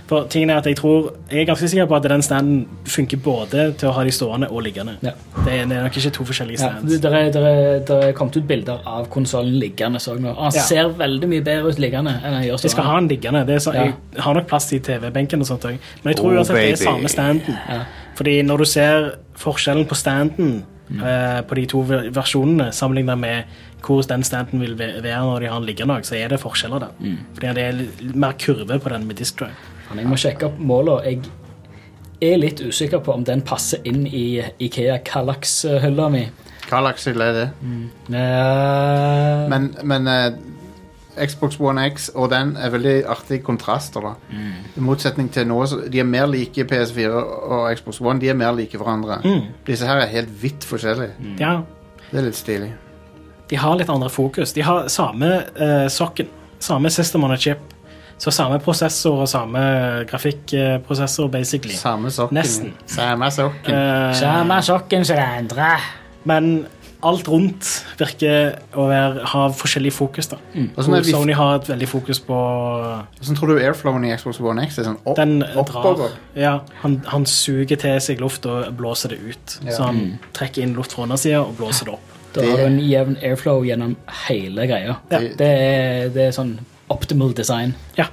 For tingen er at Jeg tror, jeg er ganske sikker på at den standen funker både til å ha de stående og liggende. Ja. Det er det er nok ikke to forskjellige Ja, stands. det der er, der er, der er kommet ut bilder av konsollen liggende. Så jeg nå. Og Han Ja. ser veldig mye bedre ut liggende enn han gjør sånn. De skal stående. ha den liggende. Det er så, Ja. Jeg har nok plass til TV-benken og sånt også. Men jeg tror Oh, uansett det er baby. samme standen. Fordi når du ser forskjellen på standen eh, på de to ver- versjonene sammenlignet med hvor den standen vil ve- være når de har den liggende, så er det forskjeller der. Fordi det er litt mer kurve på den med disk drive. Men Jeg må sjekke opp målene. Jeg er litt usikker på om den passer inn i Ikea Kallax-hylla mi. Hva slags hylle er det? Eh, Men, men eh, Xbox One X og den er veldig artige kontraster. da Mm. I motsetning til nå, så de er mer like PS4 og Xbox One. De er mer like hverandre. Mm. Disse her er helt vidt forskjellige. Ja, Det er litt stilig. de har litt andre fokus. De har samme eh, sokken, samme system on a chip, så samme prosessor og samme grafikkprosessor, basically. Samme sokken. Nesten. Samme sokken. Eh, Samme sokken som det andre. Men alt rundt virker å være, ha forskjellig fokus. da. Og sånn Hvor er vi- Eh, Sony har et veldig fokus på Hvordan tror du airflowen i Xbox One X er sånn opp, Den drar oppover? ja, han, han suger til seg luft og blåser det ut. Så han trekker inn luft fra undersida og blåser det opp. Da har du en jevn airflow gjennom hele greia. Ja. Det, er, det er sånn optimal design. Ja.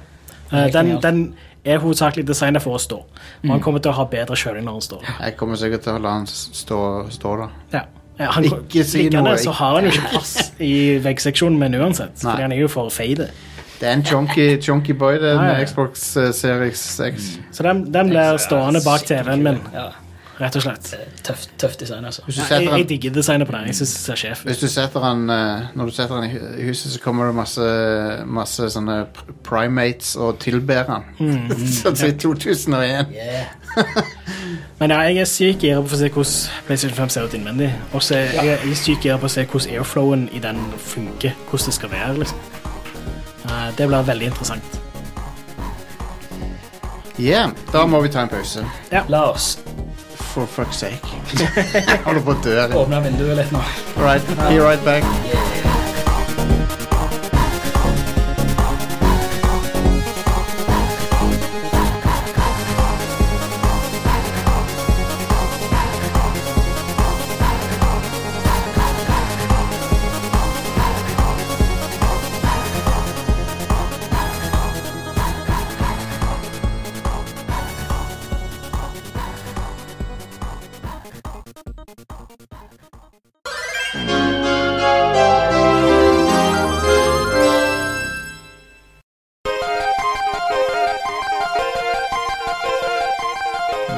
Eh, Helt Den, genialt. den er hovedsakelig designet for å stå. Og han kommer til å ha bedre kjøling når han står. Jeg kommer sikkert til å la den s- stå, stå da. Ja. Eh, Han, Ikke si liggende noe, så ikke- har han jo ikke plass i veggseksjonen min uansett. Nei. Fordi han er jo for fade. Det er en chunky, chunky boy, det, Ja, Mm. ja, ja. med Xbox eh, Series X. Så den, den blir stående bak TV-en min, Ja, rett og slett. tøft, tøft design, altså. Hvis du Nei, setter jeg, den- jeg digger designet på den. Jeg synes det ser sjef ut. Hvis du setter den, eh, når du setter den i hu- i huset, så kommer det masse, masse sånne pr- Mm, primates og tilber den. sånn som i 2001. Men ja, jeg er sykt gira på å se hvordan PlayStation 5 ser ut innvendig. Og så er jeg, jeg er sykt gira på å se hvordan airflowen i den funker. Hvordan det skal være. liksom. Eh, Det blir veldig interessant. Yeah, da må vi ta en pause. La oss For fuck's sake. Holder på å dø. eller? åpne vinduet litt nå. Alright, be right back.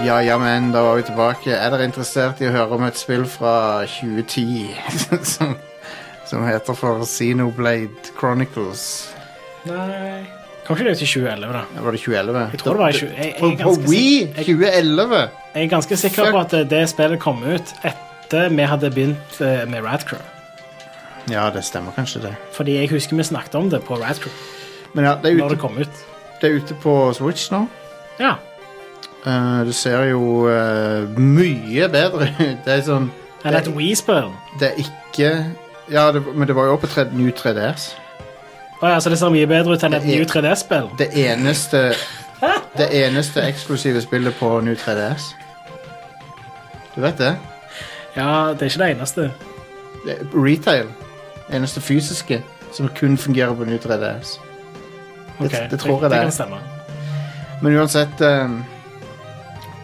Ja, ja, men da var vi tilbake. Er dere interessert i å høre om et spill fra 2010 som, som heter for Xenoblade Chronicles? Nei Kom ikke det til 2011, da? Var det 2011? Jeg tror det var i 20 jeg- jeg er På, på ganske Wii sikker- jeg- 2011! Jeg er ganske sikker på Fuck. at eh, det spillet kom ut etter vi hadde begynt eh, med Radcrew. Ja, det stemmer kanskje det. Fordi jeg husker vi snakket om det på Radcrew Men ja, det er når det ute, kom ut. det er ute på Switch nå. Ja. Eh, det ser jo eh, mye bedre ut. Det er sånn Eller et Wii-spill. Det er ikke Ja, det, men det var jo også på 3, New 3DS. Å ja, så det ser mye bedre ut enn et Det er- New 3D-spill. Det eneste Det eneste eksklusive spillet på New 3DS. Du vet det? Ja, det er ikke det eneste. det er retail. Eneste fysiske som kun fungerer på New 3DS. Ok, det tror jeg det det er. kan stemme. Men uansett ehm,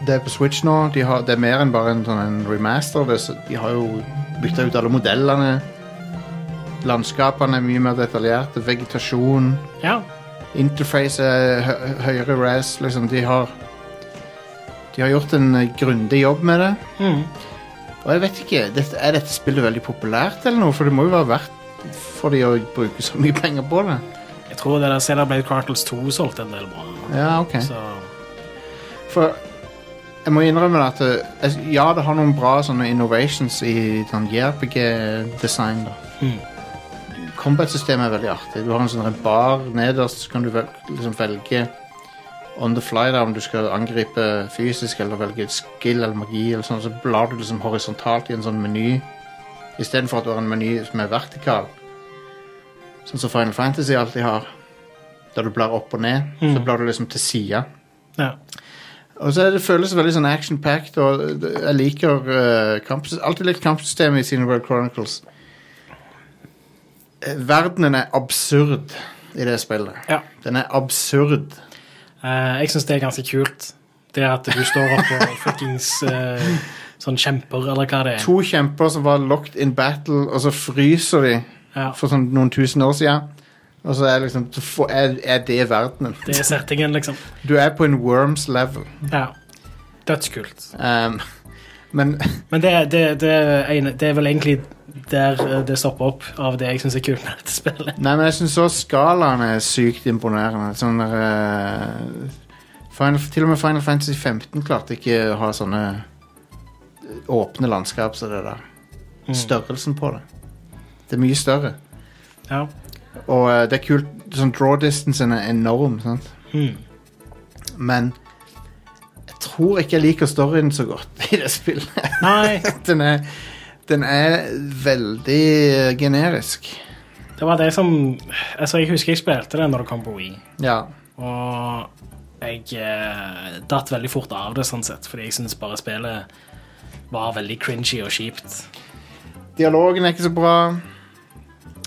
Det er på Switch nå. De har, det er mer enn bare en, sånn, en remaster. Det, er så- de har jo bytta ut alle modellene. Landskapene er mye mer detaljerte. Vegetasjon. Ja. Interface er hø høyere res. Liksom, de har De har gjort en eh, grundig jobb med det. Mhm. Og jeg vet ikke, dette, Er dette spillet veldig populært, eller noe? For det må jo være verdt for de å bruke så mye penger på det. Jeg tror det der Zelda Blade Chronicles 2 solgte en del bra. Ja, ok. Så For jeg må innrømme at eh, jeg- ja, det har noen bra sånne innovations i sånn JRPG-design. da. Mhm. Combat-systemet er veldig artig. Du har en sånn en bar nederst, så kan du vel, liksom velge on the fly da, om du skal angripe fysisk eller velge et skill eller magi. eller sånn, Så blar du liksom horisontalt i en sånn meny istedenfor at du har en meny som er vertikal. Sånn som Final Fantasy alltid har. Der du blar opp og ned. Så blar du liksom til sida. ja. Og så er det føles veldig sånn action-packed, og eh, jeg liker uh, kamp, alltid likt kampsystemet i Cineworld Chronicles. Eh, Verdenen er absurd i det spillet. Ja. Den er absurd. Eh, jeg syns det er ganske kult. Det at du står oppå fuckings eh, sånn kjemper, eller hva det er. To kjemper som var locked in battle, og så fryser de Ja. for sånn noen tusen år siden. Og så er, liksom, så får- er, er det verdenen. Det er settingen, liksom. Du er på en worms level. Ja. Dødskult. Um, men Men det, det, det, er ene, det er vel egentlig der eh, det stopper opp, av det jeg syns er kult med dette spillet. Nei, men jeg syns også skalaen er sykt imponerende. Sånn der, eh, Final, til og med Final Fantasy 15 klarte ikke å ha sånne eh, åpne landskap som det der. Størrelsen på det. Det er mye større. Ja. Og eh, det er kult. Sånn draw distancen er enorm, sant. Mm. Men jeg tror ikke jeg liker storyen så godt i det spillet. Nei, Den er, den er veldig eh, generisk. det var det som Altså, jeg husker jeg spilte det når det kom på Wii. Ja. Og jeg eh, datt veldig fort av det, sånn sett, fordi jeg syns bare spillet var veldig cringy og kjipt. Dialogen er ikke så bra.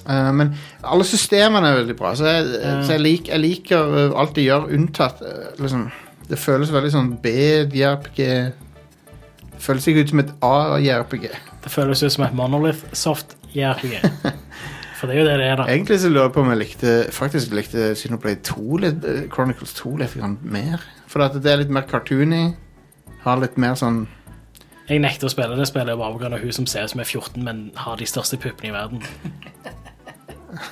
Eh, men alle systemene er veldig bra, så jeg, så jeg, lik, jeg liker eh, alt de gjør, unntatt eh, liksom, Det føles veldig sånn B-JRPG. Det Føles ikke ut som et A-JRPG. Det føles ut som et Monolith Soft JRPG. For det er jo det det er, da. Egentlig så lurer jeg på om jeg likte faktisk likte Xenoblade 2 litt, eh, Chronicles 2 litt grann mer. For at det er litt mer cartoony. Har litt mer sånn Jeg nekter å spille det spillet bare pga. hun som ser ut som er 14, men har de største puppene i verden.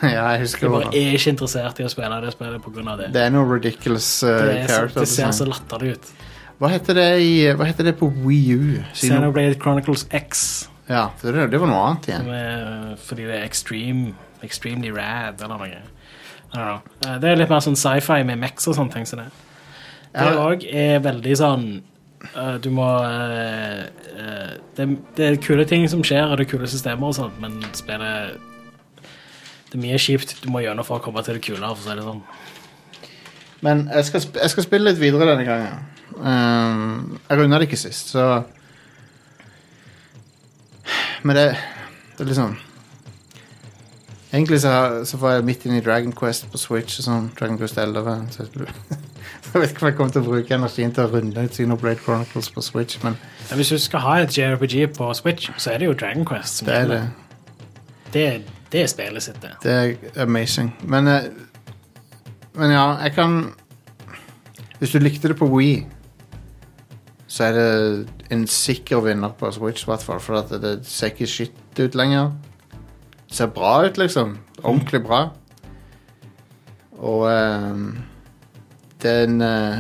Ja, jeg Jeg husker bare det. er ikke interessert i å spille det spillet pga. det. Det er noe ridiculous eh, Det, er så, character det ser så design. latterlig ut. Hva heter det, i, hva heter det på Wii U? Sino- Xenoblade Chronicles X. Ja, det, det var noe annet igjen. Med, fordi det er extreme, extremely rad eller noe. I don't know. Eh, Det er litt mer sånn sci-fi med mex og sånne ting. som det. Det Ja. òg er veldig sånn eh, Du må eh, eh, det, det er kule ting som skjer, og det er kule systemer og sånt, men spillet Det er mye kjipt du må gjennom for å komme til det kule. For å si det sånn. Men jeg skal, sp- jeg skal spille litt videre denne gangen. Ehm, jeg runda det ikke sist, så Men det, det er liksom Egentlig så, har- så var jeg midt inne i Dragon Quest på Switch og sånn. Dragon Quest 11. Så jeg, skulle- så jeg vet ikke om jeg kommer til å bruke energien til å runde ut Xenoblade Chronicles på Switch, men Men Hvis du skal ha et JRPG på Switch, så er det jo Dragon Quest. Som det er det. Det, det er spillet sitt, det. Det er amazing. Men, eh, men ja, jeg kan Hvis du likte det på Wii, så er det en sikker vinner på Switch, i hvert fall. For at det ser ikke shit ut lenger. Det ser bra ut, liksom. Ordentlig bra. Og eh, det er en eh,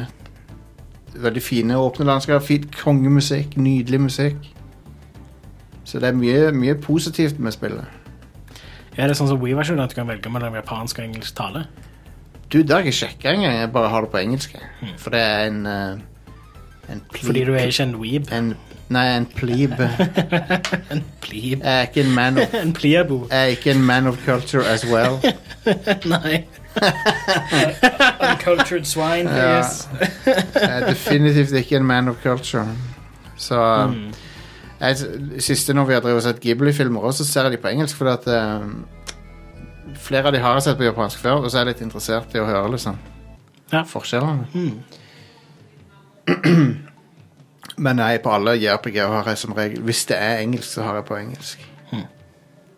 Veldig fine åpne landskap. Fint kongemusikk. Nydelig musikk. Så det er mye, mye positivt med spillet. Er det sånn som Wii-versjonen, at du kan velge mellom japansk og engelsk tale? Du, det har jeg ikke sjekka engang. Jeg bare har det på engelsk. jeg. For det er en eh, En plebe Fordi du er ikke en weeb. en, Nei, en plebe. Pleb. Jeg er ikke en man of Eh, En pliebo. jeg er ikke en man of culture as well. Eh, Nei. Uncultured swine. Ja. Yes. Jeg er definitivt ikke en man of culture. Så Mm. jeg, Siste når vi har drevet og sett Ghibli-filmer, også, så ser jeg de på engelsk. Fordi at eh, flere av de har jeg sett på japansk før, og så er jeg litt interessert i å høre liksom, Ja. forskjellene. Mm. Men nei, på alle JRPG har jeg som regel Hvis det er engelsk, så har jeg på engelsk. Hmm.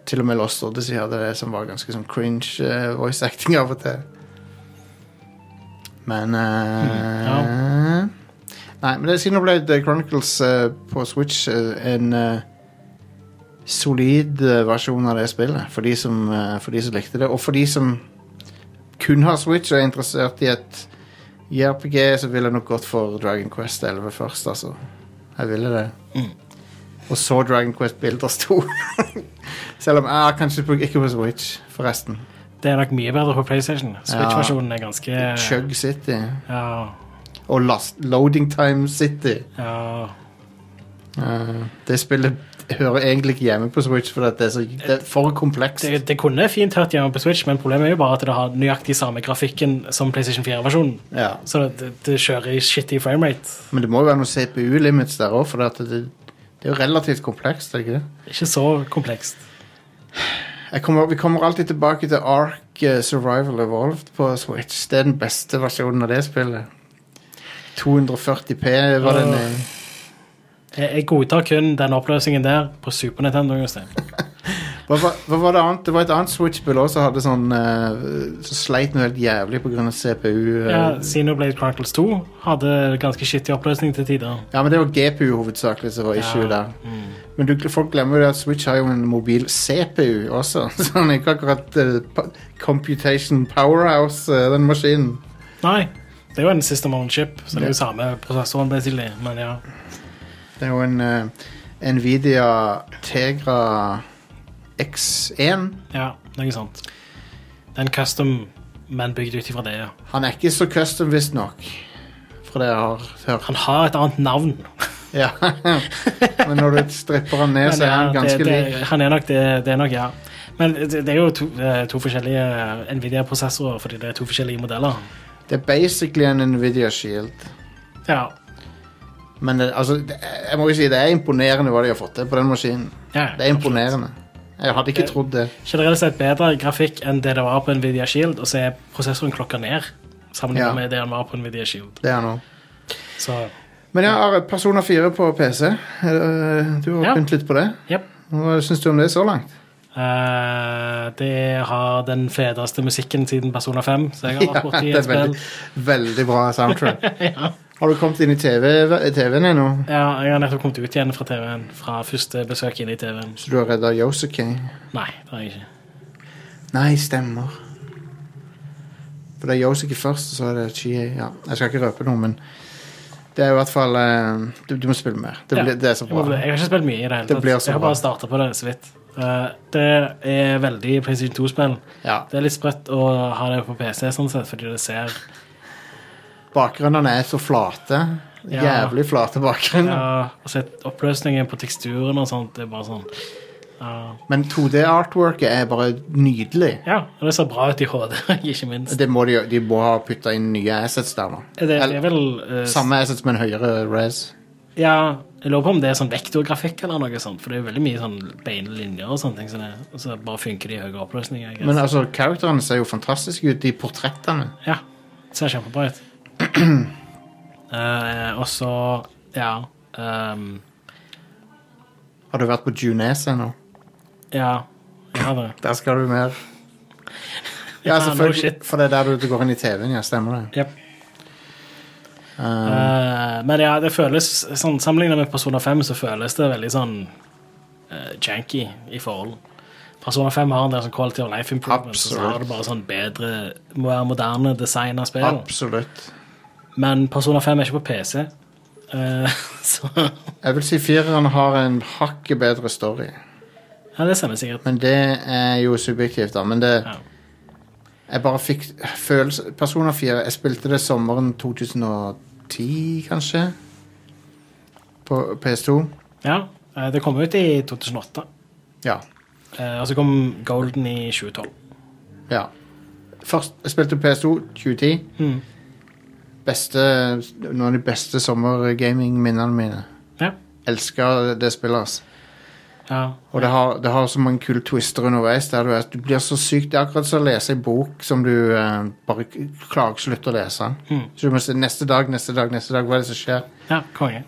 Til og med Lost Odyssey hadde det som var ganske sånn cringe eh, voice acting av og til. Men eh, Nei, men det er Xenoblade Chronicles eh, på Switch eh, en eh, solid eh, versjon av det spillet. For de, som, eh, for de som likte det. Og for de som kun har Switch og er interessert i et JRPG, så ville jeg nok gått for Dragon Quest 11 først, altså. Jeg ville det. Mm. Og så Dragon Quest Builders 2. Selv om jeg kanskje bruk- ikke på Switch, forresten. Det er nok mye bedre på PlayStation. Switch-versjonen er ganske Chug City Ja, og last, Loading Time City. ja. Eh, det spillet hører egentlig ikke hjemme på Switch, for det er, så, det er for komplekst. Det, det kunne fint hørt hjemme på Switch, men problemet er jo bare at det har nøyaktig samme grafikken som PlayStation 4-versjonen. Ja. Så det, det kjører i shitty framerate. Men det må jo være noen CPU-limits der òg, for det, at det, det er jo relativt komplekst. er det ikke det? Ikke så komplekst. Jeg kommer, vi kommer alltid tilbake til Ark eh, Survival Evolved på Switch. Det er den beste versjonen av det spillet. 240P var den eh, i. Jeg, jeg godtar kun den oppløsningen der på Super Nintendo. Jostein. Hva, var- hva var det annet? Det var et annet Switch-spill også som hadde sånn eh, Som sleit noe helt jævlig pga. CPU. eh. Ja, Xenoblade Chronicles 2 hadde ganske shitty oppløsning til tider. ja, men det var GPU hovedsakelig som var issue Ja, Mm. der. Men du, folk glemmer jo det at Switch har jo en mobil CPU også. Så den er ikke akkurat eh, pa- Computation Powerhouse, eh, den maskinen. Nei, det er jo en system on chip, så det Ja. er jo samme prosessoren, basically. Men ja. Det er jo en eh, Nvidia Tegra X1. Ja, noe sånt. Det er en custom, men bygd ut ifra det. ja. Han er ikke så custom, visstnok. Fra det jeg har hørt. Han har et annet navn. Ja. Men når du stripper han ned, Men så er ja, han det- ganske det- lik. Han er nok det, det er nok, ja. Men det, det er jo to, eh, to forskjellige eh, Nvidia-prosessorer, fordi det er to forskjellige modeller. Det er basically en Nvidia Shield. Ja, Men det, altså, det, jeg må jo si det er imponerende hva de har fått til på den maskinen. ja. Det er imponerende. Jeg hadde ikke Det- trodd det. Generelt sett bedre grafikk enn det det var på Nvidia Shield, og så er prosessoren klokka ned sammenlignet Ja. med det han var på Nvidia Shield. Det er nå. Så, Men jeg har Persona 4 på PC. Eh, Du har Ja. pynt litt på det. jep. Hva syns du om det så langt? Eh, det har den fedeste musikken siden Persona 5, så jeg har vært borti det et er spill. veldig, veldig bra soundtrack. Har du kommet inn i TV TV-en ennå? Ja, jeg har nettopp kommet ut igjen fra TV-en, fra første besøk inn i TV-en. Så du har redda Yosuke? Nei, det har jeg ikke. Nei, stemmer. For det er Yosuke først, og så er det Chie. Ja, jeg skal ikke røpe noe, men Det er i hvert fall eh, du, du må spille mer. Det, blir, det er så Jeg, må, bli- bra. jeg har ikke spilt mye i det hele Det tatt. blir så Jeg har bra. bare starta på det så vidt. Eh, det er veldig PlayStation 2-spill. Ja. Det er litt sprøtt å ha det på PC, sånn sett, fordi det ser Bakgrunnene er så flate. Ja. Jævlig flate bakgrunner. ja, altså, Oppløsningen på teksturen og sånt, det er bare sånn ja. Men 2D-artworket er bare nydelig. Ja, og det ser bra ut i HD, ikke minst. Det må de, jo- de må ha putta inn nye assets der nå. Det, det er Eller, vel eh, samme assets, men høyere res. Ja, jeg lurer på om det er sånn vektorgrafikk eller noe sånt, for det er veldig mye sånn beine linjer og sånne ting, så, det, og så bare funker de i høyere oppløsning. jeg guess. Men altså, karakterene ser jo fantastiske ut, de portrettene. Ja, det ser kjempebra ut. Eh, og så, ja, ehm, Har du vært på Junese nå? ja, jeg har det. Der skal du mer. Ja, Ja, no selvfølgelig. shit. For det er der du, du går inn i TV-en, ja. Stemmer det. Jep. Ehm. Eh, men ja, det føles sånn, Sammenlignet med Persona 5 så føles det veldig sånn eh, janky i forhold. Persona 5 har en del sånn quality of life improvement, og så Absolutt. har det bare sånn bedre, må være moderne design av spill. Absolutt. Men Persona 5 er ikke på PC. Eh, så ja, Jeg vil si fireren har en hakket bedre story. det stemmer sikkert. Men det er jo subjektivt, da. Men det Ja. Jeg bare fikk følelse Persona 4 Jeg spilte det sommeren 2010, kanskje. På PS2. Ja, eh, det kom ut i 2008, Ja. eh, og så kom Golden i 2012. ja. Først, jeg spilte PS2 2010. Mm. Beste, noen av de beste sommergaming-minnene mine. Ja, Elsker det spillet. ass. ja, Og det har, det har så mange kule twister underveis. Der du, er, du blir så syk. Det er akkurat som å lese en bok som du eh, bare k- klarer ikke å slutte å lese. Mm. Så du må se neste dag, neste dag, neste dag. Hva er det som skjer? ja konge.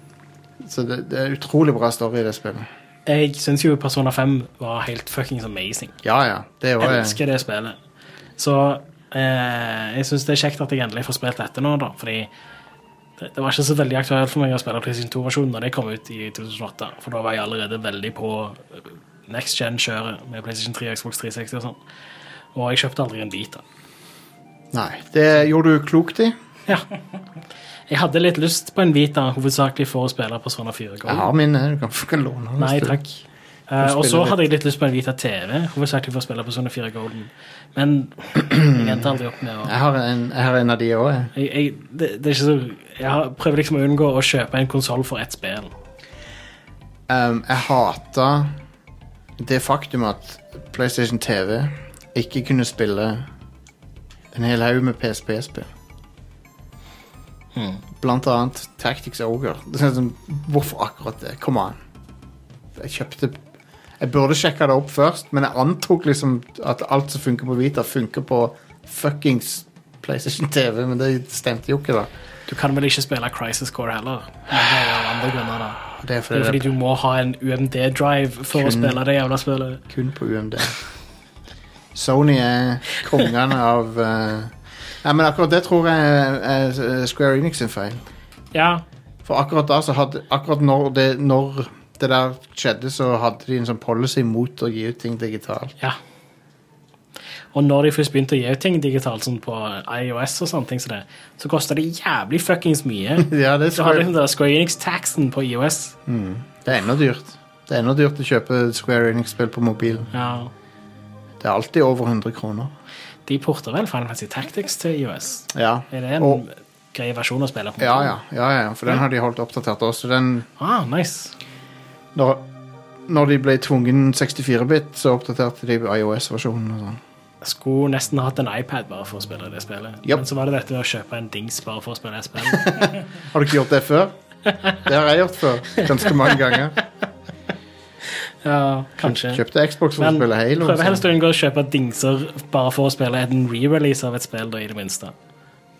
Så det, det er utrolig bra story i det spillet. Jeg syns jo Persona 5 var helt fuckings amazing. Ja, ja. Det er jo Jeg eh, elsker det spillet. Så eh, jeg syns det er kjekt at jeg endelig får spilt dette nå, da. Fordi det, det var ikke så veldig aktuelt for meg å spille PlayStation 2-versjonen når det kom ut i 2008. For da var jeg allerede veldig på eh, next gen-kjøret med PlayStation 3 og Xbox 360 og sånn. Og jeg kjøpte aldri en Vita. Nei. Det gjorde du klokt i. Ja. Jeg hadde litt lyst på en Vita, hovedsakelig for å spille Persona 4 Jeg Gold. har mine. Du kan, du kan låne den. hvis Nei du- takk. Eh, Du og så spiller hadde jeg litt lyst på en Vita TV, hovedsakelig for å spille Persona 4 Golden. Men jeg endte aldri opp med å Jeg har en, jeg har en av de òg, jeg. Jeg, jeg, det, det er ikke så, jeg har- prøver liksom å unngå å kjøpe en konsoll for ett spill. Um, jeg hata det faktum at PlayStation TV ikke kunne spille en hel haug med PSP-spill. Hmm. Blant annet Tactics Ogre. Det er sånn, Hvorfor akkurat det? Come on. Jeg kjøpte Jeg burde sjekka det opp først, men jeg antok liksom at alt som funker på Vita, funker på fuckings PlayStation TV, men det stemte jo ikke, da. Du kan vel ikke spille Crisis Core heller? Men det er jo av andre grunner da. Og Det er Det er fordi jo fordi det du må ha en UMD-drive for å Kun- spille det jævla spillet. er kun på UMD. Sony er kongene av eh, Nei, men akkurat det tror jeg er er Square Enix sin feil. Ja, For akkurat da så hadde Akkurat når det, når det der skjedde, så hadde de en sånn policy mot å gi ut ting digitalt. ja. Og når de først begynte å gi ut ting digitalt, sånn på IOS og sånne ting, så, det, så koster det jævlig fuckings mye. Ja, det er, Så har du Square, liksom den Square Enix-taxen på IOS. det er ennå dyrt. Det er ennå dyrt å kjøpe Square Enix-spill på mobilen. Ja. Det er alltid over 100 kroner. De porter vel Final Fantasy Tactics til IOS? Ja, Er det en Og- grei versjon å spille på? ja, ja, ja, ja for den har de holdt oppdatert også. Den, Ah, nice. når, når de ble tvungen 64-bit, så oppdaterte de IOS-versjonen. og sånn. Skulle nesten hatt en iPad bare for å spille det spillet. Japp. Men så var det dette å kjøpe en dings bare for å spille det spillet. Har du ikke gjort det før? Det har jeg gjort før. Ganske mange ganger. ja, kanskje. Kjøpte Xbox for Men å spille Halo. prøv helst sånn. å unngå å kjøpe dingser bare for å spille en re-release av et spill, da, i det minste.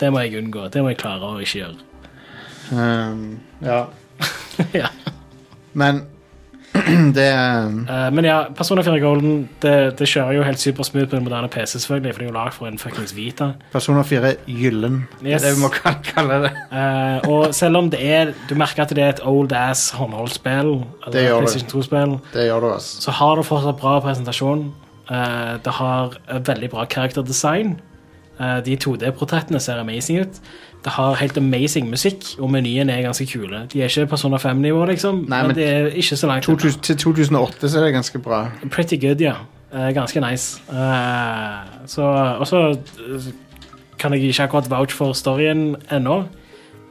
Det må jeg unngå. Det må jeg klare å ikke gjøre. Um, ja. ja. Men det um, Eh, men ja, Persona 4 Golden det, det kjører jo helt supersmooth på en moderne PC, selvfølgelig, for det er jo lagd for en fuckings Vita. Persona 4 er gyllen. Det Yes. er det vi må kal- kalle det. Eh, og selv om det er Du merker at det er et old ass håndholdsspill, Det eller gjør det. PlayStation 2-spill, Det gjør du, altså. så har det fortsatt bra presentasjon. Eh, det har et veldig bra karakterdesign. Eh, De 2D-portrettene ser amazing ut. Det har helt amazing musikk, og menyen er ganske kule. De er ikke Persona 5-nivå, liksom, Nei, men, men det er ikke så langt. 2000, til 2008 så er det ganske bra. Pretty good, ja. Eh, Ganske nice. Eh, Så, og så eh, kan jeg ikke akkurat vouch for storyen ennå,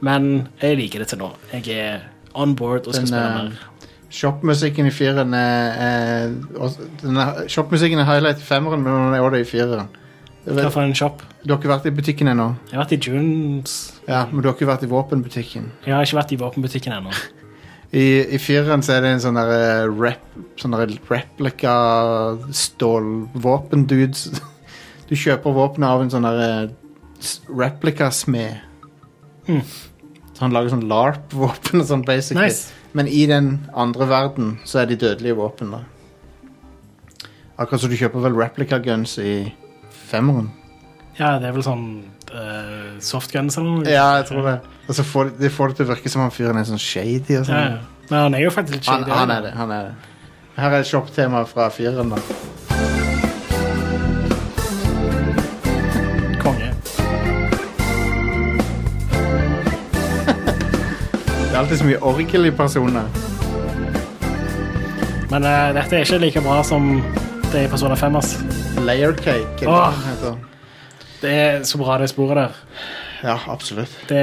men jeg liker det til nå. Jeg er on board og Den, skal spille eh, mer. Shopmusikken i fireren er, er også- den er- Shopmusikken er highlight i femmeren, men den er også det i fireren. Jeg Hva vet- for en shop? Du har ikke vært i butikken ennå, Jeg har vært i Junes. ja, men du har ikke vært i våpenbutikken. Jeg har ikke vært i våpenbutikken ennå. I, i fireren så er det en sånn der, eh, rep, sånn der replika stålvåpendudes. Du kjøper våpenet av en sånn der eh, s- replika-smed. Mm. Så han lager sånn LARP-våpen og sånn, basically. Nice. Men i den andre verden så er de dødelige våpen da. Akkurat som du kjøper vel replica guns i femmeren. Ja, det er vel sånn eh, softguns eller noe. Ja, jeg tror det. Og så får de- de får det til å virke som han fyren er sånn shady og Ja, sånn. ja. Men han er jo faktisk litt Han, shady, han er det, han er det. Her er shop-tema fra fireren da. Konge. Det er alltid så mye orgel i personer. Men eh, dette er ikke like bra som det er i Persona 5. Ass. Layer cake. er det Åh. det heter. Det er så bra, det sporet der. Ja, absolutt. Det,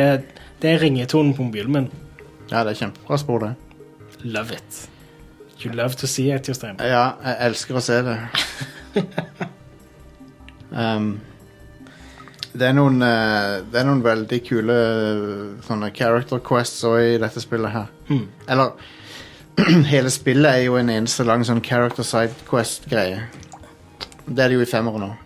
det er ringetonen på mobilen min. Ja, det er kjempebra spor det. Love it. You love to see it, Jostein. Ja, jeg elsker å se det. um, det, er noen, eh, det er noen veldig kule eh, sånne character quests også i dette spillet her. Mm. Eller Hele spillet er jo en eneste lang sånn character side quest-greie. Det er det jo i femmeren òg.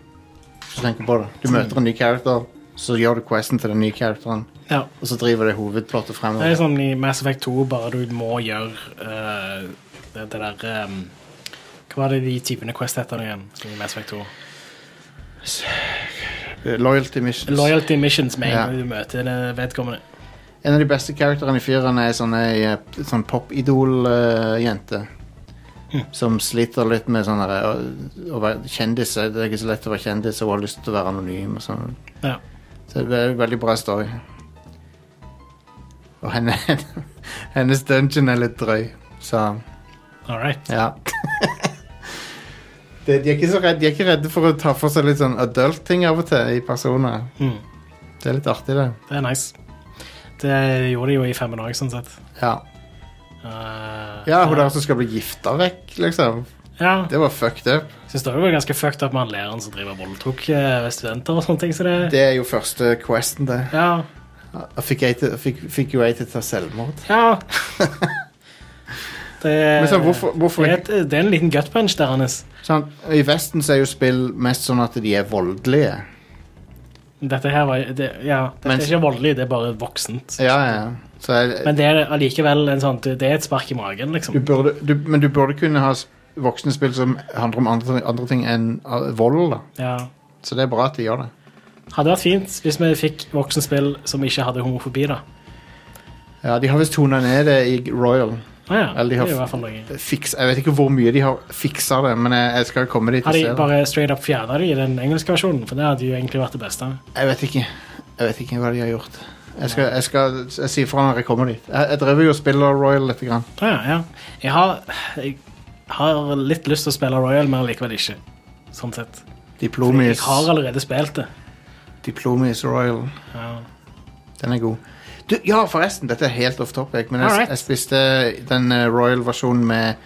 Hvis du tenker på det. Du møter en ny character, så gjør du questen til den nye characteren, Ja. og så driver det hovedplottet Det er fremover. sånn i Mass Effect 2, bare du må gjøre eh, det, det der ehm, Hva var det de typene Quest heter nå igjen? i Mass Effect 2? Loyalty missions. Loyalty missions med en Ja. gang du møter det vedkommende. En av de beste karakterene i fireren er sånn ei eh, sånn popidol-jente. Som sliter litt med sånn derre å- å være kjendis. Det er ikke så lett å være kjendis og hun har lyst til å være anonym. Og sånn. Ja. Så det er en veldig bra story. Og henne, hennes dungeon er litt drøy, så All right. ja. de, de, er ikke så redde, de er ikke redde for å ta for seg litt sånn adult-ting av og til i personer. Mm. Det er litt artig, det. Det er nice. Det gjorde de jo i femmen òg, sånn sett. Ja, Eh, ja hun der som skal bli gifta vekk, liksom. ja. Det var fucked up. Syns det var ganske fucked up med han læreren som driver og voldtok eh, studenter og sånne ting. Så det, Det er jo første questen, det. Ja. Jeg fikk, jeg til, fikk, fikk jo jeg til å ta selvmord. ja. det, Men sånn, hvorfor, hvorfor det, er ikke? et, det er en liten gut punch der hans. Sånn, I Vesten så er jo spill mest sånn at de er voldelige. Dette her var det, Ja, dette Mens- er ikke voldelig, det er bare voksent. Ja, ja. Så jeg, Men det er allikevel en sånn Det er et spark i magen, du liksom. burde, du, men du burde kunne ha s- voksne spill som handler om andre, andre ting enn uh, vold, da. Ja. Så det er bra at de gjør det. Hadde vært fint hvis vi fikk voksenspill som ikke hadde homofobi, da. Ja, De har visst tona ned det i Royal. Ah, ja, Eller de det har er jo i hvert fall noe. Fiks, jeg vet ikke hvor mye de har fiksa det, men jeg, jeg skal komme dit og Har de se. det. bare straight up fjerna de i den engelske versjonen? For det hadde jo egentlig vært det beste. Jeg vet ikke. Jeg vet ikke hva de har gjort. Jeg skal, jeg skal jeg sier fra når jeg kommer dit. Jeg, jeg drev jo og spiller Royal litt. Grann. Ah, ja, ja. Jeg har, jeg har litt lyst til å spille Royal, men likevel ikke. Sånn sett. Jeg Diplomis, har allerede spilt det. Diplomis Royal. Ja. Den er god. Du, ja, forresten, dette er helt off topic, men jeg, Alright. jeg spiste den eh, Royal-versjonen med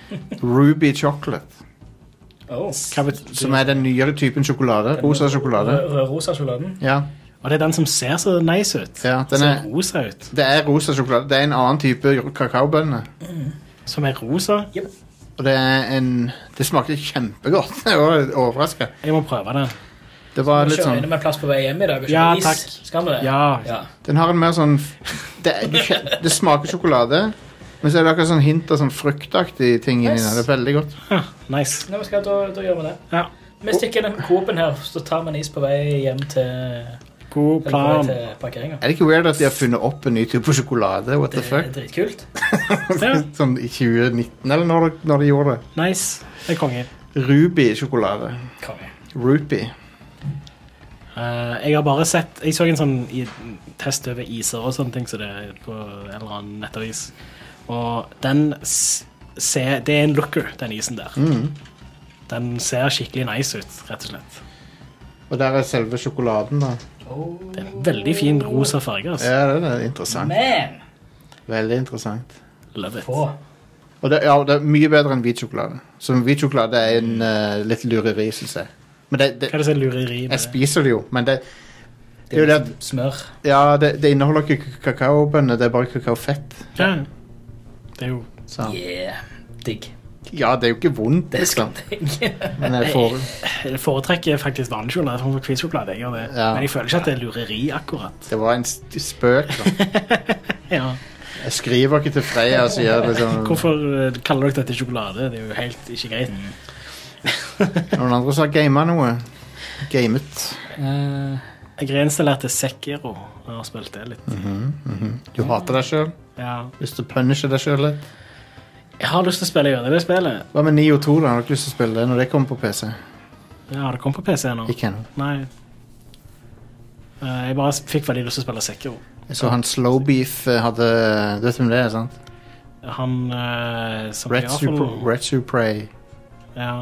Ruby Chocolate. Oh. Hva bet- Som er den nyere typen sjokolade. Rosa sjokolade. Rødrosa sjokoladen. Ja, Og det er den som ser så nice ut. ja den er, Ser rosa ut. det er rosa sjokolade. Det er en annen type kakaobønne. Som er rosa. Og det er en Det smakte kjempegodt. Jeg var overraska. Jeg må prøve den. Det var Vi litt kjører sånn inn med plass på vei hjem i dag. og Ja, kjøper is. takk. Skal vi det? Ja. ja. Den har en mer sånn Det, er- du kjen- det smaker sjokolade, men så er det akkurat sånn hint av sånn fruktaktig ting inni der. Det er veldig godt. Ja, nice. Nei, men skal, da, da gjør vi det. Ja. Vi stikker den Coop-en her, så tar vi en is på vei hjem til, eller God på vei plan. til parkeringa. Er det ikke weird at de har funnet opp en ny type sjokolade? What the Det fuck? er dritkult. Ja, Sånn i 2019, eller når, de- når de gjorde det. nice. Det er konge. Ruby-sjokolade. Konge. Ruby. Eh, Eh, jeg har bare sett Jeg så en sånn i, test over iser og sånne ting, så det er på en eller annen nettavis. Og den s- ser Det er en looker, den isen der. Mm. Den ser skikkelig nice ut, rett og slett. Og der er selve sjokoladen, da. Det er en veldig fin rosa farge. Altså. Ja, det er interessant. Man! Veldig interessant. Love it. På. Og det, ja, det er mye bedre enn hvit sjokolade. Så hvit sjokolade er en eh, litt lureri, syns jeg. Men det, Hva det, er det som er lureri jeg med det? spiser det jo, men det, det er jo det at Smør. Ja, det, det inneholder ikke k- kakaobønner, det er bare kakaofett. Ja. Det er jo Så. Yeah. Digg. Ja, det er jo ikke vondt, Det liksom. skal jeg. Men jeg får Jeg foretrekker faktisk vanlig sjokolade framfor hvit sjokolade. sånn Jeg gjør det. Ja. Men jeg føler ikke at det er lureri, akkurat. Det var en s- spøk, da. Ja. Jeg skriver ikke til Freya og sier liksom Hvorfor eh, kaller dere dette sjokolade? Det er jo helt ikke greit. Mm. Noen andre som har gama noe. Gamet. Eh, Jeg reinstallerte Sekiro og har spilt det litt. Du hater deg sjøl. Ja. Lyst til å punishe deg sjøl litt. Jeg har lyst til å spille gjennom det spillet. Hva med 9 og 2, da? Har du ikke lyst til å spille det når det kommer på PC? Ja, har det kommet på PC nå? Ikke ennå. Nei. Eh, Jeg bare fikk veldig lyst til å spille Sekiro. Jeg så han Slowbeef eh, hadde Du vet hvem det er, sant? Han eh, som Retsu Pr- Retsu Prey. Ja.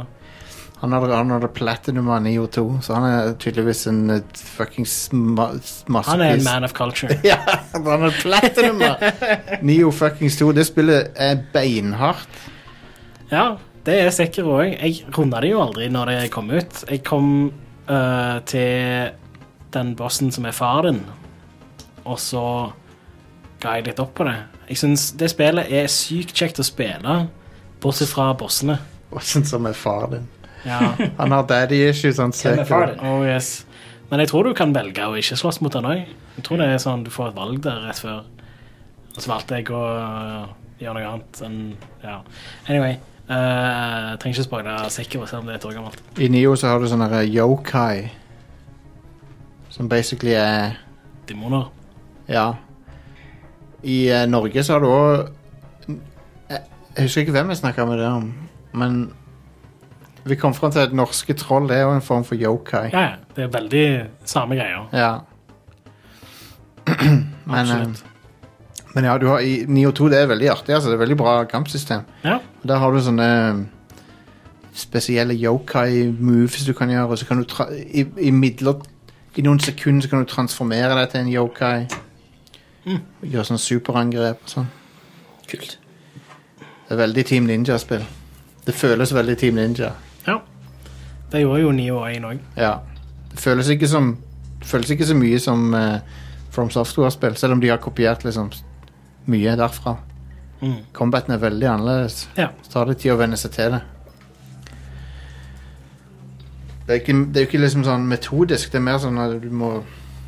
Han hadde, han hadde platinum av 9 og 2, så han er tydeligvis en eh, fuckings ma massepris. Han er en man of culture. Ja, han er platinum, da! Neo fuckings 2. Det spillet er beinhardt. Ja, det er Sekiro òg. Jeg runda det jo aldri når det kom ut. Jeg kom eh, til den bossen som er faren, og så ga jeg litt opp på det. Jeg syns det spillet er sykt kjekt å spille, bortsett fra bossene. Åssen sånn som er far din. Ja, Han har daddy issues, han Hvem søker. er faren? oh yes. Men jeg tror du kan velge å ikke slåss mot han òg. Jeg tror det er sånn du får et valg der rett før. Og så valgte jeg å eh, gjøre noe annet enn Ja. Anyway. eh, trenger ikke spoile Sekiro, selv om det er et år gammelt. I Neo så har du sånne her yokai, som basically er Demoner. Ja. I eh, Norge så har du òg jeg, jeg husker ikke hvem jeg snakka med det om, men vi kom fram til at norske troll er jo en form for yokai. Ja, ja. Det er veldig samme greier. Ja. Men, eh, Absolutt. men ja, du har, i Neo 2 det er veldig artig. Altså, det er veldig bra kampsystem. Ja. Der har du sånne spesielle yokai moves du kan gjøre. og Så kan du tra i, i midler I noen sekunder så kan du transformere deg til en yokai. Og Gjøre sånn superangrep og sånn. kult. Det er veldig Team Ninja-spill. Det føles veldig Team Ninja. ja. Det gjorde jo Nio og 1 òg. Ja. Det føles ikke som det føles ikke så mye som eh, From Software-spill, selv om de har kopiert liksom mye derfra. Mm. Combaten er veldig annerledes. Ja. Så tar det tid å venne seg til det. Det er, ikke, det er jo ikke liksom sånn metodisk, det er mer sånn at du må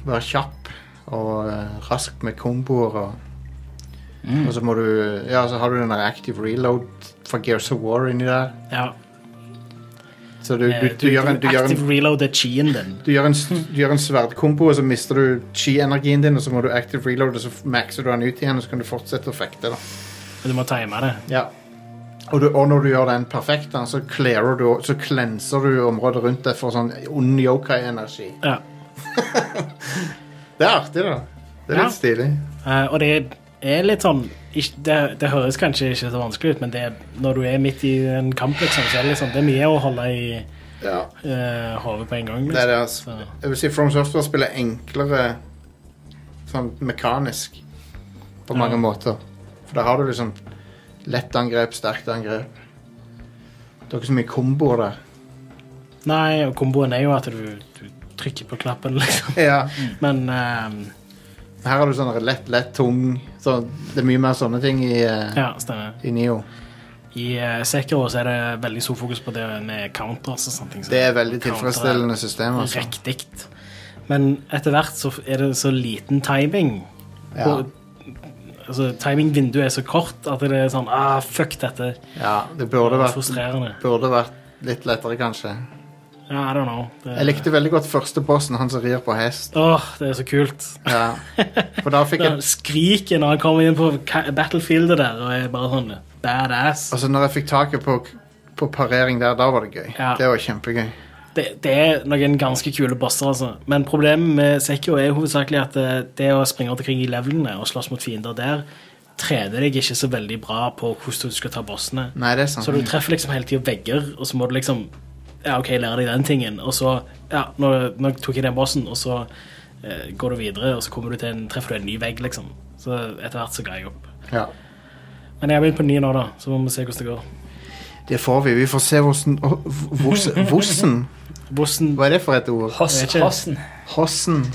være kjapp og eh, rask med komboer. Og, og så må du Ja, så har du den der active reload fra Gears of War inni der. ja. Så du, du, du, gjør en, du, gjør en, Eh, Active reload er chien din. du, gjør en, s- du gjør en sverdkombo, og så mister du chi-energien din, og så må du active reload, og så f- maxer du den ut igjen, og så kan du fortsette å fekte. da Men du må time det. Ja. Og, du, og når du gjør den perfekt, da, så clearer du, så cleanser du området rundt deg for sånn ond yokai-energi. Ja. Det er artig, da. Det er Ja. litt stilig. Eh, og det er litt sånn ikk- det, det høres kanskje ikke så vanskelig ut, men det, er- når du er midt i en kamp, liksom, så er det, liksom, det er mye å holde i Ja. uh, hodet på en gang. Det er Liksom. det, altså. Så- Jeg vil si From Software spiller enklere sånn mekanisk på mange måter. For da har du liksom lett angrep, sterkt angrep. Det er ikke så mye komboer der. liksom. Nei, og komboen er jo at du, du trykker på knappen, liksom. Ja. Men eh, Her har du sånn lett, lett, tung så Det er mye mer sånne ting i, eh, ja, stemmer. i Nio. I eh, Sekiro så er det veldig stor fokus på det med counters og sånne ting. så Det er veldig counter tilfredsstillende system. Altså. Riktig. Men etter hvert så er det så liten timing. Ja. Og- Altså, Timingvinduet er så kort at det er sånn ah, Fuck dette. Ja, det burde vært, Frustrerende. burde vært litt lettere, kanskje. Ja, I don't know. Det, Jeg likte veldig godt første bossen, han som rir på hest. Åh, det er så kult. Ja. For da fikk Det jeg skriket når han kommer inn på ka- battlefieldet der og er bare sånn badass. Altså, når jeg fikk taket på, på parering der, da var det gøy. Ja. Det var kjempegøy. det, det er noen ganske kule bosser, altså. Men problemet med Sekiro er hovedsakelig at det, det å springe rundt omkring i levelene og slåss mot fiender der, trener deg ikke så veldig bra på hvordan du skal ta bossene. Nei, det er sant. Så du treffer liksom hele tida vegger, og så må du liksom Ja, OK, lære deg den tingen, og så Ja, nå, nå tok jeg den bossen, og så eh, går du videre, og så kommer du til en, treffer du en ny vegg, liksom. Så etter hvert så ga jeg opp. Ja. Men jeg har begynt på ni nå, da, så må vi se hvordan det går. Det får vi. Vi får se hvordan å, hos- Hvordan? Bossen Hva er det for et ord? Hoss, Jeg vet ikke. hossen. Hossen.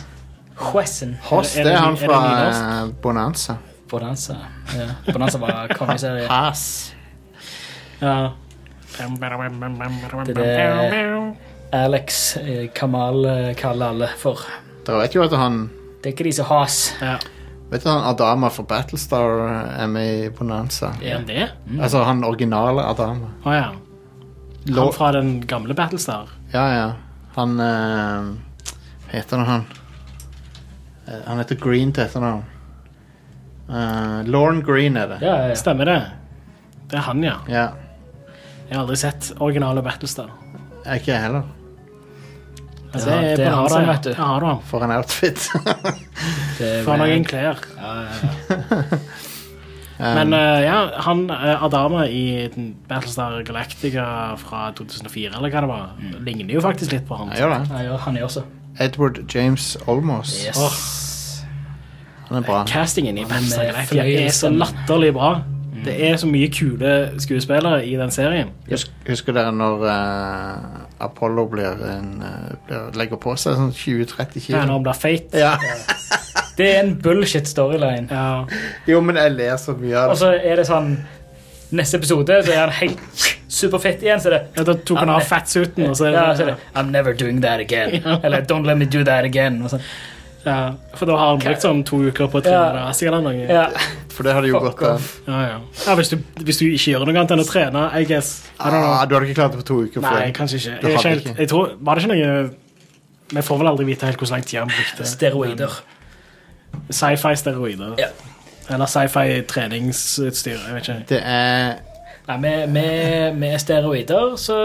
Hossen. Hoss, Er det det- er er han det ny- er fra det eh, Bonanza. Bonanza. Ja. Bonanza var kongeserie. Hass. Ja. Det er det Alex eh, Kamal eh, kaller alle for. Dere vet jo at han Det er ikke de som has. Ja. Vet du han Adama fra Battlestar eh, er med i Bonanza? Er han det? Altså han originale Adama. Å ja. Lo- Han fra den gamle Battlestar. Ja, ja. Han eh, Hva heter han, han? Eh, han heter Green til etternavn. Uh, Lauren Green er det. Ja, ja, ja. Stemmer det? Det er han, ja. Ja. Jeg har aldri sett originale Battlestar. Altså, Jeg er Ikke jeg heller, Ja, det er bare han har som det. vet du. Ja, har du han. for en outfit. Det er For noen Rand. klær. Ja, ja, ja. Men eh, ja, han eh, Adama i den Battlestar Galactica fra 2004, eller hva det var, ligner jo faktisk litt på han. Jeg gjør det. Mm. Ja, ja, han er også. Edward James Olmos. Yes. Han er bra. Castingen i Battlestar med Galactica er så fløyelsstemme. latterlig bra. Mm. Det er så mye kule skuespillere i den serien. Husk, husker dere når eh, Apollo blir en, eh, blir, legger på seg sånn 20-30 Ja, kilo? Når han blir feit. Ja. Det er en bullshit storyline. Ja. Jo, men jeg ler så mye av Og Altså, det. så er det sånn Neste episode så er han helt superfett igjen. Så er det Ja, da tok han av fatsuiten, og så ja, så er er det I'm never doing that again. Eller Don't let me do that again. Og sånn. ja, For da har han brukt sånn to uker på å trene Ja. Asian eller noe. ja. For det hadde jo Fuck gått av. off. Ja, ja. ja hvis, du, hvis du ikke gjør noe annet enn å trene, I guess. I don't know. Ah, du hadde ikke klart det på to uker Nei, før. kanskje ikke. Du Jeg, hadde er ikke helt, ikke. jeg tror, var det ikke noe Vi får vel aldri vite helt hvor lang tid han brukte. Steroider. Sci-fi-steroider. Ja. Eller sci-fi-treningsutstyr. Jeg vet ikke. Det er Nei, med, med, med steroider så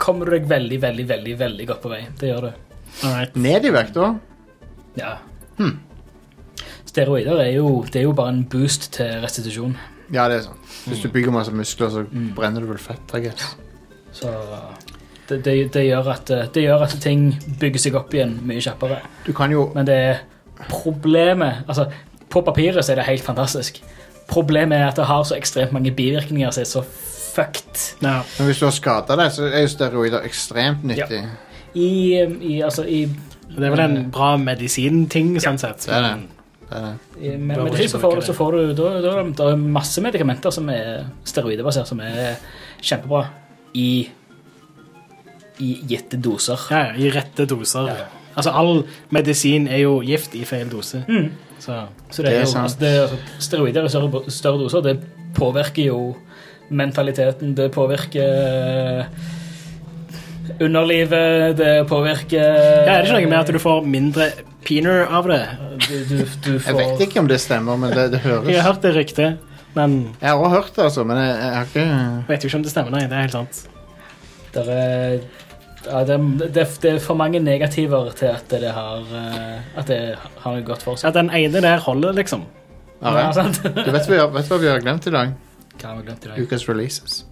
kommer du deg veldig, veldig, veldig veldig godt på vei. Det gjør du. All right. ned i vekt, da. Ja. Hmm. Steroider er jo, det er jo bare en boost til restitusjon. Ja, det er sånn. Hvis du Mm. bygger masse muskler, så brenner du vel fett. I guess. Så det, det, det, gjør at, det gjør at ting bygger seg opp igjen mye kjappere. Du kan jo Men det er problemet Altså, på papiret så er det helt fantastisk. Problemet er at det har så ekstremt mange bivirkninger som er så fucked. Ja. Men hvis du har skada deg, så er jo steroider ekstremt nyttig. I, um, i, altså, i, Det er vel en bra medisinting, sånn sett. Det er det. det, er det. i med- Bør medisin ikke så får, bruke du- det. så får du da, da, da er det masse medikamenter som er steroidebasert, som er kjempebra i, i gitte doser. Ja, ja, I rette doser. Altså, all medisin er jo gift i feil dose. Så Så det Det er er jo, sant. altså, det, er- altså, steroider i større, større doser, det påvirker jo mentaliteten, det påvirker eh, underlivet, det påvirker ja, Er det ikke noe med at du får mindre peener av det? eh, du, du, du får, Jeg vet ikke om det stemmer, men det, det høres Jeg har hørt det ryktet, men Jeg har også hørt det, altså, men jeg, jeg har ikke vet jo ikke om det stemmer. Nei, det er helt sant. Der er, ja, det, er- det, er- det er for mange negativer til at det har, eh, at det har noe godt for Ja, seg. den ene der holder, liksom. Ja, Ja, vel. sant? altså. Du vet, hva vi har- vet hva vi har glemt i dag? Hva har vi glemt i dag? Ukas releases.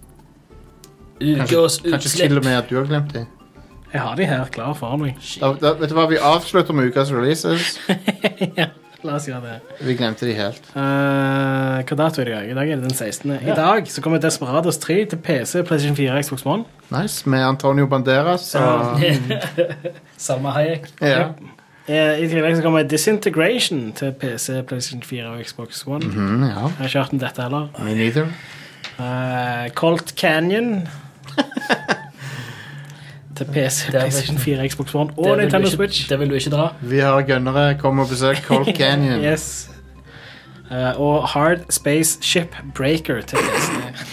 Ukas Kanskje til og utslipp. med at du har glemt dem. Jeg har de her klar for meg. Da, da, vet du hva, vi avslutter med ukas releases. La oss gjøre det. Vi glemte de helt. Eh, hva dato er det i dag? I dag er det den 16. I dag så kommer Desperados 3 til PC, PlayStation 4 og Xbox One. Nice. Med Antonio Banderas og Salma Hayek. ja. Eh, I tillegg så kommer Disintegration til PC, PlayStation 4 og Xbox One. Mhm. Mm, ja. Jeg har ikke hørt om dette heller. Me neither. Eh, Colt Canyon til PC, Der- PlayStation 4, Xbox One Det og vil du Nintendo ikke- Switch. Det vil du ikke dra. Vi har gønnere. Kom og besøk Cold Canyon. Yes. Eh, og Hard Space Ship Breaker til PC.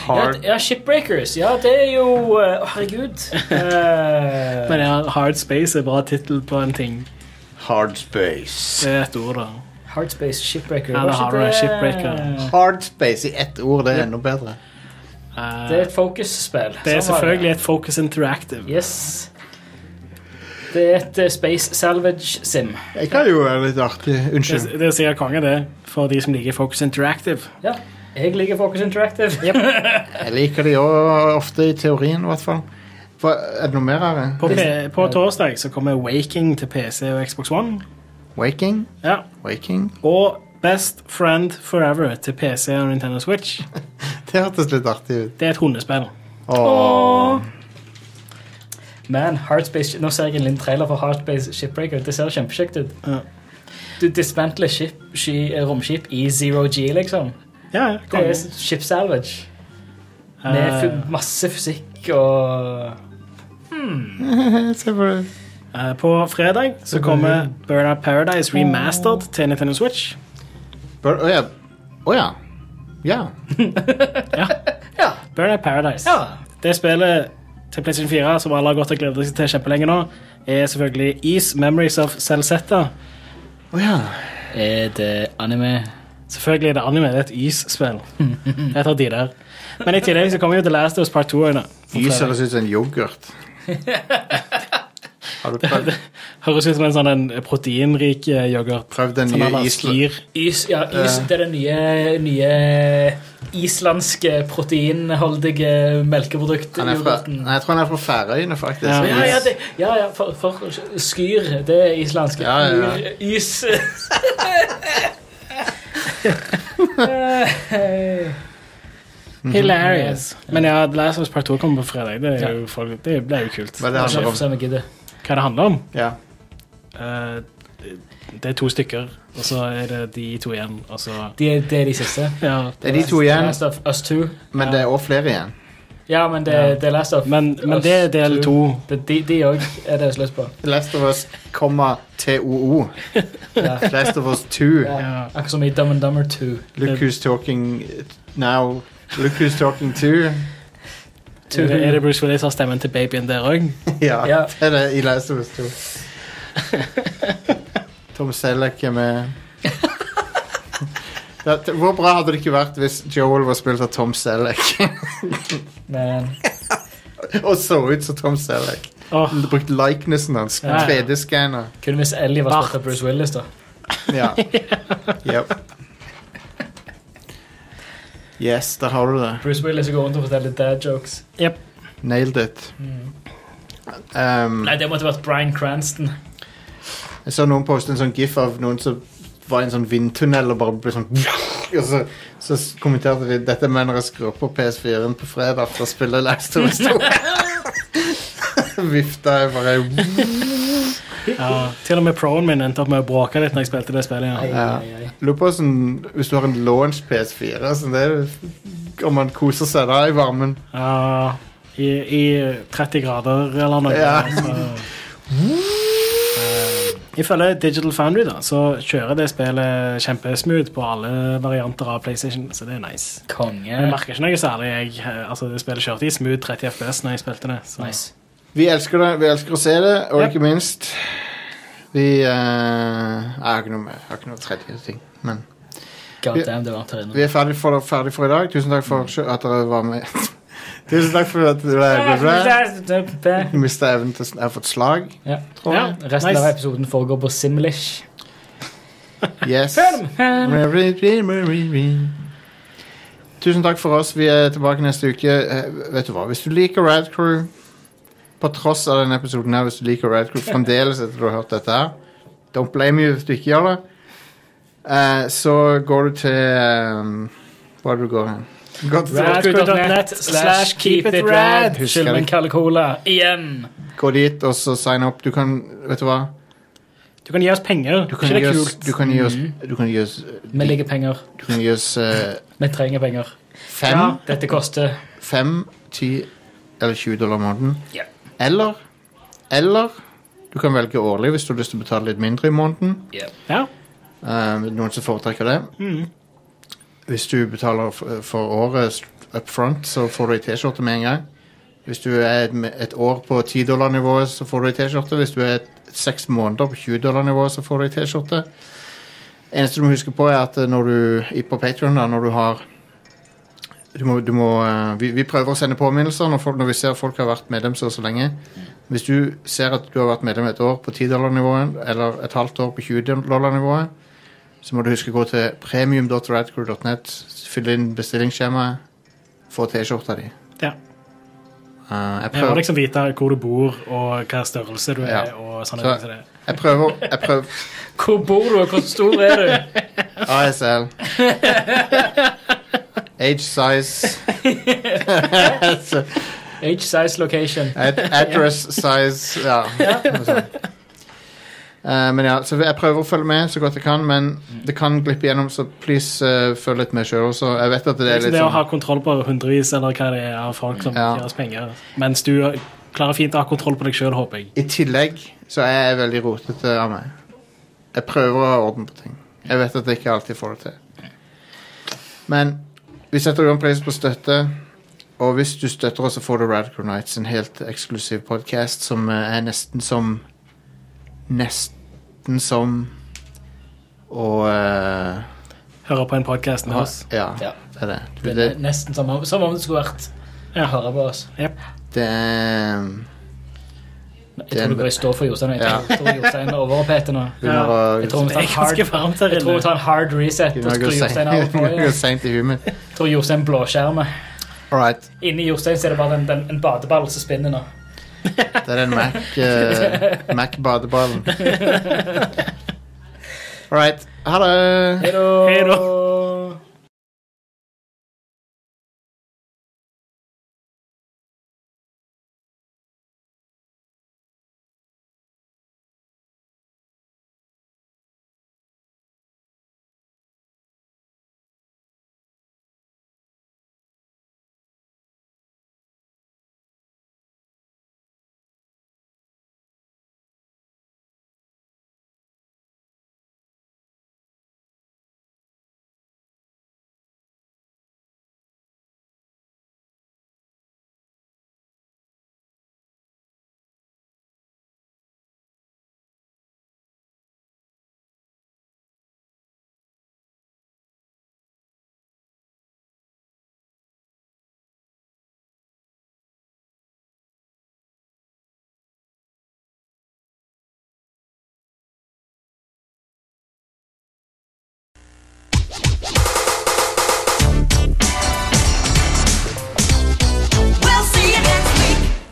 Hard. Ja, ja, Shipbreakers. Ja, det er jo eh, Å, Herregud. Eh, Men ja, Hard Space er bra tittel på en ting. Hard space. Det er et ord, da. Hardspace Shipbreaker. Ja, var det ikke har du, det- Shipbreaker. Hard space i ett ord, det er enda bedre. Eh, Det er et Focus-spill. det er Sånn var selvfølgelig et Focus Interactive. Yes. Det er et eh, Space Salvage Sim. Jeg kan jo være litt artig. Det, Unnskyld. det er sikkert konge, det, for de som liker Focus Interactive. Ja. Jeg liker Focus Interactive. Jeg liker de òg ofte, i teorien i hvert fall. For, Er det noe mer her? På, P på torsdag så kommer Waking til PC og Xbox One. Waking? Ja. Waking? Og Best Friend Forever til PC og Nintendo Switch. Det hørtes litt artig ut. Det er et hundespill. Åh. Man, Heartspace Nå ser jeg en liten trailer for Heartspace Shipbreaker. Det ser kjempekjekt ut. Ja. Du dismantler skip, sky, eh, romskip i zero G, liksom. Ja, ja, Det konge. er ship salvage. Med Eh, fu- masse fysikk og Se på det. eh, på fredag så kommer Mhm. Burnout Paradise remastered til Nintendo Switch. Bør- Å ja. Å ja. Ja. Burnout Paradise. Ja. Det spillet til PlayStation 4 som alle har gått og gledet seg til kjempelenge nå, er selvfølgelig Ease Memories of Celzetta. Å ja. Er det anime? Selvfølgelig er det anime, det er et is-spill. Jeg tar de der. Men i tillegg så kommer jo The Last of Us Part 2. Øyne. Is høres ut som en yoghurt. Har du prøvd, Høres ut som en sånn en proteinrik eh, yoghurt. prøvd den Som nye alle Island? skyr. Is, ja, is, Eh. det er det nye, nye islandske proteinholdige melkeproduktet. Han er fra, nei, jeg tror han er fra Færøyene, faktisk. Ja. Ja, ja, det, ja, ja for, for skyr, det er islandsk. Ja, ja, ja. Yr- Is. Mhm. Hilarious. Men ja, The Last of Us Part 2 kommer på fredag. Det, er jo folk, det ble jo kult. Hva er det handler om? Som jeg gidder. Hva det handler om? Ja. Eh, det er to stykker, og så er det de to igjen, og så De, er- det er de siste. ja. Det er de to igjen, Last of Us 2. men det er også flere igjen. Ja, men det, det er Last of Men, men det er del Us to. Det- De de òg er det slutt på. Last of Us, komma, TOO. Ja. Last of Us 2. Ja. Akkurat som i Dumb and Dumber 2. Look who's talking now. Look who's talking to. Er det- er det Bruce Willis har stemmen til babyen der òg? ja, Ja. det er det i Last of Us 2. Tom Selleck er med. Ja, t- Hvor bra hadde det ikke vært hvis Joel var spilt av Tom Selleck Men og så ut som Tom Selleck? Brukt likenessen hans. Ja, ja. 3D-skanner. kun hvis Ellie var spilt av Bruce Willis, da. Ja. Yep. Yes, der har du det. Bruce Willis går rundt og forteller dad jokes. Nailed it. Um, Nei, det måtte vært Bryan Cranston. jeg så noen poste en sånn gif av noen som var i en sånn vindtunnel og bare ble sånn og så, så kommenterte de dette mener jeg skrur på PS4-en på fredag for å spille Last of Us 2. Vifta jeg bare Ja. Til og med proen min endte opp med å bråke litt når jeg spilte det spillet. Ai, Ja. ai, ai. Lurer på sånn, hvis du har en launch PS4, så det er, om man koser seg da i varmen. Ja, i, I 30 grader eller noe. Ja. Så, Eh, ifølge Digital Foundry da, så kjører det spillet kjempesmooth på alle varianter av PlayStation, så det er nice. Jeg Konge. merker ikke noe særlig. Jeg, eh, altså, det spillet kjørte i smooth 30 FPS når jeg spilte det. Så. Nice. Vi elsker det, vi elsker å se det, og Ja. ikke minst Vi eh, Jeg har ikke noe, mer- jeg har ikke noe tredje ting. Men God damn, det var her inne. vi er ferdig for, ferdig for i dag. Tusen takk for sjø- at dere var med. Tusen takk for at dere mista evnen til å sn- Jeg har fått slag, Ja. tror jeg. Resten Nice. av episoden foregår på Simlish. Yes. Tusen takk for oss. Vi er tilbake neste uke. Eh, Vet du hva, Hvis du liker Rad Crew På tross av denne episoden her, hvis du liker Rad Crew fremdeles etter du har hørt dette her Don't blame you hvis du ikke gjør det. Eh, så går du til eh, Hvor er det du går hen? Du går til- Radcrew.net slash keep it rad. Husker Skyld jeg. meg en kald cola. Igjen. Gå dit og så sign up. Du kan Vet du hva? Du kan gi oss penger. Du Ikke kan det gi er oss kult? Mm. Du kan gi oss Du kan gi oss, Vi ligger penger. du kan gi oss eh, Vi trenger penger. fem Dette koster 5, 10 eller 20 dollar i måneden. Ja. Eller Eller du kan velge årlig hvis du har lyst til å betale litt mindre i måneden. Ja. Eh, noen som foretrekker det. Mm. Hvis du betaler for, for året up front, så får du ei T-skjorte med en gang. Hvis du er et, et år på 10 dollar-nivået, så får du ei T-skjorte. Hvis du er et, seks måneder på 20 dollar-nivået, så får du ei T-skjorte. Eneste du må huske på, er at eh, når du i- på Patreon da, når du har du må, du må, eh, vi, vi prøver å sende påminnelser når, folk, når vi ser folk har vært medlem så, og så lenge. Hvis du ser at du har vært medlem et år på 10 dollar-nivået, eller et halvt år på 20 dollar-nivået, så må du huske å gå til premium.radcrew.net, fylle inn bestillingsskjemaet, få T-skjorta di. Ja. Eh, jeg, Jeg må prøver, liksom vite hvor du bor, og hva størrelse du er. Ja. og sånne Så- ting som det. jeg prøver Jeg prøver Hvor bor du, og hvor stor er du? ASL. Age, size, Age, size, location. ad address, size Ja. noe sånt. Eh, men ja, så jeg prøver å følge med så godt jeg kan, men det kan glippe gjennom, så please eh, følg litt med sjøl også. Jeg vet at det Liksom Det, er litt å ha sånn kontroll på hundrevis eller hva det er av folk som Ja. gir oss penger. Mens du eh, klarer fint å ha kontroll på deg sjøl, håper jeg. I tillegg så er jeg veldig rotete av meg. Jeg prøver å ha orden på ting. Jeg vet at jeg ikke alltid får det til. Men vi setter jo en pris på støtte, og hvis du støtter oss, så får du Radical Nights, en helt eksklusiv podkast som eh, er nesten som Nesten som Og eh, Hører på en podkast med oss. Ja, Ja. det er det. Du, Det det, er nesten som om, som om det skulle vært Ja. Jeg hører på oss. det er Jeg Det er tror du en- går i stå for Jostein. og Jeg tror- tror Jostein overoppheter nå. begynner Jeg å tror vi Det tar er en ganske hard, varmt her jeg tror vi inne. tar en hard reset. Og begynner å skrur gå Jostein av og på. seint- gå igjen. seint i huet mitt. Jeg Tror Jostein blåskjermer. All right. Inni Jostein så er det bare den, den, en badeball som spinner nå. Det er den Mac, eh, Mac-badeballen. All right. Ha det. Hei da. Hei da.